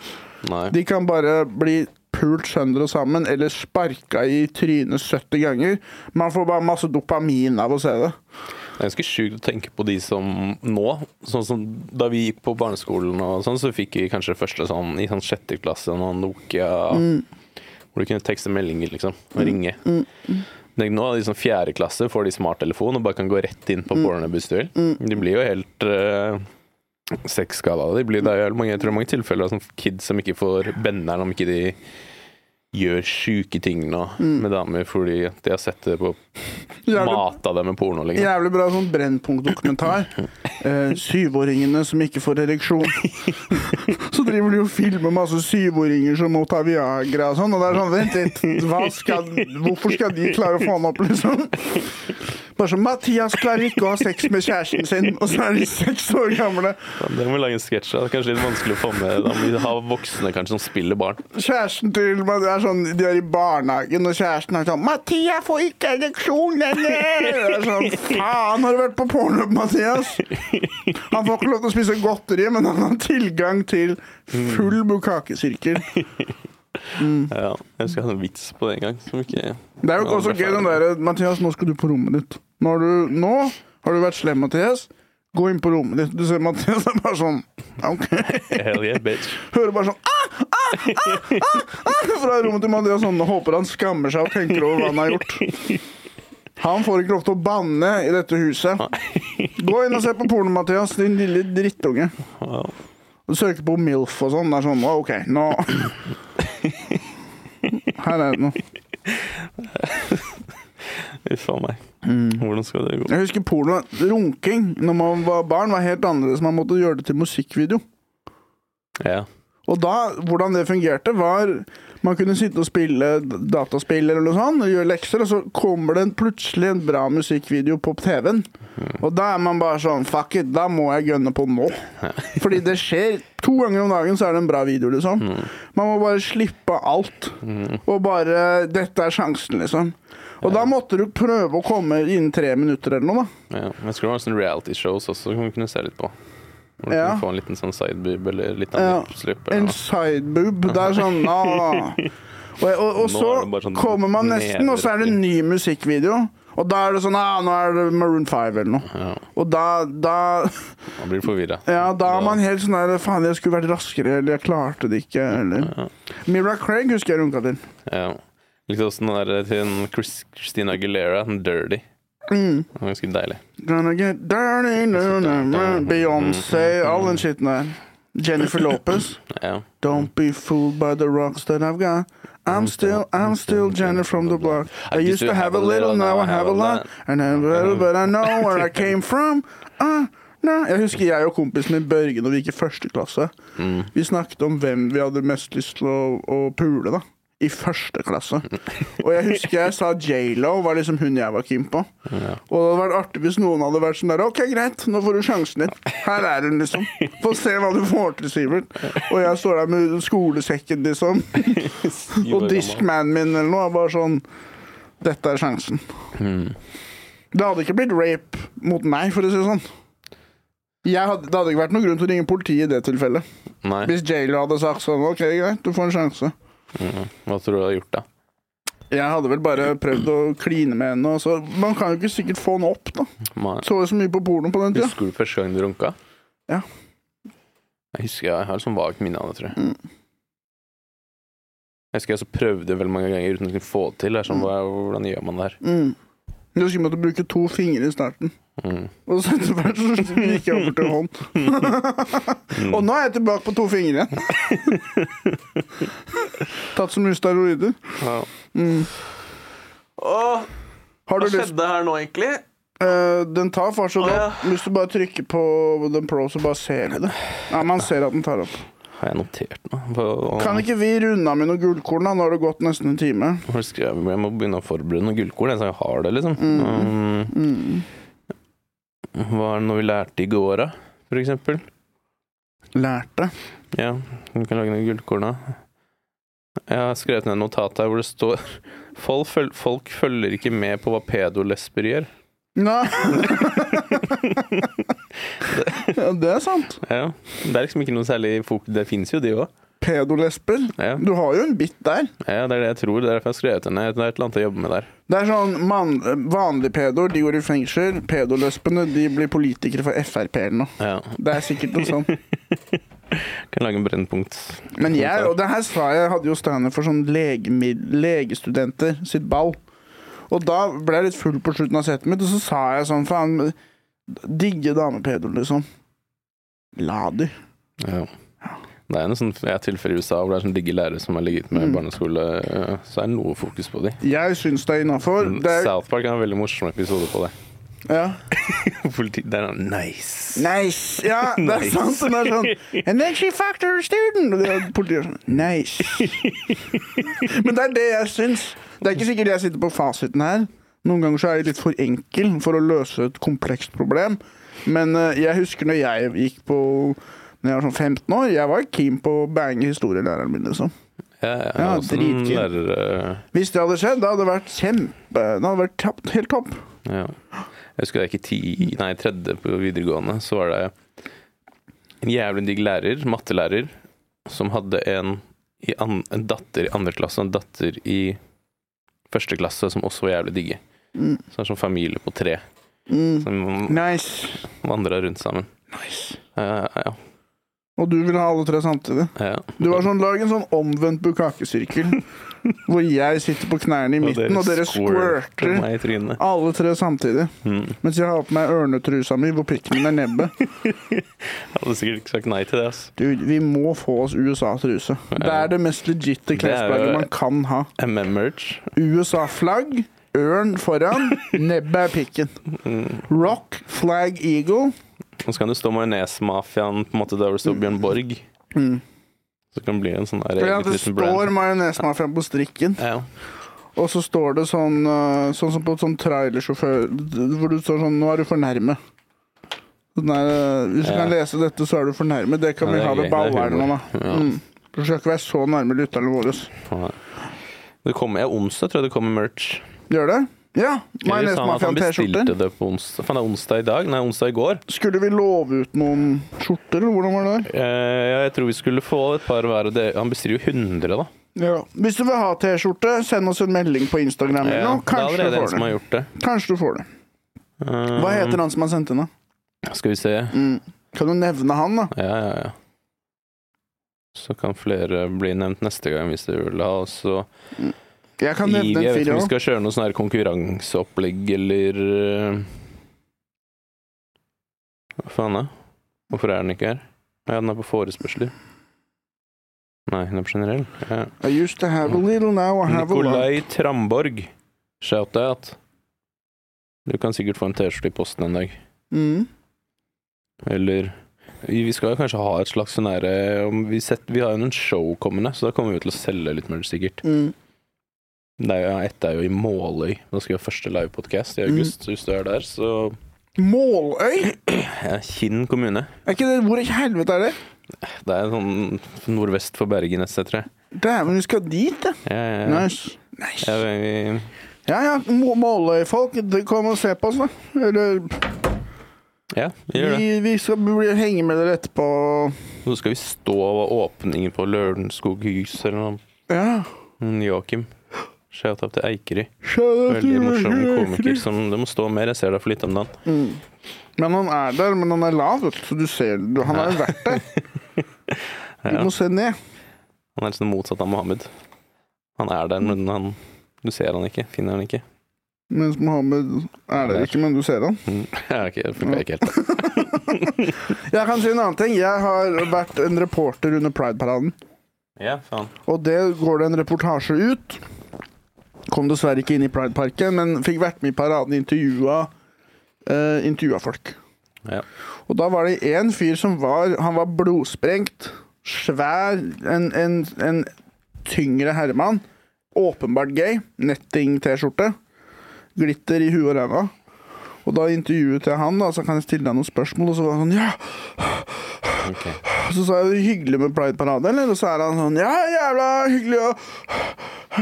Speaker 6: Nei.
Speaker 4: De kan bare bli pult sønder og sammen, eller sparka i trynet 70 ganger. Man får bare masse dopamin av å se det.
Speaker 6: Det er ganske sjukt å tenke på de som nå Sånn som Da vi gikk på barneskolen, og sånn, så fikk vi kanskje første sånn i sånn sjette klasse noen Nokia Hvor du kunne tekste meldinger, liksom. Og ringe. Tenk, nå er de sånn fjerde klasse, får de smarttelefon og bare kan gå rett inn på pornobustuell. De blir jo helt uh, sexskada. De blir, det er jo mange, jeg tror det er mange tilfeller av sånne kids som ikke får benderen om ikke de gjør sjuke ting nå med damer fordi at de har sett det på
Speaker 4: Jævlig
Speaker 6: Mata dem med porno, liksom.
Speaker 4: Jævlig bra sånn Brennpunkt-dokumentar. Eh, syvåringene som ikke får ereksjon. Så driver de og filmer masse syvåringer som må ta Viagra og sånn. Og det er sånn, vent litt, hva skal, hvorfor skal de klare å få han opp, liksom? Bare sånn Mathias klarer ikke å ha sex med kjæresten sin, og så er de seks år gamle.
Speaker 6: Det må vi lage en sketsj av. Det er Kanskje litt vanskelig å få med. Da må vi ha voksne kanskje som spiller barn.
Speaker 4: Kjæresten til meg, det er sånn, De er i barnehagen, og kjæresten er sånn 'Mathias får ikke ereksjon lenger!' Det er sånn, Faen, har du vært på porno, Mathias? Han får ikke lov til å spise godteri, men han har tilgang til full bukakesirkel.
Speaker 6: Ja, jeg husker jeg hadde en vits på det en gang. Som ikke
Speaker 4: Mm. Det er jo også gøy den derre 'Mathias, nå skal du på rommet ditt'. Nå har du, nå har du vært slem, Mathias. Gå inn på rommet ditt. Du ser Mathias er bare sånn OK.
Speaker 6: Hell yeah, bitch.
Speaker 4: Hører bare sånn ah, ah, ah, ah, ah, Fra rommet til Mathias sånn, og håper han skammer seg og tenker over hva han har gjort. Han får ikke lov til å banne i dette huset. Gå inn og se på porno, Mathias, din lille drittunge.
Speaker 6: Ja.
Speaker 4: Du søker på MILF og sånn. Det er sånn «Å, OK, nå Her er det noe.
Speaker 6: Uff a meg.
Speaker 4: Mm.
Speaker 6: Hvordan skal det gå?
Speaker 4: Jeg husker porno. Runking når man var barn, var helt annerledes. Man måtte gjøre det til musikkvideo.
Speaker 6: Ja.
Speaker 4: Og da, hvordan det fungerte, var man kunne sitte og spille dataspill eller noe sånt, og gjøre lekser, og så kommer det en, plutselig en bra musikkvideo på TV-en. Og da er man bare sånn Fuck it, da må jeg gønne på nå. Fordi det skjer to ganger om dagen, så er det en bra video, liksom. Man må bare slippe alt. Og bare Dette er sjansen, liksom. Og da måtte du prøve å komme innen tre minutter eller noe, da.
Speaker 6: ja. Jeg skulle ha sånne realityshows også, som vi kunne se litt på. Hvor du
Speaker 4: Ja.
Speaker 6: kunne få en liten sånn sideboob eller litt av
Speaker 4: Ja,
Speaker 6: en slip.
Speaker 4: En
Speaker 6: Eller noe.
Speaker 4: sideboob. Det er sånn ah. Og, og, og
Speaker 6: Nå
Speaker 4: så
Speaker 6: er det bare sånn
Speaker 4: kommer man nesten, og så er det en ny musikkvideo. Og da er det sånn ah, Nå er det Maroon 5 eller noe.
Speaker 6: Ja,
Speaker 4: Og da, da
Speaker 6: man blir forvirra.
Speaker 4: Ja, da er man helt sånn der Faen, jeg skulle vært raskere, eller jeg klarte det ikke, eller Mira Craig husker jeg runka til.
Speaker 6: Ja. Likte også den der eh, til en Chris, Christina Aguilera, den Dirty.
Speaker 4: Mm.
Speaker 6: Den var Ganske deilig.
Speaker 4: Gonna get dirty, no, no, no. Beyoncé, all den skitten der. Jennifer Lopez.
Speaker 6: Ja.
Speaker 4: Don't be fooled by the rocks that I've got. I'm still, I'm still Jenny from the block. I used to have a little, now I have a lot. And I'm little, but I know where I came from. Ah, nah. Jeg husker jeg og kompisen min Børge når vi gikk i første klasse. Vi snakket om hvem vi hadde mest lyst til å, å pule, da. i første klasse. Og jeg husker jeg sa J.Lo var liksom hun jeg var keen på. Og det hadde vært artig hvis noen hadde vært sånn der OK, greit, nå får du sjansen din. Her er hun, liksom. Få se hva du får til, Sivert. Og jeg står der med skolesekken, liksom. Og diskmanen min eller noe. er Bare sånn Dette er sjansen.
Speaker 6: Mm.
Speaker 4: Det hadde ikke blitt rape mot meg, for å si det sånn. Jeg hadde, det hadde ikke vært noen grunn til å ringe politiet i det tilfellet.
Speaker 6: Nei.
Speaker 4: Hvis J.Lo hadde sagt sånn OK, greit, du får en sjanse.
Speaker 6: Mm. Hva tror du du har gjort, da?
Speaker 4: Jeg hadde vel bare prøvd å kline med henne. Og så. Man kan jo ikke sikkert få henne opp, da.
Speaker 6: Nei.
Speaker 4: Så jo så mye på porno på den tida.
Speaker 6: Husker du første gang du runka?
Speaker 4: Ja.
Speaker 6: Jeg husker jeg har et sånt vagt minne av det, tror jeg.
Speaker 4: Mm.
Speaker 6: Jeg husker jeg også prøvde veldig mange ganger uten å kunne få det til. Det er sånn, hva- hvordan gjør man det her?
Speaker 4: Mm. Jeg husker jeg måtte bruke to fingre i starten.
Speaker 6: Mm.
Speaker 4: Og så etter hvert så gikk jeg over til hånd. og nå er jeg tilbake på to fingre igjen. Tatt så mye steroider.
Speaker 6: Ja.
Speaker 4: Mm.
Speaker 6: Åh,
Speaker 4: Har du
Speaker 6: hva
Speaker 4: lyst
Speaker 6: skjedde her nå, egentlig?
Speaker 4: Eh, Den tar fortsatt
Speaker 6: Å, ja.
Speaker 4: opp. Hvis du bare trykker på den pro, så bare ser vi det. Ja, man ser at den tar opp.
Speaker 6: Har jeg notert noe? Hva-
Speaker 4: Kan ikke vi runde av med noen gullkorn, da? Nå har det gått nesten en time.
Speaker 6: Hva har du skrevet? Jeg må begynne å forberede noen gullkorn, jeg, så jeg har det, liksom.
Speaker 4: Mm.
Speaker 6: Um, hva er det noe vi lærte i går, da? For eksempel.
Speaker 4: Lærte.
Speaker 6: Ja, du kan lage noen gullkorn av. Jeg har skrevet ned et notat her hvor det står Folk, føl folk følger ikke med på hva pedolesber gjør.
Speaker 4: Nei. ja, det er sant.
Speaker 6: Ja, det er liksom ikke noe særlig fokus Det fins jo, de òg.
Speaker 4: Pedolesper.
Speaker 6: Ja.
Speaker 4: Du har jo en bit der.
Speaker 6: ja, det er det jeg tror. Det er derfor jeg har skrevet det ned. Det er et eller annet jeg jobber med der.
Speaker 4: Det er sånn man, Vanlige pedoer de går i fengsel. Pedolespene de blir politikere for Frp eller noe.
Speaker 6: Ja.
Speaker 4: Det er sikkert noe sånt.
Speaker 6: Kan lage en brennpunkt.
Speaker 4: Men jeg, og det her sa jeg, hadde jo Steiner for sånn legemid, legestudenter sitt ball. Og da ble jeg litt full på slutten av settet mitt, og så sa jeg sånn, faen, digge damepedoer, liksom. La de.
Speaker 6: Ja. Det er en sånn jeg tilfelle i USA hvor det er sånn digge lærere som har ligget med
Speaker 4: Mm.
Speaker 6: barneskole, ja, så er det noe fokus på de.
Speaker 4: Jeg syns det er innafor. Det er
Speaker 6: South Park har en veldig morsom episode på det.
Speaker 4: ja.
Speaker 6: Politi det er noe nice.
Speaker 4: Nice! Ja, det er
Speaker 6: Nice.
Speaker 4: sant. Hun er sånn And then she fucked her student! Og det er politiet sånn Nice. Men det er det jeg syns. Det er ikke sikkert jeg sitter på fasiten her. Noen ganger så er jeg litt for enkel for å løse et komplekst problem. Men eh, jeg husker når jeg gikk på Når jeg var sånn 15 år, jeg var keen på å bange historielæreren min, liksom.
Speaker 6: Ja, ja,
Speaker 4: Ja,
Speaker 6: og sånn
Speaker 4: dritkul.
Speaker 6: lærer,
Speaker 4: Hvis det hadde skjedd, det hadde det vært kjempe Det hadde vært topp, helt topp.
Speaker 6: ja. Jeg husker jeg gikk i ti, nei, tredje på videregående, så var det en jævlig digg lærer, mattelærer, som hadde en, i an, en datter i andre klasse og en datter i første klasse som også var jævlig digge. Så det er sånn familie på tre
Speaker 4: Mm.
Speaker 6: som
Speaker 4: Nice.
Speaker 6: vandra rundt sammen.
Speaker 4: nice.
Speaker 6: Ja, ja,
Speaker 4: Og du ville ha alle tre samtidig?
Speaker 6: ja.
Speaker 4: Du var sånn, lag en sånn omvendt bukakesirkel Hvor jeg sitter på knærne i midten Og dere squirter
Speaker 6: meg i trynet.
Speaker 4: Alle tre samtidig
Speaker 6: Mm.
Speaker 4: Mens jeg har på meg ørnetrusa mi Hvor pikken min er nebbet
Speaker 6: Jeg hadde sikkert ikke sagt nei til det. ass.
Speaker 4: Dude, vi må få oss USA-truse Det er det mest legitte klesplagget man kan ha
Speaker 6: MM-merch.
Speaker 4: USA-flagg Ørn foran Nebbet er pikken Rock, flag, eagle
Speaker 6: Og så kan det stå majonesmafiaen på en måte der hvor det står Bjørn Borg. Så kan det bli en sånn der
Speaker 4: Fordi
Speaker 6: eget
Speaker 4: at Mm. det
Speaker 6: liten
Speaker 4: står
Speaker 6: brand.
Speaker 4: majonesmafiaen på strikken
Speaker 6: Ja.
Speaker 4: Og så står det sånn eh, Sånn som på et sånn trailersjåfør Hvor du står sånn, nå er du for nærme sånn der, eh, Hvis du
Speaker 6: Ja.
Speaker 4: kan lese dette så er du for nærme Det kan
Speaker 6: Ja,
Speaker 4: vi
Speaker 6: det er
Speaker 4: ha
Speaker 6: gøy,
Speaker 4: ved
Speaker 6: det er
Speaker 4: ballerne
Speaker 6: humor.
Speaker 4: da mm. Du skal ikke være så nærme lytterne våre
Speaker 6: Nei. Det kommer, ja, onsdag tror jeg det kommer merch.
Speaker 4: Gjør det? Ja,
Speaker 6: Eller sa han at han
Speaker 4: majonesmafiaen
Speaker 6: bestilte
Speaker 4: t-skjorter
Speaker 6: det på onsdag. Faen, det er onsdag i dag? Nei, onsdag i går.
Speaker 4: Skulle vi love ut noen skjorter, eller hvordan var det der?
Speaker 6: Eh, ja, jeg tror vi skulle få et par hver. og det- Han bestiller jo 100, da.
Speaker 4: Ja. Hvis du vil ha t-skjorte, send oss en melding på Instagram eller
Speaker 6: Ja,
Speaker 4: noe
Speaker 6: det er
Speaker 4: Kanskje du
Speaker 6: allerede en
Speaker 4: får
Speaker 6: som har
Speaker 4: det
Speaker 6: gjort det. Mm.
Speaker 4: Kanskje du får det Hva heter han som har sendt inn da? Mm.
Speaker 6: Eh, Skal vi se.
Speaker 4: Kan du nevne han da?
Speaker 6: Ja, ja, ja. Så kan flere bli nevnt neste gang hvis du vil ha. Og så
Speaker 4: Jeg kan
Speaker 6: Ivy,
Speaker 4: nevne
Speaker 6: jeg
Speaker 4: en
Speaker 6: vet
Speaker 4: fyr
Speaker 6: ikke om vi
Speaker 4: også
Speaker 6: skal kjøre noe sånn her konkurranseopplegg eller eh, Hva faen da? Hvorfor er den ikke her? Ja, den er på forespørsler. Nei, den er på generell. Ja.
Speaker 4: I used to have a little, now I have a lot
Speaker 6: Nikolai Tramborg. Shout-out. Du kan sikkert få en T-skjorte i posten en dag.
Speaker 4: Mm.
Speaker 6: Eller Vi vi skal jo kanskje ha et slags sånn derre om vi, setter- vi har jo noen show kommende, så da kommer vi til å selge litt merch, sikkert.
Speaker 4: Mm.
Speaker 6: Det er jo, ett er jo i Måløy. Da skal vi ha første livepodkast i
Speaker 4: Mm.
Speaker 6: august. Så hvis du er der, så
Speaker 4: Måløy?
Speaker 6: ja, Kinn kommune.
Speaker 4: Er ikke det, hvor i helvete er det?
Speaker 6: Det er sånn nordvest for Bergen, etc.
Speaker 4: Dæven, vi skal dit, ja.
Speaker 6: Ja, ja, ja.
Speaker 4: Nice. nice.
Speaker 6: Ja, vi-
Speaker 4: Ja ja, Må- Måløy-folk, de- kom og se på oss, da. Eller
Speaker 6: ja, vi gjør det.
Speaker 4: vi, vi skal bli, henge med dere etterpå.
Speaker 6: Så skal vi stå og ha åpningen på Lørenskog-hus eller noe.
Speaker 4: Ja.
Speaker 6: Mm, Joakim. Shout-out til Eikeri. Veldig
Speaker 4: Veldig
Speaker 6: morsom komiker som det må stå mer. Jeg ser deg for litt om dagen.
Speaker 4: Men han er der, men han er lav, vet du, så du ser du, Han har jo vært der. Du må se ned.
Speaker 6: Han er liksom motsatt av Mohammed. Han er der, men han, du ser han ikke. Finner han ikke.
Speaker 4: Mens Mohammed er der ikke, men du ser han.
Speaker 6: Mm. Ja, ok, det funka ikke helt.
Speaker 4: Jeg kan si en annen ting. Jeg har vært en reporter under Pride-paraden.
Speaker 6: Ja, faen.
Speaker 4: Og det går det en reportasje ut. Kom dessverre ikke inn i Pride-parken, men fikk vært med i paraden og intervjua eh, intervjua folk.
Speaker 6: Ja.
Speaker 4: Og da var det én fyr som var Han var blodsprengt, svær, en, en, en tyngre herremann. Åpenbart gay. Netting-T-skjorte. Glitter i huet og ræva. Og da intervjuet jeg han, da, så kan jeg stille han noen spørsmål, og så var han sånn Ja!
Speaker 6: Ok.
Speaker 4: Og så sa jeg det er hyggelig med Pride-parade, eller? Og så er han sånn ja, jævla hyggelig og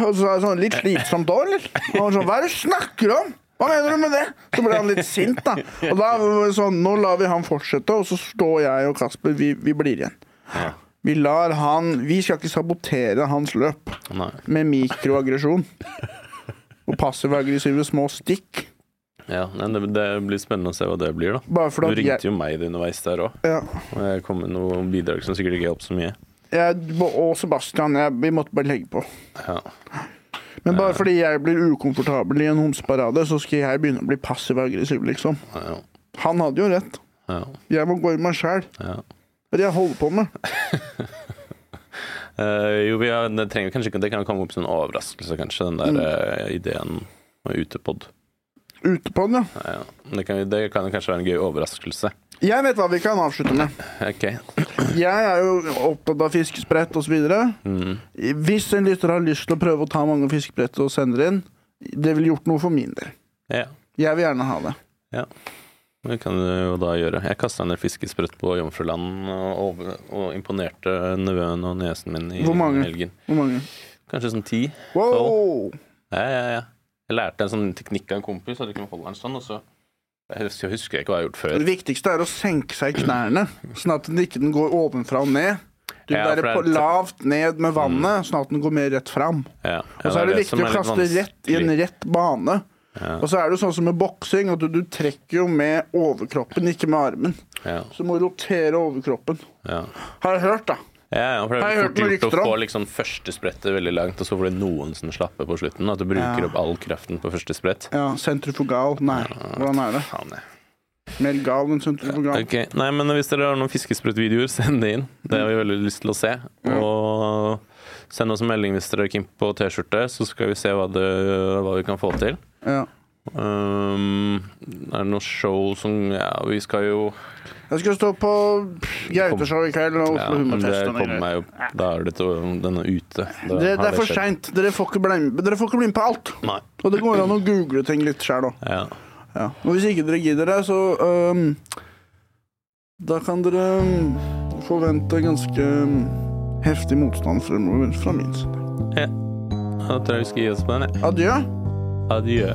Speaker 4: Og så er det sånn litt slitsomt òg, eller? Og han sånn hva er det du snakker om? Hva mener du med det? Så ble han litt sint, da. Og da var det sånn nå lar vi han fortsette, og så står jeg og Kasper, vi, vi blir igjen. Vi lar han Vi skal ikke sabotere hans løp
Speaker 6: Nei.
Speaker 4: med mikroaggresjon. Og passiv-aggressive små stikk.
Speaker 6: Ja, nei, det, det blir spennende å se hva det blir, da.
Speaker 4: Bare
Speaker 6: Du
Speaker 4: fordi at jeg,
Speaker 6: ringte jo meg underveis der òg,
Speaker 4: ja,
Speaker 6: og jeg kom med noen bidrag som sikkert ikke hjalp så mye.
Speaker 4: jeg Og Sebastian, jeg, vi måtte bare legge på.
Speaker 6: Ja.
Speaker 4: Men bare fordi jeg blir ukomfortabel i en homseparade, så skal jeg begynne å bli passiv-aggressiv, liksom.
Speaker 6: Ja,
Speaker 4: Han hadde jo rett.
Speaker 6: ja,
Speaker 4: Jeg må gå i meg sjæl. Det
Speaker 6: ja.
Speaker 4: er det jeg holder på med.
Speaker 6: Eh, jo, vi har, det, trenger, kanskje, ikke- det kan komme opp som en overraskelse, kanskje, den der eh, ideen med utepod.
Speaker 4: Ute på den, ja.
Speaker 6: Ja, det, kan, det kan jo kanskje være en gøy overraskelse.
Speaker 4: Jeg vet hva vi kan avslutte med.
Speaker 6: Ok.
Speaker 4: Jeg er jo opptatt av fiskesprett osv.
Speaker 6: Mm.
Speaker 4: Hvis en lytter har lyst til å prøve å ta mange fiskebrett og sende det inn, det ville gjort noe for min del.
Speaker 6: Ja,
Speaker 4: Jeg vil gjerne ha det.
Speaker 6: det kan du jo da gjøre. Jeg kasta en del fiskesprøtt på Jomfruland og, over- og imponerte nevøen og niesen min i
Speaker 4: Hvor mange?
Speaker 6: helgen.
Speaker 4: Hvor mange?
Speaker 6: Kanskje sånn ti.
Speaker 4: Wow!
Speaker 6: Ja, ja, ja. Jeg lærte en sånn teknikk av en kompis, at du kunne holde den sånn, og så Jeg husker, jeg husker ikke hva jeg har gjort før.
Speaker 4: Det viktigste er å senke seg i knærne, sånn at den ikke den går ovenfra og ned. Du vil
Speaker 6: Ja,
Speaker 4: være
Speaker 6: for
Speaker 4: på
Speaker 6: det er-
Speaker 4: lavt ned med vannet, sånn at den går mer rett fram.
Speaker 6: Ja.
Speaker 4: Og så er det viktig å
Speaker 6: som litt
Speaker 4: kaste rett i en
Speaker 6: vanskelig.
Speaker 4: rett bane.
Speaker 6: Ja.
Speaker 4: Og så er det jo sånn som med boksing, at du, du trekker jo med overkroppen, ikke med armen.
Speaker 6: Ja,
Speaker 4: Så du må rotere overkroppen.
Speaker 6: ja.
Speaker 4: Har jeg hørt, da.
Speaker 6: Ja, ja, for det
Speaker 4: Har
Speaker 6: er
Speaker 4: jeg hørt
Speaker 6: fort
Speaker 4: noen
Speaker 6: gjort å
Speaker 4: rykter om?
Speaker 6: få liksom første sprettet veldig langt, og så får du noen som slapper på slutten. At du bruker
Speaker 4: Ja.
Speaker 6: opp all kraften på første sprett.
Speaker 4: Ja, Sentrifugal. Nei, hvordan er det?
Speaker 6: Faen, jeg.
Speaker 4: Mer gal enn sentrifugal.
Speaker 6: Ok, nei, men Hvis dere har noen fiskesprøytvideoer, send det inn. Det har vi veldig lyst til å se. Og send oss en melding hvis dere er keen på T-skjorte, så skal vi se hva, det, hva vi kan få til.
Speaker 4: Ja.
Speaker 6: Um, er det noe show som Ja, vi skal jo
Speaker 4: Jeg skal stå på Gauteshow i kveld og
Speaker 6: ja,
Speaker 4: Oslo
Speaker 6: men Det
Speaker 4: Humorfest. og noe
Speaker 6: kommer meg jo Da er det til den er ute. Da
Speaker 4: Det,
Speaker 6: har
Speaker 4: det er for
Speaker 6: skjedd.
Speaker 4: seint. Dere får ikke bli med- dere får ikke bli med på alt.
Speaker 6: Nei.
Speaker 4: Og det går an å google ting litt sjøl òg.
Speaker 6: Ja.
Speaker 4: Ja. Og hvis ikke dere gidder det, så øhm, Da kan dere øhm, forvente ganske øhm, heftig motstand fremover fra min side.
Speaker 6: Da tror jeg vi skal gi oss på den. jeg.
Speaker 4: Adjø.
Speaker 6: Adjø.